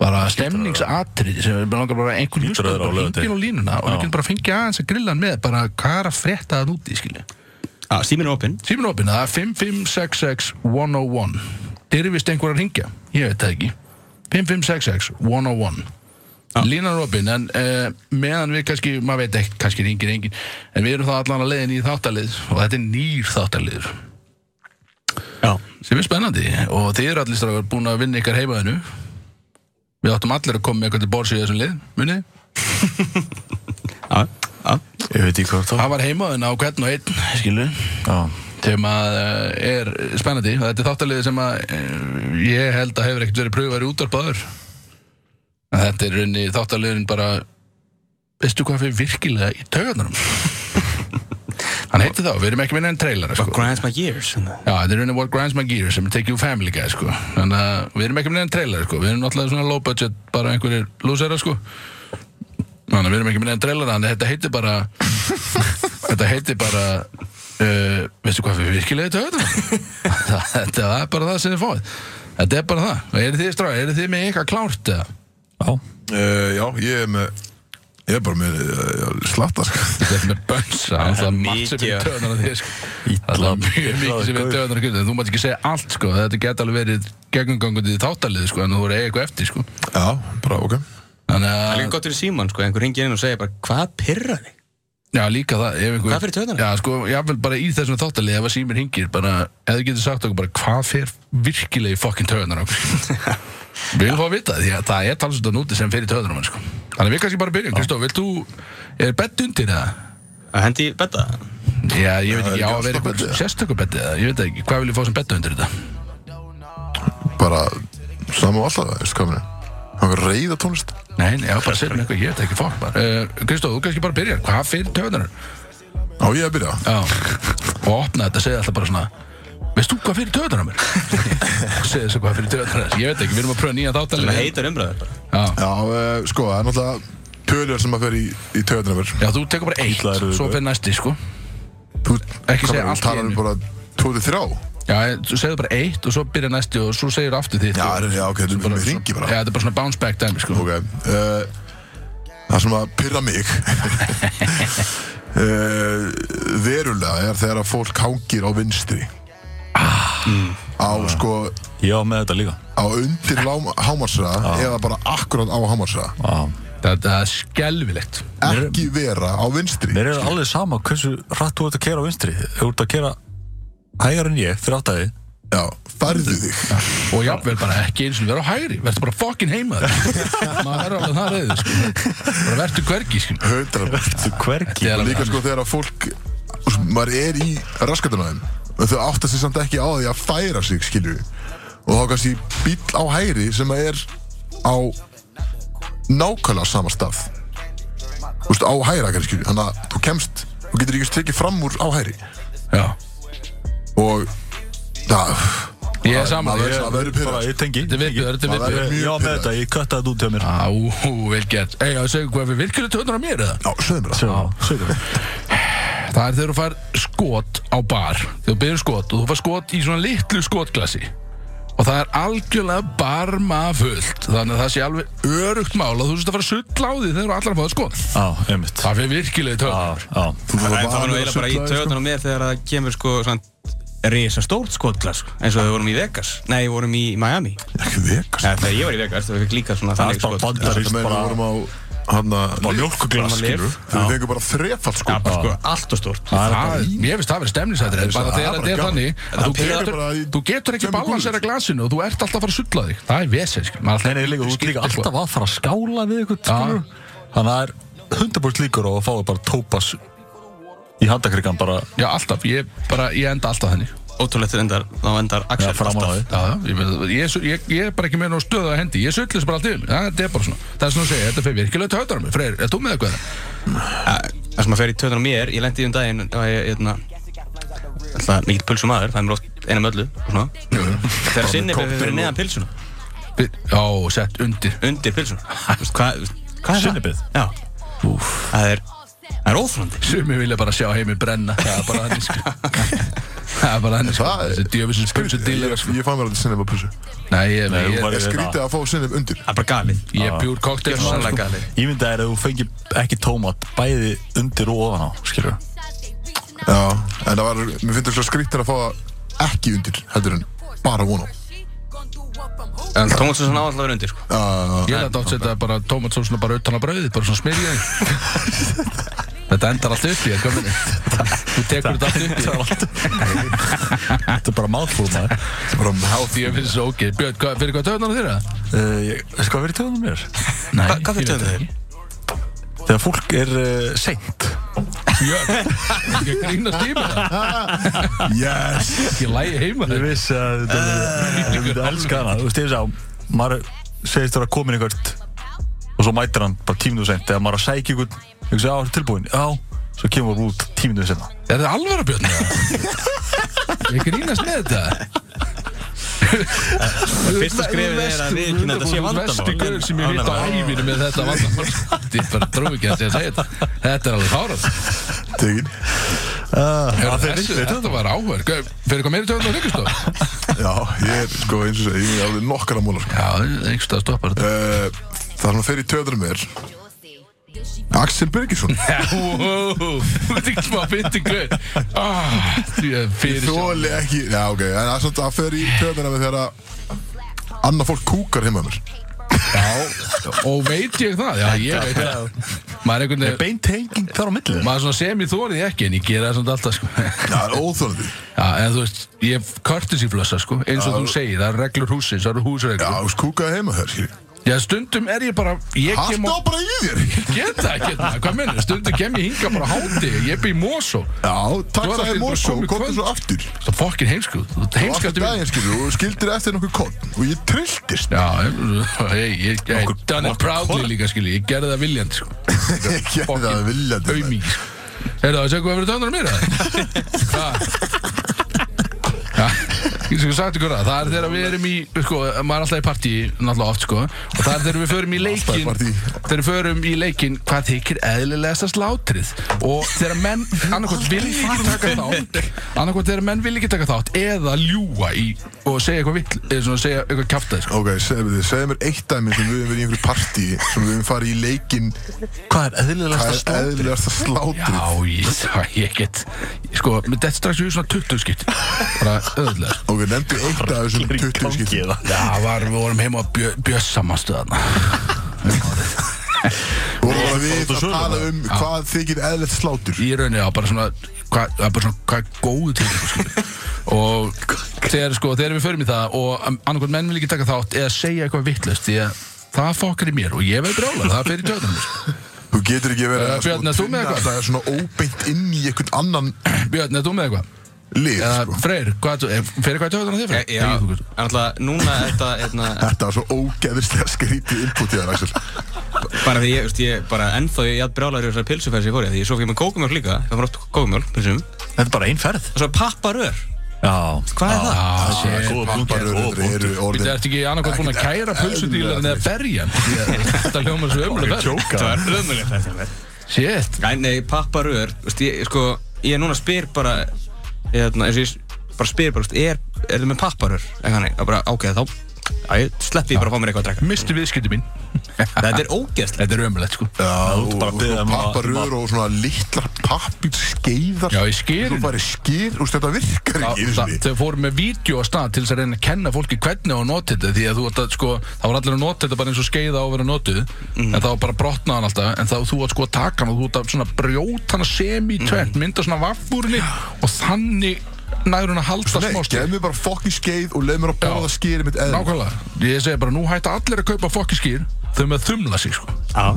[SPEAKER 3] Bara stemningsatriði sem mér langar bara að einhvern
[SPEAKER 4] Hlýtur
[SPEAKER 3] hlusta
[SPEAKER 4] að vera á
[SPEAKER 3] Bara
[SPEAKER 4] laugardegi.
[SPEAKER 3] hengið á línuna Og
[SPEAKER 4] Já.
[SPEAKER 3] við getum bara að fengja aðeins að grilla hann með Bara hvað er að frétta að núti, skilja
[SPEAKER 2] ah, Símin er opinn
[SPEAKER 3] Tíminn opinn, það er 5566-101 Þeir eru vist einhver að ringja Ég veit það ekki 5566-101 Línan er opinn, en uh, meðan við kannski maður veit ekkert, kannski ringir engin En við erum þá allan að leiðin í þáttalið Og þetta er nýr þáttaliður
[SPEAKER 2] Já
[SPEAKER 3] Sem er spennandi Og þið eru allir strafar búin að vinna ykkar heimaðinu Við áttum allir að koma með eitthvað til borsi í þessum lið Munið?
[SPEAKER 2] Já, já
[SPEAKER 4] Ég veit ekki hvað það
[SPEAKER 3] Það var heimaðin á hvern og einn, skilu
[SPEAKER 4] Já,
[SPEAKER 3] sem að eh, er spennandi og þetta er þáttaliði sem að eh, ég held að hefur ekkert verið pröfaður í útarpaður þetta er raunni þáttaliðin bara veistu hvað fyrir virkilega í taugarnarum hann heitir þá, við erum ekki minna en trailera
[SPEAKER 2] But
[SPEAKER 3] sko.
[SPEAKER 2] grinds my gears svona.
[SPEAKER 3] Já, þetta er raunni What Grinds My Gears sem er tekið úr Family Guy sko. þannig að við erum ekki minna en trailera sko. við erum náttúrulega svona low budget bara einhverjir lúsera sko. þannig að við erum ekki minna en trailera þannig að þetta heitir bara þetta heitir bara uh, veistu hvað við virkilega í taugarnar? Það- þetta það er bara það sem þið fáið þetta er bara það, og eru þið strá eru þið með eitthvað klárt eða?
[SPEAKER 4] já
[SPEAKER 1] Eh, Já, ég er með Ég er bara með eh, slatta sko
[SPEAKER 3] þetta er með bönsa, það er
[SPEAKER 2] er
[SPEAKER 3] margt sem
[SPEAKER 2] mikið,
[SPEAKER 3] er
[SPEAKER 2] já.
[SPEAKER 3] töðunar að þið sko. það
[SPEAKER 4] Ítla
[SPEAKER 3] er mjög mikið sem er töðunar að þið þú mátt ekki segja allt, sko. þetta geta alveg verið gegnumgangundi í þáttalið, sko, en þú voru eitthvað eftir sko.
[SPEAKER 1] Já, bara ok
[SPEAKER 3] þannig
[SPEAKER 2] Það er
[SPEAKER 3] að,
[SPEAKER 2] líka gott fyrir síman sko einhver ringir inn og segir bara hvað pirra þig
[SPEAKER 3] já líka það ef einhver,
[SPEAKER 2] Hvað fer í taugarnar?
[SPEAKER 3] Já, sko, jáfnvel bara í þessum þáttalið, ef að símir hingir bara, ef þið getur sagt okkur bara hvað fer virkilega í fokkin töðunar við viljum fá að vita það, því að það er talsvöld að núti sem fer í töðunar mann, sko. þannig að við kannski bara byrjum, Kristof, vilt þú er bett undir það?
[SPEAKER 2] Að hendi í betta
[SPEAKER 3] Já, ég veit
[SPEAKER 1] Það er
[SPEAKER 3] ekki, á
[SPEAKER 1] ekki
[SPEAKER 3] að vera
[SPEAKER 1] alltaf
[SPEAKER 3] eitthvað
[SPEAKER 1] bettið, eða?
[SPEAKER 3] sérstökur bettið, eða? ég veit það ekki, hvað vil ég fá sem betta undir þetta?
[SPEAKER 1] Bara saman og alltaf, veist hvað mér Það var reyða tónlist
[SPEAKER 3] Nei, nei, ég var bara að segja mér eitthvað, ég veit ekki fólk bara Eh, Kristó, þú kannski bara byrjar, hvað fyrir töðunar?
[SPEAKER 1] Á ég að byrja
[SPEAKER 3] Já, og opna þetta, segja alltaf bara svona Veist þú hvað fyrir töðunar mér? segja þessu hvað fyrir töðunar Ég veit ekki, við erum að pröfa nýja
[SPEAKER 2] Þannig
[SPEAKER 3] þáttalega
[SPEAKER 2] að heitar umræður bara.
[SPEAKER 1] Já, uh, sko, það er náttúrulega tölur sem að fer í, í töðunumur
[SPEAKER 3] Já, þú tekur bara
[SPEAKER 4] Illa eru
[SPEAKER 3] eitt,
[SPEAKER 4] þau.
[SPEAKER 3] svo fyrir næsti, sko
[SPEAKER 1] Þú
[SPEAKER 3] Ekki segja allt í
[SPEAKER 1] talar um
[SPEAKER 3] einu.
[SPEAKER 1] bara 23
[SPEAKER 3] Já, þú segir bara eitt og svo byrjar næsti og svo segir aftur þitt
[SPEAKER 1] Já,
[SPEAKER 3] og-
[SPEAKER 1] er- já, ok, þetta er-
[SPEAKER 3] bara-
[SPEAKER 1] mér hringi bara.
[SPEAKER 3] Já, þetta er bara svona bounce back dæmi, sko
[SPEAKER 1] Ok, uh, það sem að pyrra mig uh, verulega er þegar að fólk hangir á vinstri ah, á sko
[SPEAKER 4] Ég á með þetta líka
[SPEAKER 1] á undir lám- hámarksraða eða bara akkurat á hámarksraða
[SPEAKER 4] Á.
[SPEAKER 3] Þetta er skelvilegt
[SPEAKER 1] ekki vera á vinstri
[SPEAKER 4] Mér er alveg sama hversu hratt þú ert að kera á vinstri Þú ert að kera hægar en ég fyrir áttæði
[SPEAKER 1] já, færðu þig
[SPEAKER 3] Og jafnvel bara ekki eins og vera á hægri Vertu bara fucking heima þér Maður verður alveg það reyðu, sko Bara vertu hvergi, sko
[SPEAKER 1] höndra
[SPEAKER 4] Þú hvergi
[SPEAKER 3] Þetta er
[SPEAKER 1] og
[SPEAKER 3] alveg
[SPEAKER 1] líka
[SPEAKER 3] þannig.
[SPEAKER 1] sko þegar að fólk maður er í raskatunnaðum en þau átta sig samt ekki á því að færa sig skilju og þá kannski bíll á hægri sem að er á nákvæmlega sama stað Þú veist, á hægra kannski skilju þannig að þú kemst þú getur ekki tekið fram úr á hægri
[SPEAKER 3] Já,
[SPEAKER 1] og það
[SPEAKER 3] ég er saman
[SPEAKER 1] maður-
[SPEAKER 3] Ég-
[SPEAKER 1] það verður pirrað.
[SPEAKER 4] Bara, Ég tengi
[SPEAKER 3] Þetta er viðbjör, þetta er
[SPEAKER 1] Það verður-
[SPEAKER 3] viðbjör
[SPEAKER 4] Ég á með þetta, ég kötta þetta út hjá mér
[SPEAKER 3] Á, vel gert Ei, að segja hvað við virkjum töðunar á mér, eða?
[SPEAKER 1] já, sögðum við það
[SPEAKER 4] Sjá, sögur
[SPEAKER 3] Það er þegar þú fær skot á bar Þegar þú byrður skot og þú fær skot í svona litlu skotglasi Og það er algjörlega barmafullt Þannig að það sé alveg örugt mál að þú sérst að fara að sulla á því þegar þú allar að fá það skot
[SPEAKER 4] Á, einmitt
[SPEAKER 3] Það fyrir virkilega í
[SPEAKER 4] Á,
[SPEAKER 3] töðunar
[SPEAKER 4] á
[SPEAKER 1] Þú
[SPEAKER 2] En það var nú
[SPEAKER 1] vanur að
[SPEAKER 2] eiginlega bara í
[SPEAKER 1] sulla, sko.
[SPEAKER 2] töðunum á mér þegar það kemur sko svona risa stórt skotglas sko, eins og við vorum í Vegas, nei við vorum í Miami
[SPEAKER 1] ekki vekast
[SPEAKER 2] Eða, þegar ég var í Vegas þá fikk líka svona
[SPEAKER 4] Það
[SPEAKER 2] þannig
[SPEAKER 4] er bara
[SPEAKER 2] skot
[SPEAKER 1] þetta
[SPEAKER 4] bandarist
[SPEAKER 1] meina við
[SPEAKER 4] bara
[SPEAKER 1] vorum á hann
[SPEAKER 4] Bara
[SPEAKER 1] að
[SPEAKER 2] Bara
[SPEAKER 4] mjölkuglas,
[SPEAKER 2] lyf.
[SPEAKER 4] skilur
[SPEAKER 1] þau fengur bara þrefald sko
[SPEAKER 2] Já, bara sko allt og stórt
[SPEAKER 4] Það er
[SPEAKER 3] Það er, mér finnst það að vera stemnisættir
[SPEAKER 1] Það er
[SPEAKER 3] Bara
[SPEAKER 1] bara
[SPEAKER 3] þegar þetta er
[SPEAKER 1] gaman.
[SPEAKER 3] þannig að
[SPEAKER 1] Það
[SPEAKER 3] þú
[SPEAKER 1] pirrar
[SPEAKER 3] getur,
[SPEAKER 1] bara í
[SPEAKER 3] þú getur ekki
[SPEAKER 1] tveimur
[SPEAKER 3] balansera glasinu og þú ert alltaf að fara að sulla þig Það er vesið, sko Maður
[SPEAKER 4] Nei, nei, líka, þú ert líka
[SPEAKER 3] skiptir, sko.
[SPEAKER 4] alltaf að fara að skála við ykkur skilur Þannig að það er 100% líkur á að fá bara tópas í handakrikan bara
[SPEAKER 3] Já, alltaf, ég, bara, ég enda alltaf þannig
[SPEAKER 2] Ótrúlegt endar, þá endar
[SPEAKER 4] Já,
[SPEAKER 2] Axel
[SPEAKER 4] framan á því
[SPEAKER 3] Já, já, ég, meina, ég, su- ég, ég er bara ekki með nóg stöðu að hendi Ég sullis bara allt yfir mig, það þetta er bara svona Það er svona að segja, þetta fyrir virkilega töðar mig Freyr, er þú með eitthvað?
[SPEAKER 2] Það sem að fer í töðunum á mér, ég lendi í um daginn og ég, ég, ég, alltaf mikill pulsum aður, það er mér oft eina möllu og svona. Þegar sinni við fyrir neðan pilsuna,
[SPEAKER 3] Við- Já, sett undir
[SPEAKER 2] undir pilsuna Þú veist, Hvað hva er
[SPEAKER 4] Sinnebið?
[SPEAKER 2] Já, það er, það er óþrandi
[SPEAKER 3] Sumi vilja bara sjá heimi brenna Það er bara þannig sko Það er bara þannig sko
[SPEAKER 1] Það er-
[SPEAKER 3] Þessi djöfisins pulsu dílar
[SPEAKER 1] ég, ég fann mér aldrei sinnum að pussu
[SPEAKER 3] Nei, ég,
[SPEAKER 4] Nei,
[SPEAKER 3] ég,
[SPEAKER 4] þú
[SPEAKER 3] ég,
[SPEAKER 4] bara-
[SPEAKER 1] ég skrítið að fá sinnum undir
[SPEAKER 2] Það er bara galið
[SPEAKER 3] ég er pjúr koktel
[SPEAKER 2] Gjörsamlega
[SPEAKER 3] sko.
[SPEAKER 2] galið
[SPEAKER 4] Ég myndi að það er að þú fengir ekki tómat bæði undir og ofan á, skilur
[SPEAKER 1] Já, en það var, mér finnst það skrítin að fá það ekki undir, heldur en bara von á.
[SPEAKER 2] En Tómasson á alltaf að vera undir sko.
[SPEAKER 1] Já,
[SPEAKER 3] Ég ætla að setja bara tómatsósuna bara utan á brauðið Bara svona smyrja því Þetta endar allt upp í þér, kominni Þú tekur þetta allt upp í þér
[SPEAKER 4] Þetta er bara málfúl maður
[SPEAKER 1] það er bara hát.
[SPEAKER 3] Því að finnst þessu ógeð Björn, hvað- fyrir hvað töðunar þeirra?
[SPEAKER 4] uh, ég- Veistu hvað verið töðunum mér?
[SPEAKER 3] Nei,
[SPEAKER 2] Hva- hvað fyrir
[SPEAKER 3] ég veit
[SPEAKER 2] töðunar
[SPEAKER 3] það
[SPEAKER 2] þeirra?
[SPEAKER 3] ekki.
[SPEAKER 4] Þegar fólk er uh, seint
[SPEAKER 3] Björn, ég grínast í mig það
[SPEAKER 1] Yes!
[SPEAKER 3] Ég lægi heima
[SPEAKER 4] Ég
[SPEAKER 3] þeirra
[SPEAKER 4] vissi að þetta Ég myndi elska hana Þú veist ég sá Maður segist þér að komin einhvert Og svo mætir hann bara tíminu sent Þegar maður er að sækja einhvern Ég hugsa, já, það er tilbúin Já, svo kemur maður út tíminu senna
[SPEAKER 3] Er það alvara Björn? eða? Ég grínast með þetta
[SPEAKER 2] Fyrsta skrefið er að viðkynna þetta sé vandamál
[SPEAKER 3] Vestu görur sem ég hitt á æfinu með þetta vandamál Þetta er bara trúi ekki að segja þetta Þetta er alveg hárað
[SPEAKER 1] Tegin.
[SPEAKER 3] Þetta var áhver Fyrir hvað meiri töðun og ríkist þá?
[SPEAKER 1] Já, ég er sko eins og segi, ég er alveg nokkara múlar.
[SPEAKER 3] Já, einhverstað stoppar þetta
[SPEAKER 1] Uh, það sem að fer í töðurum er Axel Birgisson.
[SPEAKER 3] Þú ert ekki smá fyndi gauð Því að fyrir sjá
[SPEAKER 1] Þóli ekki, já ok, en það er svona að fer í töðurum þegar að annað fólk kúkar heima hjá mér.
[SPEAKER 3] Já, og veit ég það? Já, ég veit það Maður er einhvern veginn
[SPEAKER 4] Beint henging þar á milli
[SPEAKER 3] Maður svona sem ég þórið ekki en ég gera það samt alltaf sko
[SPEAKER 1] Já, það er óþólandi.
[SPEAKER 3] Já, en þú veist, ég hef courtesy flossa, sko, eins og þú segir, það eru reglur húsins, það eru
[SPEAKER 1] Já,
[SPEAKER 3] húsreglur.
[SPEAKER 1] þú veist, kúkaði heima þér, skilji.
[SPEAKER 3] Já, stundum er ég bara Ég kem
[SPEAKER 1] Alltaf
[SPEAKER 3] og
[SPEAKER 1] bara í þér
[SPEAKER 3] Get það ekki, hérna, hvað mennur? Stundum kem ég hinga bara háti Ég byrði í Mosó
[SPEAKER 1] Já, takk
[SPEAKER 3] Þú
[SPEAKER 1] það
[SPEAKER 3] er allt í
[SPEAKER 1] er
[SPEAKER 3] einu bara
[SPEAKER 1] morsó
[SPEAKER 3] komið
[SPEAKER 1] Komdu
[SPEAKER 3] kvöld.
[SPEAKER 1] svo aftur
[SPEAKER 3] Það er fokkin heimskuð Þú ert heimskastu minn
[SPEAKER 1] daginn skilur og skildir eftir nokkuð konn og ég trilltist
[SPEAKER 3] Já, ég- ég, ég, ég
[SPEAKER 4] Okkur-
[SPEAKER 3] done it
[SPEAKER 4] okkur
[SPEAKER 3] proudly
[SPEAKER 4] kona.
[SPEAKER 3] líka, skilji Ég gerði það viljandi, sko
[SPEAKER 1] Ég gerði það viljandi maður.
[SPEAKER 3] Auðmík, sko Er það að segja hvað verið töndur á mér, eða? Hvað? Já, ég sko sagt ykkur það, það er þegar við erum í, sko, maður er alltaf í partí, náttúrulega oft, sko, og það er þegar við förum í
[SPEAKER 1] Alltaf í
[SPEAKER 3] leikin,
[SPEAKER 1] partí.
[SPEAKER 3] þegar við förum í leikin, hvað þykir eðlilegasta slátrið, og þegar menn, annarkot vil ekki taka þátt, annarkot þegar menn vil ekki taka þátt, eða ljúa í, og segja eitthvað vill, eða svona segja eitthvað kjaftaði, sko.
[SPEAKER 1] Ok, segðu mér, þið, segðu mér eitt dæmi sem við höfum verið í einhverju partí sem við höfum farið í leikinn
[SPEAKER 4] Hvað er eðlilegast
[SPEAKER 1] hvað
[SPEAKER 4] að
[SPEAKER 1] er
[SPEAKER 4] slá?
[SPEAKER 1] eðlilegast að slátri
[SPEAKER 3] Já, ég, það- ég get, sko, með þetta strax í hug svona 20 skipt, bara öðlega,
[SPEAKER 1] Ok, nefndu eitt af þessum 20 skiptum
[SPEAKER 3] Já, var, við vorum heima á bjö, bjössamastöðana
[SPEAKER 1] og vorum við
[SPEAKER 4] Fórstu
[SPEAKER 1] að
[SPEAKER 4] á sölu,
[SPEAKER 1] tala um hvað þykir eðlilegt slátur
[SPEAKER 3] Í rauninni á bara svona Hvað það er bara svona, hvað er góðu til sko. Og þegar, sko, þegar við förum í það Og annarkvæmt menn vil ekki taka þátt Eða segja eitthvað vittlust Því að það fokkar í mér Og ég verð brjólar, það fer í töðunum sko.
[SPEAKER 1] Þú getur ekki verið
[SPEAKER 3] Eh,
[SPEAKER 1] að
[SPEAKER 3] Björn, ert þú með
[SPEAKER 1] finna
[SPEAKER 3] eitthvað?
[SPEAKER 1] það er svona óbeint inn í einhvern annan
[SPEAKER 3] Björn, er þú með eitthvað?
[SPEAKER 1] lið
[SPEAKER 3] Eða,
[SPEAKER 1] sko.
[SPEAKER 3] Freyr, hvað, er- fer eitthvað í töðunum þér? Freyr?
[SPEAKER 2] Ég- E, Já,
[SPEAKER 3] Nei, þú-
[SPEAKER 2] en alltaf núna er þetta hérna,
[SPEAKER 1] Þetta var svo ógeðislega skrítið input í það, Axel
[SPEAKER 2] bara því ég, veist, ég bara ennþá ég jætt brjálæri þessar pilsuferð sem ég fór í því ég svo fyrir með kókumjólk líka, það var oft kókumjólk pilsum, og
[SPEAKER 4] Þetta er bara ein ferð.
[SPEAKER 2] svo papparör
[SPEAKER 4] Já.
[SPEAKER 2] hvað er það?
[SPEAKER 3] Ah, shit.
[SPEAKER 4] er góða punktur,
[SPEAKER 1] Papparöður
[SPEAKER 4] góða punktur.
[SPEAKER 1] eru
[SPEAKER 3] Þetta
[SPEAKER 1] orðin
[SPEAKER 3] ertu ekki annarkvæmt búin að kæra pulsudílarinn eða berjan Þetta hljómar svo ömulega verð
[SPEAKER 2] Það var ömulegt þetta
[SPEAKER 3] Shit,
[SPEAKER 2] Nei, nei, papparör, veist, ég, sko, ég núna spyr bara, hérna, eins og ég bara spyr bara, veist, er, er þið með papparör? Eitthvað þannig, það bara, ok, þá, já, ég sleppi ég bara að fá mér eitthvað að drekka.
[SPEAKER 3] misti viðskipti mín
[SPEAKER 2] Þetta er ógeðslegt.
[SPEAKER 3] Þetta er ömulegt sko
[SPEAKER 1] Já,
[SPEAKER 4] ert bara að biðja um að-
[SPEAKER 1] papparöður og svona litlar pappir skeiðar
[SPEAKER 3] Já, í skyrinu.
[SPEAKER 1] Þú farið skýr, þú veist þetta virkar ekki einu sinni.
[SPEAKER 3] Þau fórum með vídeo á stað til þess að reyna að kenna fólki hvernig á að nota þetta því að þú ert að sko, það var allir að nota þetta bara eins og skeiða á að vera notuð
[SPEAKER 1] Mhm.
[SPEAKER 3] en það var bara að brotna hann alltaf en þá þú ert sko að taka hann og þú ert að svona brjóta hann sem í
[SPEAKER 1] Mhm.
[SPEAKER 3] tvent, mynda svona vaffúrni og þannig næður hann að halda
[SPEAKER 1] Nei,
[SPEAKER 3] smástu
[SPEAKER 1] gef mér bara fokkin skeið og leið mér að borða skýrið mitt eðl
[SPEAKER 3] Nákvæmlega, ég segi bara nú hætta allir að kaupa fokki skýr þau með að þumla sig sko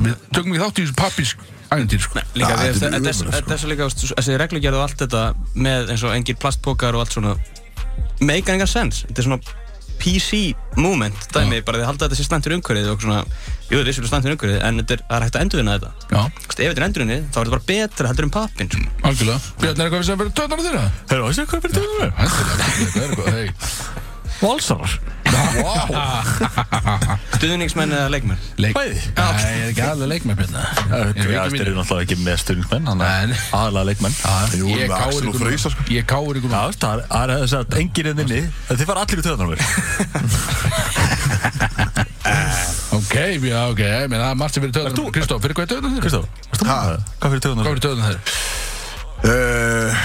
[SPEAKER 3] Við tökum ekki þátt í þessu pappis ægundýr sko
[SPEAKER 2] Líka,
[SPEAKER 1] Já,
[SPEAKER 2] ja,
[SPEAKER 1] þetta er
[SPEAKER 2] þetta
[SPEAKER 1] ömurlegt, sko.
[SPEAKER 2] er þess að líka, veist, þessi reglugjörð og allt þetta með eins og engir plastpókar og allt svona, make engan sense. Þetta er svona PC moment, dæmi, bara þið halda þetta sér stendur umhverfið og svona, jú, við séum stendur umhverfið, en þetta er, það er hægt að endurvinna þetta.
[SPEAKER 3] Já,
[SPEAKER 2] Þú veist, Ef þetta er endurvinnið, þá er þetta bara betra heldur en pappin, sko.
[SPEAKER 3] algjörlega Björn, er eitthvað við sem verður töðnar þeirra?
[SPEAKER 4] Hörru, veistu hvað er fyrir töðum við?
[SPEAKER 3] Þetta er eitthvað, hei
[SPEAKER 4] Valsarar.
[SPEAKER 2] Stuðningsmenn eða leikmenn?
[SPEAKER 3] Leik...
[SPEAKER 4] Bæði.
[SPEAKER 3] Nei, ég er ekki aðalega leikmenn Björn Ég er
[SPEAKER 4] Þetta
[SPEAKER 3] ekki
[SPEAKER 4] eru
[SPEAKER 3] minn
[SPEAKER 4] náttúrulega ekki með styrningsmenn, hann
[SPEAKER 3] Nei,
[SPEAKER 4] er
[SPEAKER 3] nei.
[SPEAKER 4] aðalega leikmenn.
[SPEAKER 1] Jú, með
[SPEAKER 3] Ég káir
[SPEAKER 1] Axel og
[SPEAKER 3] ykkur
[SPEAKER 1] Freysa, sko.
[SPEAKER 3] núna. Ég káir ykkur
[SPEAKER 4] Já,
[SPEAKER 3] núna.
[SPEAKER 4] það er- það er þess að enginn er inni, þið fara allir í töðunar mér.
[SPEAKER 3] Ok, já, ok menn það er margt sem fyrir töðunum Kristóf, fyrir hvað er töðunum þeirra?
[SPEAKER 4] Kristof, hvað fyrir töðunar
[SPEAKER 3] Hvað
[SPEAKER 4] mér?
[SPEAKER 3] fyrir töðunum þeirra?
[SPEAKER 1] Eh,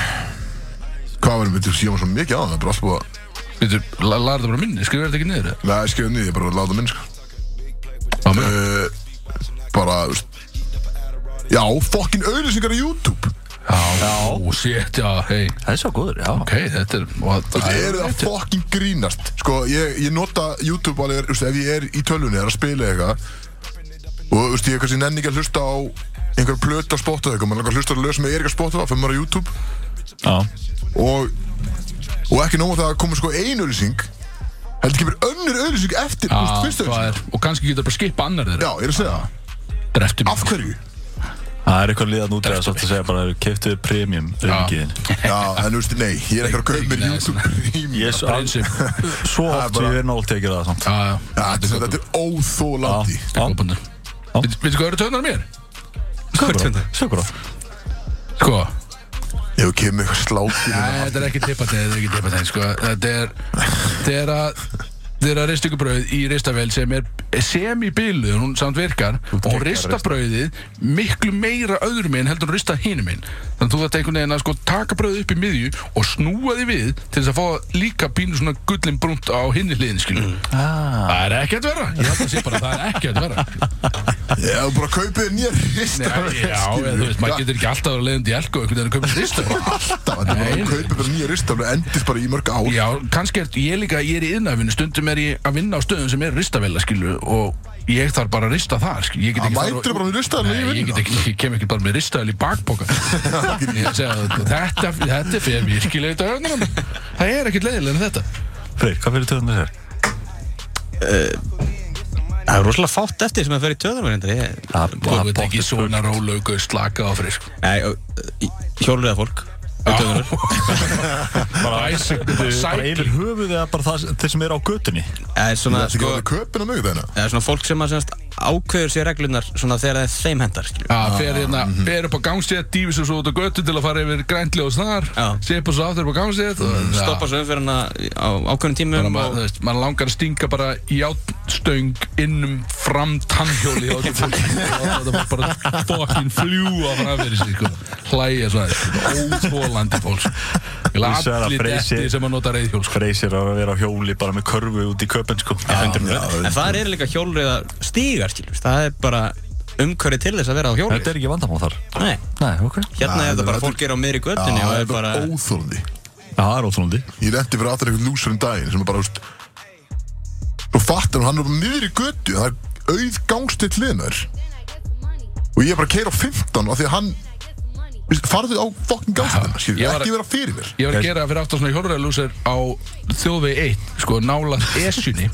[SPEAKER 1] Hvað varum við til að síðan svo mikið á það? Bara alltaf að,
[SPEAKER 3] Við þú, lagar þetta bara minni, skrifir þetta ekki niður eða?
[SPEAKER 1] neða, ég skrifaði niður, ég bara láta minn, sko.
[SPEAKER 3] Á mig
[SPEAKER 1] Uh, bara, þú veist, já, fokkin auðlýsingar á YouTube.
[SPEAKER 3] Já, ó, shit, já, hei
[SPEAKER 4] Það er svo góður, já.
[SPEAKER 3] Ok, þetta er og
[SPEAKER 1] Þú
[SPEAKER 3] það
[SPEAKER 1] veist, eru það fokkin grínast? Sko, ég, ég nota YouTube alveg, þú veist, ef ég er í tölvunni, er að spila eitthvað, og, þú veist, ég kannski nenni ekki að hlusta á einhver plötu að spotta eitthvað, maður langar að hlusta á lög sem er ekki að spotta, fyrir maður á YouTube,
[SPEAKER 4] Já.
[SPEAKER 1] og, og ekki nóg að það komið sko ein auðlýsing, heldur kemur önnur auðlýsing eftir, þú veist,
[SPEAKER 3] Já,
[SPEAKER 1] fyrstu
[SPEAKER 3] það
[SPEAKER 1] auðlýsing.
[SPEAKER 3] Ah, er Og kannski getur bara skipa annar
[SPEAKER 1] Já,
[SPEAKER 3] þeirra
[SPEAKER 1] ég er að segja það.
[SPEAKER 3] Dreftu
[SPEAKER 1] Af
[SPEAKER 3] mig
[SPEAKER 1] hverju?
[SPEAKER 4] Það er eitthvað liðan út eða svolítið að segja bara keftuðu premium auðvikiðin.
[SPEAKER 1] Já, en þú veist, nei, ég er ekki að kaupa mér
[SPEAKER 3] Nei,
[SPEAKER 1] YouTube Premium
[SPEAKER 4] Ég er svo,
[SPEAKER 3] Prinsip.
[SPEAKER 4] svo
[SPEAKER 1] Það er
[SPEAKER 4] oft
[SPEAKER 1] bara-
[SPEAKER 4] sem ég er nált tekið það samt.
[SPEAKER 3] Já, já,
[SPEAKER 1] Já, þetta er- þetta er óþólandi
[SPEAKER 4] Já.
[SPEAKER 3] þetta er góðbundur Veitu hvað eru töðunum mér?
[SPEAKER 4] Sökur á.
[SPEAKER 3] Sko,
[SPEAKER 1] Ef þú kemur eitthvað slátir
[SPEAKER 3] Nei, þetta er ekki tippateið, þetta er ekki tippateið, sko. Þetta er, þetta er að, þetta er að rista ykkur brauð í ristavél sem er sem í bylu, hún samt virkar, og hún rista brauðið miklu meira öðrum minn heldur en rista hinum minn. Þannig að þú þarft einhvern veginn að sko taka brauðið upp í miðju og snúa því við til þess að fá líka pínu svona gullin brúnt á hinni hliðin, skilju. Það er ekki að vera, ég held að sé bara að það er ekki að vera.
[SPEAKER 1] Ef þú bara kaupið þér nýjar
[SPEAKER 3] Nei,
[SPEAKER 1] ristar
[SPEAKER 3] já, eða þú veist, maður getur ekki alltaf að vera leiðandi í elko einhvern veginn að köpa ristavél.
[SPEAKER 1] Alltaf, þetta er bara
[SPEAKER 3] Nei,
[SPEAKER 1] að
[SPEAKER 3] nei.
[SPEAKER 1] kaupa bara nýjar ristar og endist bara í mörg ár
[SPEAKER 3] Já, kannski er ég líka, ég er í yðnafinu, stundum er ég að vinna á stöðum sem er ristavela, skilur, og ég þarf bara að rista það skil. ég get
[SPEAKER 1] Hann
[SPEAKER 3] ekki farið-
[SPEAKER 1] mætir Ah, bara með ristaðilinn í
[SPEAKER 3] Nei, ég, get ekki, ég kem ekki bara með ristaðil í bakpoka Ég segi að þetta, þetta er fyrir virkilega dögnum það er ekkert leiðilega en þetta
[SPEAKER 4] Freyr, hvað fyrir töðan þessar?
[SPEAKER 2] Það er rosalega fátt eftir sem að fer í töðunum reyndar. Ég,
[SPEAKER 4] Það
[SPEAKER 3] og
[SPEAKER 4] er
[SPEAKER 3] þetta ekki
[SPEAKER 4] bóttið spurning.
[SPEAKER 3] svona rólaugu slaka á frisk
[SPEAKER 2] nei, og- í- hjólreiða fólk.
[SPEAKER 3] Já. Bicycle-
[SPEAKER 4] Bara
[SPEAKER 3] cycling.
[SPEAKER 4] yfir höfuð eða bara það, þeir sem eru á götunni?
[SPEAKER 2] Það er svona,
[SPEAKER 1] Þetta er ekki
[SPEAKER 2] sko,
[SPEAKER 1] orðið köpinn á mig þeirna
[SPEAKER 2] það er svona fólk sem að semast ákveður sér reglunar svona þegar það er þeim hendar, skiljum.
[SPEAKER 3] Já, fer hérna, fer upp á gangstétt, dýfis og svo út á göttu til að fara yfir græntljóðs þar
[SPEAKER 2] Já.
[SPEAKER 3] Sipa svo aftur upp á gangstétt og- Já.
[SPEAKER 2] Stoppa svo umferðina á ákveðnum
[SPEAKER 3] Þannig að
[SPEAKER 2] tímum
[SPEAKER 3] maður,
[SPEAKER 2] og
[SPEAKER 3] þú veist, maður langar að stinga bara játnstöng innum fram tannhjóli og þetta var bara fokkin fljúa fram fyrir sig sko. hlæja svo aðeins óþólandi fólk Ég
[SPEAKER 4] Þú
[SPEAKER 3] laði
[SPEAKER 4] sagði að
[SPEAKER 3] allir
[SPEAKER 4] Freysi-
[SPEAKER 3] detti sem að nota reyðhjól sko.
[SPEAKER 4] Freyr sér að vera á hjóli bara með körfu út í köpinn sko. Já,
[SPEAKER 2] En það er líka hjólreiða stígar, skiljum. Það er bara umhverfi til þess að vera á hjólið.
[SPEAKER 4] Þetta er ekki vandamál þar.
[SPEAKER 2] Nei,
[SPEAKER 4] Nei, ok.
[SPEAKER 2] hérna
[SPEAKER 1] Nei,
[SPEAKER 2] er þetta bara
[SPEAKER 1] þetta-
[SPEAKER 2] fólk er á miðri göttinni
[SPEAKER 1] Það
[SPEAKER 2] og
[SPEAKER 1] er
[SPEAKER 2] er bara...
[SPEAKER 1] bara óþólandi
[SPEAKER 4] Já, það er ótrúndi.
[SPEAKER 1] Ég lendi fyrir aftur einhvern lúsur um daginn sem er bara, þú veist Svo fattar hún, hann er bara niður í götu Það er auð gangstitt liðnar Og ég er bara að keira á 15 af því að hann þú veist, Farðu á fucking gangstina, skilur
[SPEAKER 3] ég var-
[SPEAKER 1] Ekki vera fyrir mér
[SPEAKER 3] Ég var að gera fyrir aftur svona hjólræðalúsir á þjóðvegi 1, sko, nálað Esjunni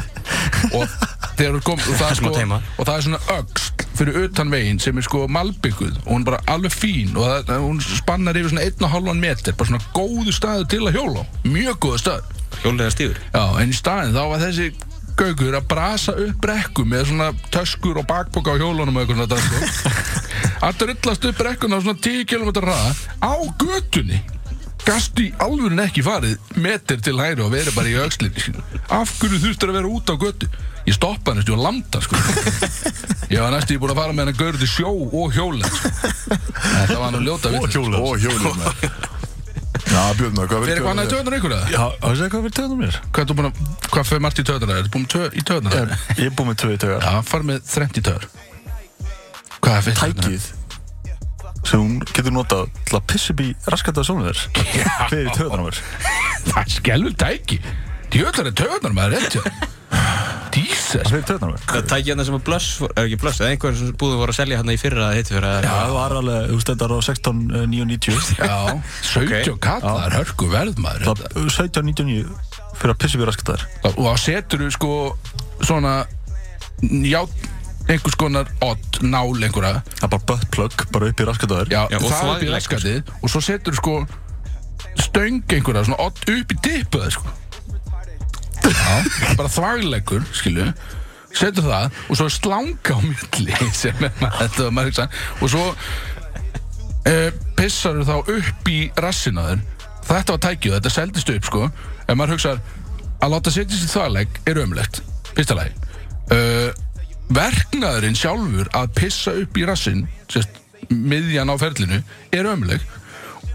[SPEAKER 3] og þegar þú kom, og það,
[SPEAKER 2] Smá
[SPEAKER 3] sko,
[SPEAKER 2] teima.
[SPEAKER 3] og það er svona öxl fyrir utan veginn sem er sko malbygguð og hún er bara alveg fín og það, hún spannar yfir svona 1,5 meter, bara svona góðu staðu til að hjóla, á, mjög góðu staður.
[SPEAKER 2] Hjólreiða stígur.
[SPEAKER 3] Já, en í staðin þá var þessi gaugur að brasa upp brekku með svona töskur og bakboka á hjólunum og eitthvað svona sko. að drullast upp brekkuna á svona 10 km raða á götunni gastu í alvörun ekki farið metir til hægri og verið bara í aukslinni sínu af hverju þurftur að vera út á götu ég stoppa hann og landa sko. ég var næstu búin að fara með hann að gaur til sjó og hjóla sko. þetta var nú ljóta
[SPEAKER 4] Og
[SPEAKER 3] vitlaust.
[SPEAKER 4] hjóli.
[SPEAKER 1] Ó, hjólið maður Já, Björn, maður, hvað
[SPEAKER 3] fyrir eitthvað annað í töðunar ykkur eða?
[SPEAKER 4] Já, það er hvað fyrir töðan mér.
[SPEAKER 3] hvað, ertu búin að- hvað fyrir margt í töðunar? er búin tö, í töðunar?
[SPEAKER 4] Ég er búinn með tvö í töðan.
[SPEAKER 3] Já, far með 30 töður Hvað er fyrir
[SPEAKER 4] Tækið sem hún getur notað til að pissa upp í raskataða sónu þér fyrir töðan mér.
[SPEAKER 3] Það er skelvul tæki Djöðlar er töðunar maður rétt hjá þér. Jesus
[SPEAKER 4] Fyrir töðan mér.
[SPEAKER 2] Það tækja hérna sem að blöss, er ekki blöss, eða einhver sem búðum voru að selja hérna í fyrra eða hitt fyrra. eða-
[SPEAKER 4] Það var alveg, þú stendar á eh, 16.990
[SPEAKER 3] Já, 70 okay. kallar hörku verð maður
[SPEAKER 4] Það 17.99 fyrir að pissa upp í raskataðar
[SPEAKER 3] Og þá setur þú sko svona Já, einhvers konar odd, nál einhverja
[SPEAKER 4] Það er bara butt plug, bara upp í raskataðar
[SPEAKER 3] Já,
[SPEAKER 2] Já, og
[SPEAKER 3] það er upp í
[SPEAKER 2] þvaglegt,
[SPEAKER 3] raskatið Og svo setur þú sko stöng einhverja, svona odd upp í dippuð sko. Já, bara þvagleggur, skilu Setur það og svo er slanga á milli sem er maður, þetta var maður hugsa og svo e, pissar þá upp í rassinu á þér Þetta var tækið, þetta seldist upp sko En maður hugsar að láta setja sér þvalegg er ömlegt Fyrsta lagi uh, Verknaðurinn sjálfur að pissa upp í rassin sérst, miðjan á ferlinu er ömleg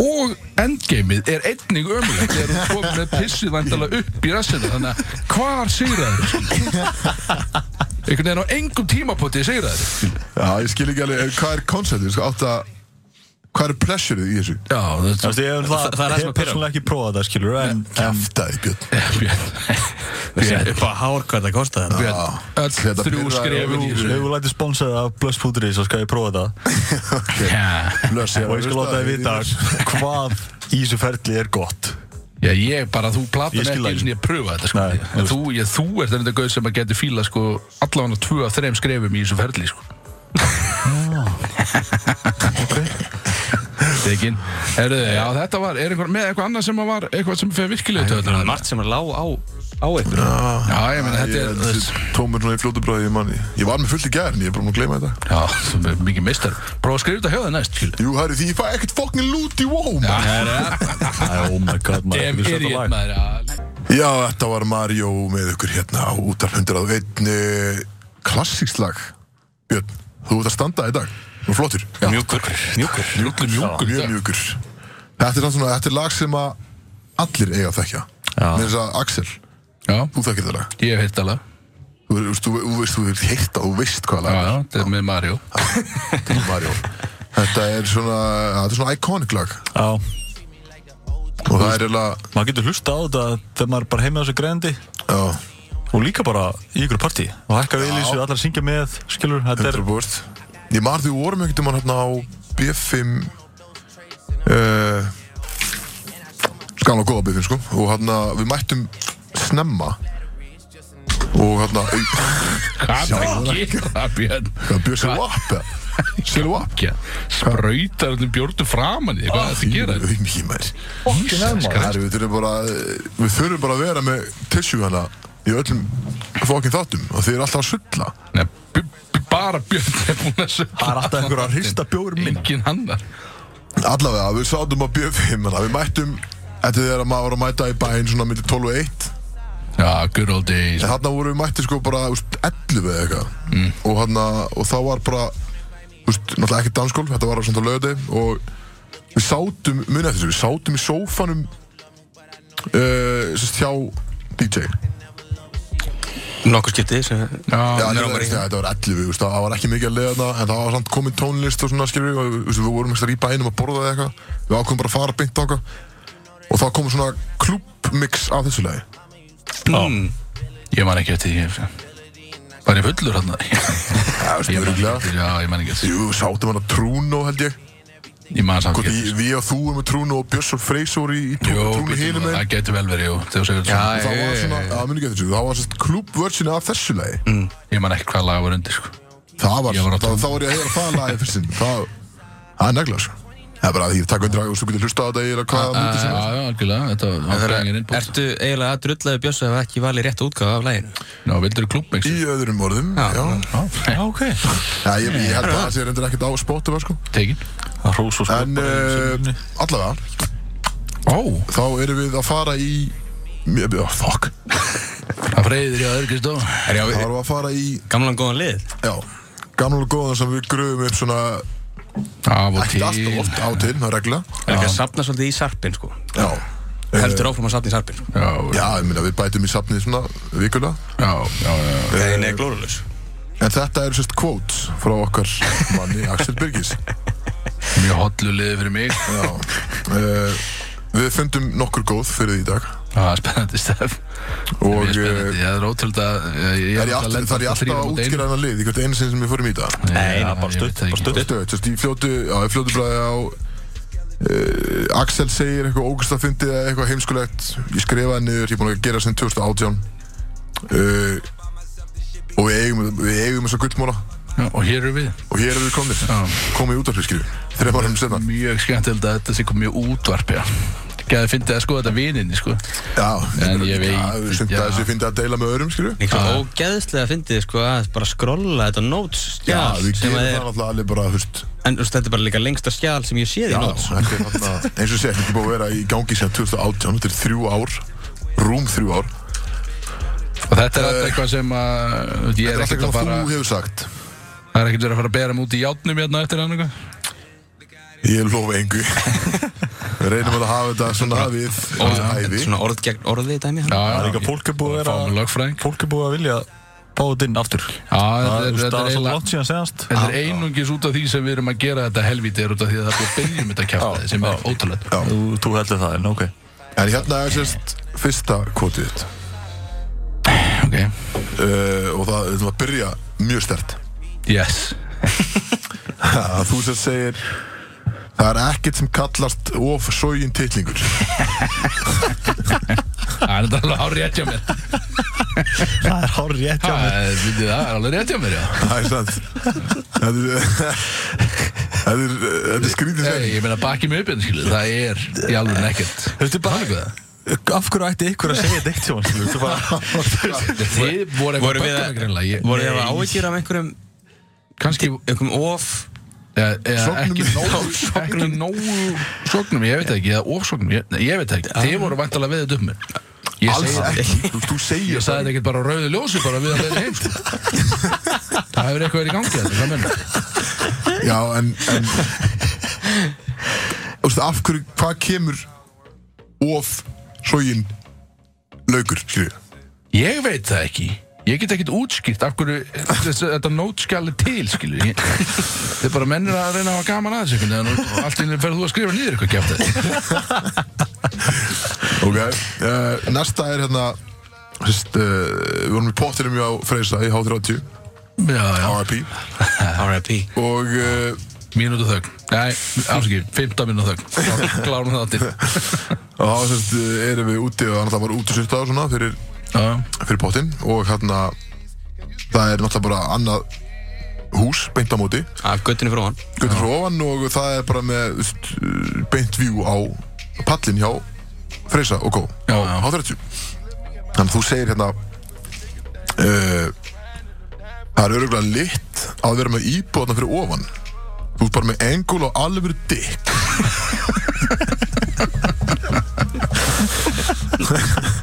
[SPEAKER 3] og endgameið er einnig ömulegt þegar þú komið með pissið vandala upp í rassinu þannig að hvar sigra þér einhvern veginn á engum tímapóti sigra þér
[SPEAKER 1] Já, ég skil ekki alveg, eh, hvað er konceptið, sko, átt að Hvað er pressureið í þessu?
[SPEAKER 3] já,
[SPEAKER 4] Þú
[SPEAKER 3] þetta
[SPEAKER 4] veist, ég hef
[SPEAKER 2] það er það sem
[SPEAKER 4] hef
[SPEAKER 2] að pirra.
[SPEAKER 4] persónulega ekki prófað það, skilur En, en
[SPEAKER 1] Kæftæði, Björn
[SPEAKER 3] er björn
[SPEAKER 2] Upp á hár hvað það kostaði þetta.
[SPEAKER 3] björn, öll
[SPEAKER 1] Þetta
[SPEAKER 3] þrjú
[SPEAKER 1] pirrar
[SPEAKER 3] skrefin í
[SPEAKER 4] ef
[SPEAKER 3] þessu
[SPEAKER 4] þú lætið sponsað af Blöss Pútri þá skal ég prófa það
[SPEAKER 3] já
[SPEAKER 1] Blöss,
[SPEAKER 4] og ég skal láta þið vita hvað í þessu ferli er gott
[SPEAKER 3] Já, ég bara, þú
[SPEAKER 4] Ég
[SPEAKER 3] platar ekki
[SPEAKER 4] skil það
[SPEAKER 3] eins og ég pröfa þetta, sko.
[SPEAKER 4] Nei, þú
[SPEAKER 3] en
[SPEAKER 4] veist.
[SPEAKER 3] þú, ég, þú ert þetta gauð sem að geti fíla, sko, allavega tvö af þreim skrefum í þessu ferli, sko.
[SPEAKER 4] Ah,
[SPEAKER 3] Tekin. Herðu, já, þetta var, er einhver, með eitthvað annað sem að var, eitthvað sem fer virkilega til
[SPEAKER 2] Það er
[SPEAKER 3] þetta.
[SPEAKER 2] margt sem er lág á, á ykkur.
[SPEAKER 3] Já, ég meina, þetta er, þú veist,
[SPEAKER 1] Tómur svona í fljótu bræði, ég manni Ég var með fullt í gæðin, ég er bara múin að gleyma þetta
[SPEAKER 3] já, þú er mikið mistar. Prófa að skrifa þetta hjá það næst, skil.
[SPEAKER 1] Jú, herri, því ég fæ ekkert fokkin lút í wow, maður
[SPEAKER 4] Æ, oh my god, maður
[SPEAKER 3] Dem
[SPEAKER 4] við
[SPEAKER 3] er
[SPEAKER 4] setjum
[SPEAKER 3] ég,
[SPEAKER 4] lag.
[SPEAKER 3] maður, já.
[SPEAKER 1] Já, þetta var Mario með ykkur hérna á útarfundur að veitni klassíkslag Björn, þú ert að standa í dag Nú flottur
[SPEAKER 2] Mjúkur. Mjúkur.
[SPEAKER 3] Mjúkur, mjúkur,
[SPEAKER 1] Mjög
[SPEAKER 3] mjúkur.
[SPEAKER 1] mjúkur Þetta er samt svona, þetta er lag sem að allir eiga að þekkja Með þess að Axel,
[SPEAKER 3] Já,
[SPEAKER 1] þú þekkir þetta lag
[SPEAKER 3] ég hef hitt alveg.
[SPEAKER 1] Þú þú veist, þú þú veist, þú veist, heitt að þú veist hvað
[SPEAKER 3] Já,
[SPEAKER 1] lag
[SPEAKER 3] já, þetta er með Mario.
[SPEAKER 1] þetta er Mario Þetta er svona, þetta er svona iconic lag
[SPEAKER 4] Já,
[SPEAKER 1] Og það er eiginlega,
[SPEAKER 4] maður getur hlusta á þetta þegar maður er bara heima á þessu grendi
[SPEAKER 1] já,
[SPEAKER 4] og líka bara í ykkur partí og hækkar viðlýsir, allar að syngja með skilur, þetta er
[SPEAKER 1] 100% Ég marði við vorum einhvern veginn hérna á B5 uh, Skanlega góða B5 sko Og hérna við mættum snemma Og hérna
[SPEAKER 3] Hvað er að gera, Björn?
[SPEAKER 1] Björn sér upp Sér upp
[SPEAKER 3] Ekki, sprautar allir Björnu framan í þig, hvað er þetta að gera?
[SPEAKER 1] Auðmikið maður
[SPEAKER 3] Jesus
[SPEAKER 1] Herri, Við þurfum bara Við þurfum bara að vera með tissue hana Í öllum fokkin þáttum Og þið eru alltaf að sulla
[SPEAKER 3] Nei, b- b- bara Björn er búinn að sögla
[SPEAKER 4] það er alltaf einhver að hrista bjóður minn
[SPEAKER 3] Engin annar
[SPEAKER 1] Allavega, við sátum á B5 hana hérna, Við mættum Þetta er að maður var að mæta í bæinn svona millir 12 og 1
[SPEAKER 3] Já, good old days
[SPEAKER 1] En þarna vorum við mætti sko bara úst, 11 eða eitthvað og, þarna, og þá var bara úst, náttúrulega ekki danskól, þetta var samt á löði og við sátum munið eftir þessu, við sátum í sófanum uh, sérst hjá DJ
[SPEAKER 2] Nokkur skipti sem
[SPEAKER 1] Já,
[SPEAKER 3] Já,
[SPEAKER 1] ég,
[SPEAKER 2] var
[SPEAKER 1] veist,
[SPEAKER 2] í-
[SPEAKER 1] ja, þetta var 11, úst, það var ekki mikið að leiða þarna en það var samt komin tónlist og svona skilur og úst, við vorum ekki í bænum að borða eða eitthvað við ákveðum bara að fara beint á og þá kom svona klúbmix af þessu lagi
[SPEAKER 2] mm,
[SPEAKER 3] ég man ekki eftir því ég- Var ég fullur hann?
[SPEAKER 1] Já, veist,
[SPEAKER 3] Ég man ekki
[SPEAKER 1] örugglega.
[SPEAKER 3] eftir, já, ég man ekki eftir
[SPEAKER 1] Jú, sátum hann að trúnu held ég
[SPEAKER 3] því. Ég man samt
[SPEAKER 1] Hvort
[SPEAKER 3] ekki
[SPEAKER 1] ég-
[SPEAKER 3] eftir
[SPEAKER 1] við og þú erum með trúnu og Björns og Freys voru í, í trú-
[SPEAKER 3] Jó,
[SPEAKER 1] trúnu
[SPEAKER 3] býtum
[SPEAKER 1] hinum
[SPEAKER 3] við,
[SPEAKER 1] með
[SPEAKER 3] það getur vel verið, jú, þegar þú segir
[SPEAKER 2] Já,
[SPEAKER 3] þetta Eh,
[SPEAKER 1] Það var
[SPEAKER 2] já, já,
[SPEAKER 1] svona,
[SPEAKER 2] já, já.
[SPEAKER 1] það muni ekki eftir þessu, það var svona klubversion af þessu lagi
[SPEAKER 3] svona mm. Ég man ekki hvað laga var undir, sko
[SPEAKER 1] Það var,
[SPEAKER 3] Ég var á
[SPEAKER 1] þá
[SPEAKER 3] trúnu.
[SPEAKER 1] þá var ég að heyra það lagi fyrst sinn Það það er negla, sko Það er bara að ég taka undir að og svo getur hlusta á þetta eða hvað
[SPEAKER 3] Já,
[SPEAKER 1] mútið sem
[SPEAKER 3] Eh, já, algjörlega, þetta var gangin
[SPEAKER 2] Þegar-
[SPEAKER 3] innbútt
[SPEAKER 2] Ertu eiginlega að drullaði Bjössu ef ekki valið rétt útgáð af læginu?
[SPEAKER 3] Ná, vildur þú klubbmix?
[SPEAKER 1] Í öðrum orðum, já,
[SPEAKER 2] Já.
[SPEAKER 4] já, ok,
[SPEAKER 1] Já, ég, ég held að það sé reyndir ekkert á spottum, sko
[SPEAKER 3] Tekin
[SPEAKER 4] það hrós og
[SPEAKER 1] En
[SPEAKER 4] skopa
[SPEAKER 1] uh, allavega,
[SPEAKER 3] Ó,
[SPEAKER 1] þá erum við að fara í Mér- oh, Fuck
[SPEAKER 3] það freyðir ég að örgist á
[SPEAKER 1] Þá
[SPEAKER 2] Er ég á
[SPEAKER 1] erum við að fara í,
[SPEAKER 2] gamlan góðan lið?
[SPEAKER 1] já Gamla og góðan sem við gröfum upp svona
[SPEAKER 3] Af og
[SPEAKER 1] Ekkert
[SPEAKER 3] til
[SPEAKER 1] alltaf oft á til, það er regla
[SPEAKER 2] Er ekki að sapna svolítið í sarpin sko?
[SPEAKER 1] Já
[SPEAKER 2] Heldur áfram að sapna í sarpin sko?
[SPEAKER 3] Já, já,
[SPEAKER 1] Já, ég meina, við bætum í safnið svona vikulega
[SPEAKER 3] já, já
[SPEAKER 2] Þegar er glórulegs
[SPEAKER 1] En þetta eru sérst quotes frá okkar manni Axel Birgis
[SPEAKER 3] Mjög hotlu liði fyrir mig
[SPEAKER 1] Já uh, Við fundum nokkur góð fyrir því í dag
[SPEAKER 3] Það er spennandi stef
[SPEAKER 1] Og
[SPEAKER 3] Mjög
[SPEAKER 1] eh,
[SPEAKER 3] spennandi, ég er ótrúld að ég- ég
[SPEAKER 1] er ég
[SPEAKER 3] náttúrulega
[SPEAKER 1] alltaf,
[SPEAKER 3] lenda
[SPEAKER 1] þar er ég alltaf
[SPEAKER 3] alltaf þrír á
[SPEAKER 1] að
[SPEAKER 3] móti
[SPEAKER 1] útskýra hennar lið Í hvert einu sinni sem við fórum í þetta
[SPEAKER 3] einum.
[SPEAKER 2] Nei,
[SPEAKER 3] Já,
[SPEAKER 2] bara
[SPEAKER 3] ég veit það
[SPEAKER 4] stutt, bara
[SPEAKER 3] ekki.
[SPEAKER 4] stutt.
[SPEAKER 1] Stöðu, sérst, ég fljótu, já, ég fljótu bara á Uh, Axel segir eitthvað ógust að fyndi eða eitthvað heimskulegt ég skrifaði niður, ég er búin að gera sem 2018 uh, og við eigum við eigum þessa gullmóla
[SPEAKER 3] Já, Og hér eru við
[SPEAKER 1] og hér erum við komnir komið út af því skrifu, þrefa hann senna
[SPEAKER 3] Mjög skemmtilegt að þetta sé komið útvarp, já Gæði fyndið að skoða þetta vininni, sko
[SPEAKER 1] Já,
[SPEAKER 3] En ég veit-
[SPEAKER 1] Sint að
[SPEAKER 3] já.
[SPEAKER 1] þessi fyndi að deila með öðrum, skilju
[SPEAKER 2] Líka ógeðslega fyndið sko að bara skrolla þetta notes
[SPEAKER 1] Já,
[SPEAKER 2] skjál
[SPEAKER 1] við
[SPEAKER 2] sem
[SPEAKER 1] gerum það
[SPEAKER 2] að er,
[SPEAKER 1] náttúrulega alveg bara, þú veist
[SPEAKER 2] en þú veist, þetta er bara líka lengsta skjál sem ég séð í
[SPEAKER 1] Já,
[SPEAKER 2] notes
[SPEAKER 1] þetta er þarna, eins og sé, þetta er búið að vera í gangi sem 2018, þetta er þrjú ár Rúm þrjú ár
[SPEAKER 3] Og þetta er alltaf eitthvað sem að Ég
[SPEAKER 1] Eh, Þetta
[SPEAKER 3] er
[SPEAKER 1] er allt
[SPEAKER 3] ekkert að
[SPEAKER 1] eitthvað
[SPEAKER 3] fara
[SPEAKER 1] þú hefur sagt
[SPEAKER 3] Það er ekkert verið að fara að bera mig út í játnum hérna eftir hann eitthvað
[SPEAKER 1] Ég lofa engu Við reynum að hafa þetta svona við
[SPEAKER 2] Orð,
[SPEAKER 1] Ævi
[SPEAKER 2] svona orð gegn orði í dæmi
[SPEAKER 3] Já,
[SPEAKER 2] hann.
[SPEAKER 4] það er
[SPEAKER 3] já,
[SPEAKER 4] líka fólk er búið að
[SPEAKER 3] fáum við
[SPEAKER 4] vera
[SPEAKER 3] lögfræðing
[SPEAKER 4] fólk er búið að vilja fá þetta inn aftur
[SPEAKER 3] Já, þetta
[SPEAKER 4] það
[SPEAKER 3] er-
[SPEAKER 4] er
[SPEAKER 3] þetta er
[SPEAKER 4] það svo
[SPEAKER 3] eiginlega
[SPEAKER 4] langt síðan senast
[SPEAKER 3] Þetta er einungis út af því sem við erum að gera þetta helvítið er út af því að það er búið að byrjum þetta kjátaði sem er ótrúlega.
[SPEAKER 4] þú, þú heldur það, en ok
[SPEAKER 1] En hérna er sérst fyrsta kvotið þitt
[SPEAKER 3] Ok,
[SPEAKER 1] uh, Og það, við ætlum að byrja mjög stert
[SPEAKER 3] yes.
[SPEAKER 1] að þú sem segir Það er ekkert sem kallast of sógin titlingur
[SPEAKER 3] Það er þetta alveg hár rétt hjá mér.
[SPEAKER 4] það er hár rétt hjá
[SPEAKER 3] Það
[SPEAKER 4] mér
[SPEAKER 3] er myndið það, er alveg rétt hjá mér, já.
[SPEAKER 1] Það er sant Þetta er Þetta er, þetta er skrítið
[SPEAKER 3] Hey,
[SPEAKER 1] segning
[SPEAKER 3] ég meina baki mig upp hérna, skilu, það er í alveg nekkert.
[SPEAKER 4] Veistu bara, af hverju ætti ykkur að segja þetta eitt hjá hann? sko- bara,
[SPEAKER 3] Þið voru eitthvað
[SPEAKER 2] voru við
[SPEAKER 3] böggum
[SPEAKER 2] að-
[SPEAKER 3] greinlega. Ég-
[SPEAKER 2] voru ég
[SPEAKER 3] Nei.
[SPEAKER 2] að áhyggjur af einhverjum
[SPEAKER 3] Kannski,
[SPEAKER 2] einhverjum of
[SPEAKER 3] eða- eða
[SPEAKER 1] Sognum
[SPEAKER 3] ekki
[SPEAKER 1] í-
[SPEAKER 3] nógu, ekki nógu sognum, ég veit það ekki, eða ofsognum, ég, nei, ég veit það ekki. Þið voru vantalega við þetta upp mér. Ég segi
[SPEAKER 1] Alls
[SPEAKER 3] það.
[SPEAKER 1] ekki Þú, þú segir
[SPEAKER 3] Ég sagði þetta ekkert bara á rauðu ljósi bara við að leiða heim sko. Það hefur eitthvað verið í gangi þetta, hvað menna?
[SPEAKER 1] Já en, en Þú veist af hverju Hvað kemur Of sógin Laugur skilur
[SPEAKER 3] Ég veit það ekki Ég get ekkert útskýrt af hverju þessi, þetta nótskjali til, skilur ég. Þið bara mennir að reyna að hafa gaman að þessu einhvern veginn og allt í henni ferð þú að skrifa niður eitthvað kæft
[SPEAKER 1] Ok uh, Næsta Eh, er hérna Sist, uh, við vorum í pottinum hjá Freysa í H30
[SPEAKER 3] Já, já,
[SPEAKER 1] RIP
[SPEAKER 2] R.I.P.
[SPEAKER 1] og uh,
[SPEAKER 3] mínútu þögn Nei, afsakið, 15 mínútu þögn Klárum það til
[SPEAKER 1] og þá sérst, uh, erum við úti og hann var út í sérstað og svona fyrir,
[SPEAKER 3] Já,
[SPEAKER 1] fyrir pottin og hérna það er náttúrulega bara annað hús beint á móti
[SPEAKER 2] Af göttinu frá hann
[SPEAKER 1] göttur frá ofan og það er bara með þú veist, uh, beint view á pallin hjá Freysa og Kó
[SPEAKER 3] Já,
[SPEAKER 1] á
[SPEAKER 3] já.
[SPEAKER 1] H30 þannig að þú segir hérna uh, það er öruglega lit að vera með íbúðna fyrir ofan þú ert bara með engul og alveg dick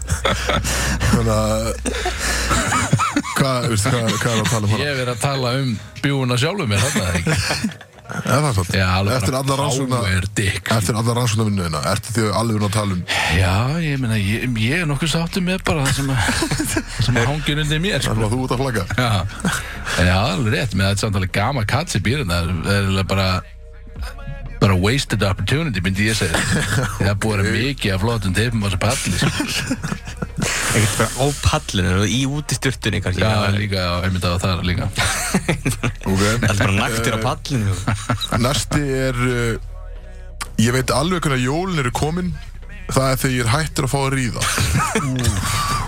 [SPEAKER 1] þannig að hvað, veistu, hvað, hvað er að tala um hana?
[SPEAKER 3] ég hef verið að tala um bjúuna sjálfum mér þarna eða ekki?
[SPEAKER 1] Er það satt?
[SPEAKER 3] Já, alveg
[SPEAKER 1] Eftir
[SPEAKER 3] bara
[SPEAKER 1] alla rannsókna
[SPEAKER 3] power dick.
[SPEAKER 1] Eftir alla rannsóknarvinnuðina, ertu því alveg að tala um
[SPEAKER 3] Já, ég meina, ég, ég er nokkuð sáttur með bara það sem, að- það sem hangir undir mér
[SPEAKER 1] Það
[SPEAKER 3] sko.
[SPEAKER 1] var þú út að flagga
[SPEAKER 3] Já, já, alveg rétt með þetta samtalið gama kats í býrinn það er- það er eiginlega bara bara wasted opportunity, myndi ég segja það er búið að vera mikið af flottum teipum á þessu palli sko.
[SPEAKER 2] Ekkert bara á pallinu og í útistyrtunni kannski
[SPEAKER 3] Já, líka, já, einmitt á það líka
[SPEAKER 1] okay.
[SPEAKER 2] Allt bara naktir á pallinu
[SPEAKER 1] Næsti er uh, Ég veit alveg hvernig að jólin eru komin Það er þegar ég er hættur að fá að ríða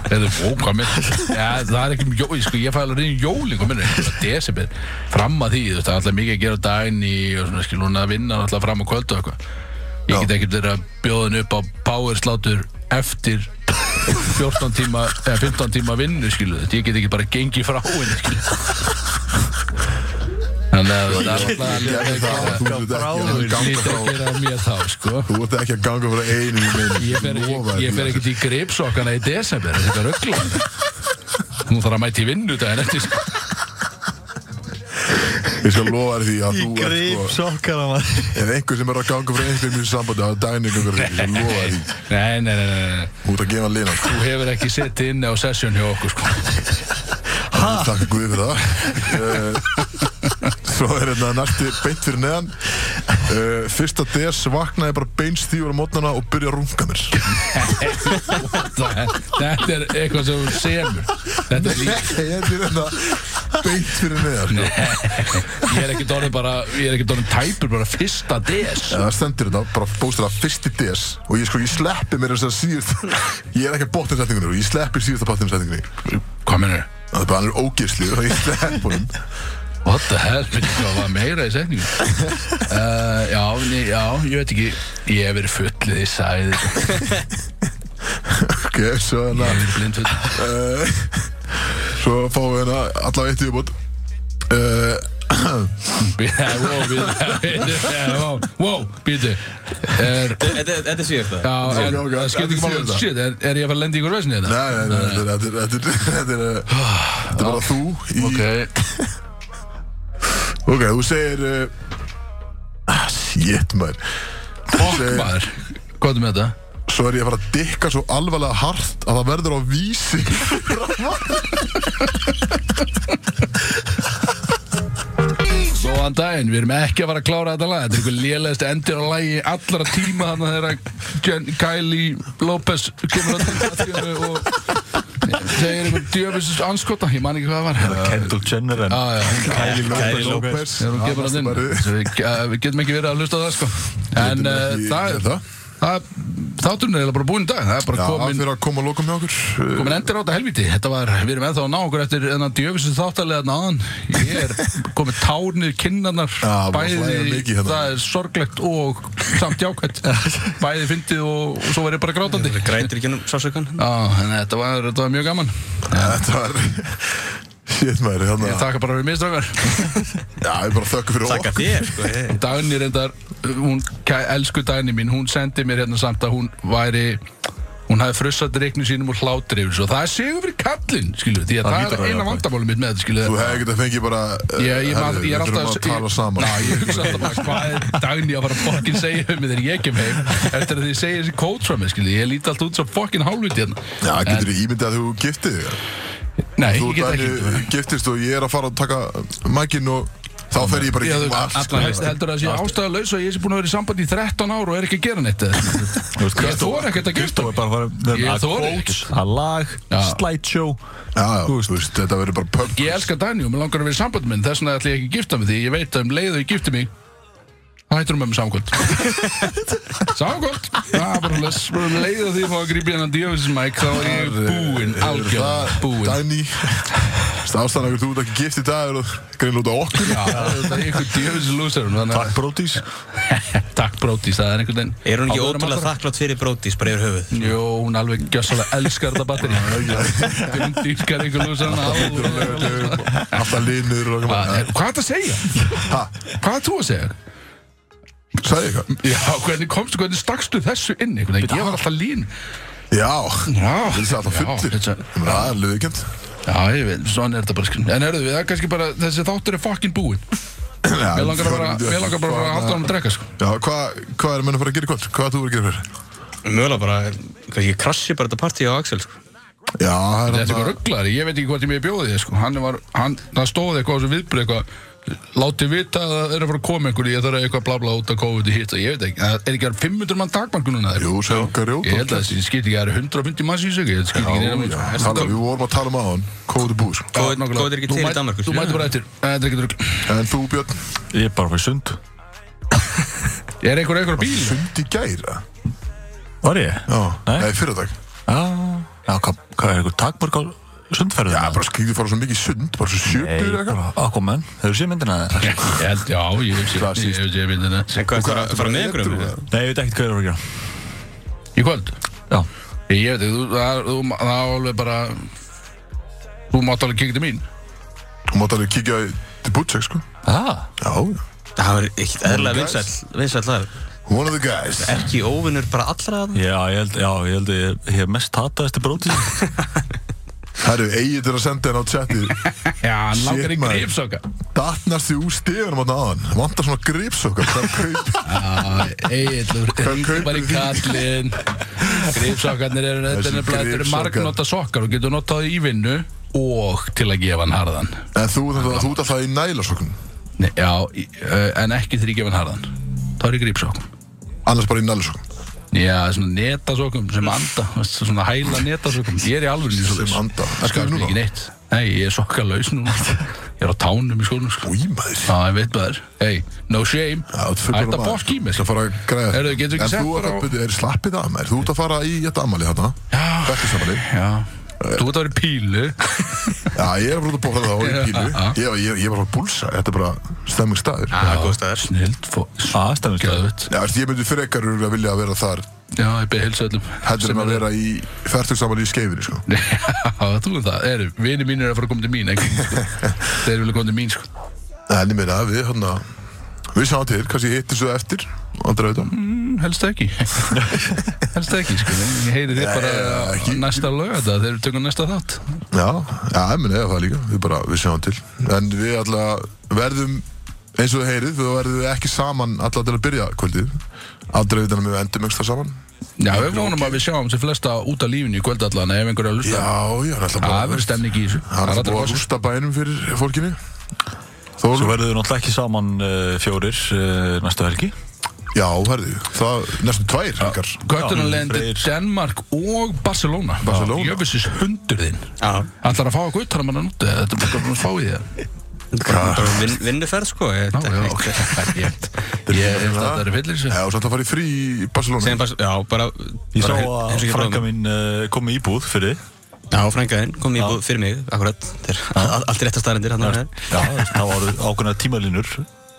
[SPEAKER 3] Það er bóka mér Já, það er ekki um jóli, sko, ég fæ alveg reyðin jóli kom minni, desember, fram að því þú veist, það er alltaf mikið að gera á daginn í og svona, skil, hún að vinna alltaf fram á kvöldu og eitthvað Ég get ekkert verið að bjóða henni upp á power slátur eftir 14 tíma, eða 15 tíma vinnu, skilu þetta, ég get ekki bara gengið frá henni, skilu Þannig að það er alltaf
[SPEAKER 1] Ég
[SPEAKER 3] alveg
[SPEAKER 1] gerði það, Þú ert ekki að ganga
[SPEAKER 3] að gera lítið að
[SPEAKER 1] frá
[SPEAKER 3] gera mér þá, sko
[SPEAKER 1] Þú ert ekki að ganga frá einu í meinu
[SPEAKER 3] Ég fer ekki, ég fer ekki í gripsokkana í desember, þetta er rugglum. Nú þarf að mæti vinnu daginn eftir. sko.
[SPEAKER 1] Ég skal lofa þér því að
[SPEAKER 4] Í
[SPEAKER 1] þú
[SPEAKER 4] greip
[SPEAKER 1] ert sko
[SPEAKER 4] sokkana maður
[SPEAKER 1] Ef einhver sem er að ganga frá einhverjum í þessu sambandi Það er daginn einhver Ég skal lofa þér því
[SPEAKER 3] Nei, nei, nei, nei, nei.
[SPEAKER 1] Þú ert að gefa sko. lina
[SPEAKER 3] Þú hefur ekki setið inni á sessjón hjá okkur, sko.
[SPEAKER 1] Takk Guði fyrir það Eh, Svo er þetta næsti beint fyrir neðan Eh, Fyrsta des vaknaði bara beinstífur á mótnana og byrja að runga mér
[SPEAKER 3] Það- Þetta er eitthvað sem þú semur. Þetta er líka.
[SPEAKER 1] Ég er þetta beint fyrir neðan sko.
[SPEAKER 3] Ég er ekki dónið bara, ég er ekki dónið tæpur bara fyrsta des.
[SPEAKER 1] Það stendur þetta, bara bóstur það fyrsti des Og ég sko, ég sleppi mér þess að síðust Ég er ekki að bóttin setningunni og ég sleppi síðust að bóttin setningunni
[SPEAKER 3] Hvað mennur?
[SPEAKER 1] Það er bara hann er ógisli og ég slepp honum
[SPEAKER 3] What the hell, minn ég hvað var meira í setningu? Uh, já, nei, já, ég veit ekki, ég hef verið fullið í sæði, ég
[SPEAKER 1] Ok, svo hérna
[SPEAKER 3] hef verið blindfull.
[SPEAKER 1] Eh, Svo fáum við hérna allavega eitt í uppbót Uh,
[SPEAKER 3] Við- Wow, býtu Wow, wow, býtu Er
[SPEAKER 2] Þetta þetta er síðast það
[SPEAKER 3] Já, er,
[SPEAKER 1] ok,
[SPEAKER 3] það
[SPEAKER 1] þetta
[SPEAKER 3] skiptir ekki
[SPEAKER 1] er
[SPEAKER 3] máli
[SPEAKER 1] síðasta.
[SPEAKER 3] Shit, er, er ég að fara að lenda í ykkur vesni þetta?
[SPEAKER 1] Nei, nei, nei, þetta er, þetta er, þetta er, þetta er, þetta er bara þú í,
[SPEAKER 3] Ok,
[SPEAKER 1] ok, þú segir, uh, ah, shit maður, þú segir,
[SPEAKER 3] maður Hvað er með þetta?
[SPEAKER 1] svo er ég að fara að dikka svo alvarlega hart að það verður á vísi,
[SPEAKER 3] Góðan daginn, við erum ekki að fara að klára þetta lag Þetta er ykkur lélegast endur á lagi allra tíma Þannig að þeirra Jen, Kylie Lopez kemur að tíma og segir ykkur djöfisins anskota Ég man ekki hvað það var Já,
[SPEAKER 4] Kendall Jenner en
[SPEAKER 3] já, hún-
[SPEAKER 2] Kylie Lopez
[SPEAKER 1] López,
[SPEAKER 3] þegar hún kemur að inn Svo við, uh, við getum ekki verið að hlusta á það sko
[SPEAKER 1] Getum
[SPEAKER 3] En uh,
[SPEAKER 1] ekki
[SPEAKER 3] það,
[SPEAKER 1] gert það.
[SPEAKER 3] það, það Þátturinn er eiginlega bara búinn í dag Það er
[SPEAKER 1] Já,
[SPEAKER 3] bara
[SPEAKER 1] það
[SPEAKER 3] komin,
[SPEAKER 1] fyrir að koma að lokum hjá okkur, uh,
[SPEAKER 3] komin endir á þetta helviti Þetta var, við erum ennþá að ná okkur eftir Enna djöfisins þáttalega náðan Ég er komin tárnir kinnarnar
[SPEAKER 1] Já, búin að hlæja
[SPEAKER 3] Bæði,
[SPEAKER 1] mikið hérna.
[SPEAKER 3] það er sorglegt og samt jákvæmt Bæði fyndið og, og svo var ég bara grátandi Já,
[SPEAKER 2] Grætir ekki um sásökan
[SPEAKER 3] þannig að þetta var, þetta var mjög gaman
[SPEAKER 1] Eh, þetta var, shit maður, hérna,
[SPEAKER 3] Ég
[SPEAKER 1] já,
[SPEAKER 3] taka bara við miströkar
[SPEAKER 1] ég bara þökkum fyrir
[SPEAKER 2] Takk
[SPEAKER 1] okkur,
[SPEAKER 2] að þér sko ég-
[SPEAKER 3] Dagni reyndar, hún, kæ- elsku Dagni mín, hún sendi mér hérna samt að hún væri hún hafði frussat reiknum sínum og hlátri yfir þessu og það er sigur fyrir kallinn, skilu, því að
[SPEAKER 4] Það
[SPEAKER 3] það,
[SPEAKER 4] hlýtur að
[SPEAKER 3] er eina
[SPEAKER 4] vera
[SPEAKER 3] vandamálið mitt með þetta, skilu
[SPEAKER 1] þú hefði getað fengið bara, uh,
[SPEAKER 3] Ég, ég, man, ég er
[SPEAKER 1] við
[SPEAKER 3] alltaf
[SPEAKER 1] þurfum að tala
[SPEAKER 3] ég-
[SPEAKER 1] saman,
[SPEAKER 3] Ná, ég hugsa alltaf bara hvað er Dagný að fara að fokkin segja um mig þegar ég kem heim Eftir að því segja þessi kóts frá mig, skilji Ég líti alltaf út svo fokkin hálfviti hérna
[SPEAKER 1] já, getur þú ímyndið að þú giftið þig,
[SPEAKER 3] Nei,
[SPEAKER 1] þú
[SPEAKER 3] ég get
[SPEAKER 1] dæmi
[SPEAKER 3] ekki
[SPEAKER 1] giftist og ég er að fara að taka mækin og Þá fer ég bara
[SPEAKER 3] Ég
[SPEAKER 1] ekki
[SPEAKER 3] hefði
[SPEAKER 1] um allt
[SPEAKER 3] allan heldur
[SPEAKER 1] sko.
[SPEAKER 3] heldur að það sé ástæða laus og ég sé búin að vera í sambandi í 13 ár og er ekki að gera neitt eða? Ég þor ekkert að gera
[SPEAKER 4] Kristó er bara að fara
[SPEAKER 3] Ég
[SPEAKER 4] að
[SPEAKER 3] þori
[SPEAKER 4] quotes,
[SPEAKER 3] ekkert.
[SPEAKER 4] að lag,
[SPEAKER 3] Já.
[SPEAKER 4] slideshow
[SPEAKER 1] Já, já, þú veist, þetta verður bara pub
[SPEAKER 3] Ég elska Dani og mér langar að vera í sambandi minn Þess vegna ætla ég ekki að gifta mig því Ég veit að um leið og ég gifti mig Það hættur hún með mig samkvöld Samkvöld Það er bara les Bara um leið og því ég fá að grípa hennan djöfismæk Þá er ég búinn Algjörn Búinn
[SPEAKER 1] Dæni Ástæðan að þú ert ekki gift í dag er greinlega út á okkur
[SPEAKER 3] Já, það er ykkur djöfis lúsarum Þannig
[SPEAKER 4] Takk Brodís
[SPEAKER 3] að Takk brótis Það er einhvern veginn
[SPEAKER 2] Er hún ekki
[SPEAKER 3] Áður en
[SPEAKER 2] ótrúlega
[SPEAKER 3] maður þarf-
[SPEAKER 2] þakklátt fyrir brótis bara yfir höfuð?
[SPEAKER 3] Jó, hún alveg gjössalega elskar þetta batteri Hún dýrkar ykkur lúsarum
[SPEAKER 1] Alltaf linur og
[SPEAKER 3] Hvað
[SPEAKER 1] eitthvað
[SPEAKER 3] er þetta að segja?
[SPEAKER 1] Ha,
[SPEAKER 3] Hvað er þú að segja?
[SPEAKER 1] sagði ég eitthvað?
[SPEAKER 3] Já, hvernig komstu, hvernig stakstu þessu inn? einhvern veginn? Ég var alltaf lín
[SPEAKER 1] Já,
[SPEAKER 3] Já,
[SPEAKER 1] þetta er alltaf
[SPEAKER 3] já,
[SPEAKER 1] fullir
[SPEAKER 3] þetta-
[SPEAKER 1] Það er alveg viðkjönd
[SPEAKER 3] Já, ég veit, svona er þetta bara skrifn En erðu við, það er kannski bara, þessi þáttur er fucking búinn Mér langar bara, mér langar bara að halda hann að drekka, sko
[SPEAKER 1] Já, hvað hva er menn að fara að gera í kvöld? Hvað þú verður að gera fyrir?
[SPEAKER 2] Mögulega bara, kannski krassi bara þetta partí á Axel sko.
[SPEAKER 1] Já, það er
[SPEAKER 3] Þetta er
[SPEAKER 1] hann
[SPEAKER 3] eitthvað
[SPEAKER 1] að
[SPEAKER 3] rugglari, ég veit ekki hvort ég mér bjóði þér, sko Hann var, hann, það stóði eitthvað á þessu viðbrið eitthvað Láti vita að það er að fara að koma einhverju Ég þarf eitthvað bla bla út að COVID í hitt Ég veit ekki, það er ekki að 500 mann takmarku núna þeir
[SPEAKER 1] Jú, sjöngar, jú
[SPEAKER 3] Ég held að þessi skýt ekki, það eru 150 manns í sögu Ég skýt ekki neina mann,
[SPEAKER 1] Já,
[SPEAKER 3] sko
[SPEAKER 1] tala- Við vorum að tala um aðan Kóðu búð, sko
[SPEAKER 2] Kóð- kóð er ekki til
[SPEAKER 3] Þú
[SPEAKER 2] í
[SPEAKER 3] mæt-
[SPEAKER 2] Danmörku,
[SPEAKER 3] Þú
[SPEAKER 2] skilur
[SPEAKER 3] mæti
[SPEAKER 2] við?
[SPEAKER 3] bara eftir, Eh, þetta er ekkert rugl
[SPEAKER 1] En þú, Björn,
[SPEAKER 4] Ég er bara að fara í sund
[SPEAKER 3] Er einhver einhver á bíl?
[SPEAKER 1] fundi gæra
[SPEAKER 4] Var ég?
[SPEAKER 1] Já,
[SPEAKER 4] Nei.
[SPEAKER 1] nei, fyrirdag
[SPEAKER 4] Já Já, hvað hvað er eitthvað takmörk á sundferðinu?
[SPEAKER 1] Já, bara skrítið fara svo mikið í sund, bara svo
[SPEAKER 4] Nei,
[SPEAKER 1] sjöpjur
[SPEAKER 4] bara Aquaman Hefur séð myndina? það?
[SPEAKER 3] Ég held, já, ég hef séð- ég hef séð myndina
[SPEAKER 2] En hvað, ertu að fara með
[SPEAKER 3] um
[SPEAKER 1] um
[SPEAKER 2] einhverjum? eða?
[SPEAKER 4] Nei, ég veit ekkert hvað ég er að fara að
[SPEAKER 3] Í kvöld?
[SPEAKER 4] gera Já
[SPEAKER 3] Ég veit ekki, þú, það, þú, það er alveg bara Þú mátt alveg kíkja til mín
[SPEAKER 1] Þú mátt alveg kíkja í- til Butchek, sko
[SPEAKER 4] Ah,
[SPEAKER 1] Já, já
[SPEAKER 2] Það var ekkert eðlilega
[SPEAKER 1] Guys.
[SPEAKER 2] vinsæll, vinsæll þar
[SPEAKER 1] One of the guys
[SPEAKER 2] Ekki óvinnur bara allra þarna?
[SPEAKER 4] já, ég held, já, ég held að ég, ég hef mest hataðist í brótið
[SPEAKER 1] Herru, eigið er að senda henn á chati
[SPEAKER 3] Já, hann langar
[SPEAKER 1] Shit,
[SPEAKER 3] í
[SPEAKER 1] maður.
[SPEAKER 3] gripsoka
[SPEAKER 1] Datnast því úr stegunum á aðan Vantar svona gripsokkar Hvað kaup
[SPEAKER 3] Egilur,
[SPEAKER 1] kaupir
[SPEAKER 3] ringi bara í
[SPEAKER 1] þú?
[SPEAKER 3] kallinn Gripsokarnir eru
[SPEAKER 1] Þessi
[SPEAKER 3] þetta er nefnilega- Þetta eru
[SPEAKER 1] gripsokar.
[SPEAKER 3] margnóta sokkar og getur notað í vinnu og til að gefa hann harðan
[SPEAKER 1] En þú, þú, þú ert alltaf í nælasokkum
[SPEAKER 3] Nei, Já, í- ö, en ekki þegar ég gefa hann harðan Það er í gripsokkum
[SPEAKER 1] Annars bara í nælasokkum
[SPEAKER 3] Já, svona netasokkum sem anda veist, Svona hæla netasokkum Ég er í alveg nýtt
[SPEAKER 1] Sem anda.
[SPEAKER 3] Það
[SPEAKER 1] Ertu
[SPEAKER 3] skapir
[SPEAKER 1] núna?
[SPEAKER 3] ekki neitt Nei, ég er sokkalaus núna Ég er á tánum í skólum sko.
[SPEAKER 1] Új maður
[SPEAKER 3] Já, ég veit maður Hey, no shame
[SPEAKER 1] Já, þú ert fullur
[SPEAKER 3] Ætta
[SPEAKER 1] maður.
[SPEAKER 3] bólk í mig
[SPEAKER 1] Skal
[SPEAKER 3] sko.
[SPEAKER 1] fara að græða
[SPEAKER 3] Heyrðu, getur ekki
[SPEAKER 1] En
[SPEAKER 3] sett
[SPEAKER 1] þú ert
[SPEAKER 3] bara á-
[SPEAKER 1] að byrja, er slappið af mér Þú ert að fara í þetta amali þarna
[SPEAKER 3] Já,
[SPEAKER 1] Bekkisamali
[SPEAKER 3] já Þú ert að vera í pílu
[SPEAKER 1] Já, ég er að fara út að bóla það á í
[SPEAKER 3] Já,
[SPEAKER 1] pílu
[SPEAKER 3] já.
[SPEAKER 1] Ég, ég, ég var að búlsa, þetta er bara stemmingsstaður
[SPEAKER 2] Já, góð staðar
[SPEAKER 3] Snild, fóð
[SPEAKER 4] Ah, stemmist
[SPEAKER 3] Gjöðvöld
[SPEAKER 1] Já, veist, ég myndi frekar að vilja að vera þar
[SPEAKER 3] Já, ég beði helsa öllum
[SPEAKER 1] Heldur
[SPEAKER 3] sem
[SPEAKER 1] en að
[SPEAKER 3] eru-
[SPEAKER 1] vera í færtugsamali í skeifinu, sko
[SPEAKER 3] Já, þú er það Eru, vini mínir er að fara að koma til mín ekki? sko. Þeir vilja koma til mín sko.
[SPEAKER 1] En ég meina, við hérna Við sjáum til, kannski hittir svo eftir Andra auðvitað
[SPEAKER 3] Mm, Helst ekki Helst ekki, sko Ég heyri þér bara
[SPEAKER 1] já,
[SPEAKER 3] á
[SPEAKER 1] ekki-
[SPEAKER 3] næsta lögata Þeir eru tökum næsta þátt
[SPEAKER 1] Já, já, ég meni það líka, við bara, við sjáum til En við alltaf verðum, eins og þið heyrið, við verðum við ekki saman alltaf til að byrja kvöldið Aldrei við þannig að við endum yngst það saman
[SPEAKER 3] Já, við vonum að við sjáum sem flesta út af lífinu í kvöldallan ef einhverja
[SPEAKER 1] Já,
[SPEAKER 3] hlusta.
[SPEAKER 1] já, hann ætla
[SPEAKER 3] Það
[SPEAKER 1] bara
[SPEAKER 3] er verið stemning í þessu.
[SPEAKER 1] Hann
[SPEAKER 3] Það
[SPEAKER 1] ætla
[SPEAKER 3] er allra
[SPEAKER 1] bara að
[SPEAKER 3] kosið.
[SPEAKER 1] rústa bænum fyrir fólkinu
[SPEAKER 4] Svo
[SPEAKER 1] Þóru,
[SPEAKER 4] verður þau náttúrulega ekki saman uh, fjórir uh, næstu helgi
[SPEAKER 1] já, herðu, það næstum tvær helgar
[SPEAKER 3] Göttunan
[SPEAKER 4] Já,
[SPEAKER 3] lendi
[SPEAKER 4] Freyr.
[SPEAKER 3] Danmark og Barcelona.
[SPEAKER 1] Barcelona.
[SPEAKER 3] Jöfisins hundur þinn.
[SPEAKER 2] Já,
[SPEAKER 3] Ætlar að fá að guttar að manna núti. Þetta er bara að fá í það.
[SPEAKER 2] bara vin, vinnuferð sko ég-
[SPEAKER 3] Já, já, ok. Ég ég held að þetta er fyllir sér.
[SPEAKER 1] Já, og samt að fara í frí í Barcelona
[SPEAKER 2] Sem bara, já, bara
[SPEAKER 4] Ég sá
[SPEAKER 2] bara-
[SPEAKER 4] að
[SPEAKER 2] eins og ég
[SPEAKER 4] frænka
[SPEAKER 2] bráðum.
[SPEAKER 4] mín uh, kom í íbúð fyrir þig.
[SPEAKER 2] Já, frænkaðinn kom í búð fyrir mig, akkurat Þeir, all- Allt í réttar staðarindir hann er
[SPEAKER 4] Já, það var ákveðna tímalínur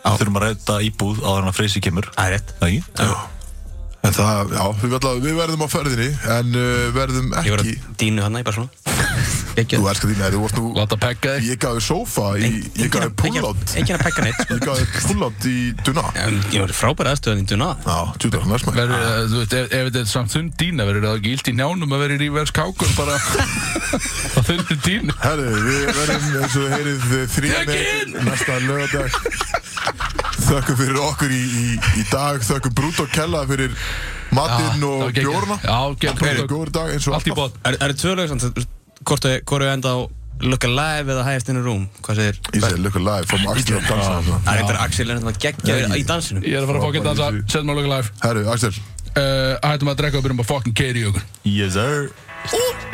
[SPEAKER 4] Við þurfum að ræta íbúð áður en að freysi kemur
[SPEAKER 2] Það er rétt
[SPEAKER 4] Það ekki?
[SPEAKER 1] En það, já, við, alltaf, við verðum á ferðinni En uh, verðum
[SPEAKER 2] Ég var
[SPEAKER 1] ekki
[SPEAKER 2] að dínu hann í Barcelona
[SPEAKER 1] Þú
[SPEAKER 2] Ekki
[SPEAKER 1] elskar þín, þú varst nú
[SPEAKER 3] Láta pekka þig.
[SPEAKER 1] Ég gaf þér sófa, í- ég gaf þér púllátt
[SPEAKER 2] Engin að pekka neitt sko.
[SPEAKER 1] Ég gaf þér púllátt í Duna
[SPEAKER 2] En Ég var frábæra aðstöðan í Duna
[SPEAKER 1] Já, tjútar, næst maður
[SPEAKER 3] Verður, eh, þú veist, ef, ef þetta er samt þunn dýna verður það ekki illt í njánum að verður í vers kákun bara á þunni dýnu.
[SPEAKER 1] Herru, við verðum eins og heyrið þrýja með næsta lögadag Þökkum fyrir okkur í, í, í dag Þökkum Brút og Kella fyrir matinn og bjórna
[SPEAKER 3] Já,
[SPEAKER 1] Bara
[SPEAKER 3] gegn.
[SPEAKER 1] góður dag eins og
[SPEAKER 3] Allt í
[SPEAKER 1] alltaf
[SPEAKER 3] bótt.
[SPEAKER 2] Er, er tvö lög samt, hvort þau- hvort þau enda á Look Alive eða Highest in a Room Hvað segir?
[SPEAKER 1] Ég segi look alive Fáum Axel að dansa þarna.
[SPEAKER 2] Það er eitthvað Axel er þetta geggjaður í dansinum
[SPEAKER 3] Ég er að fara að fokkin dansa, setjum að loka live Eh,
[SPEAKER 1] Herru, Axel
[SPEAKER 3] uh, Hættum að drekka og byrjum að fokkin keiri í okkur
[SPEAKER 4] Yes sir
[SPEAKER 1] Ú,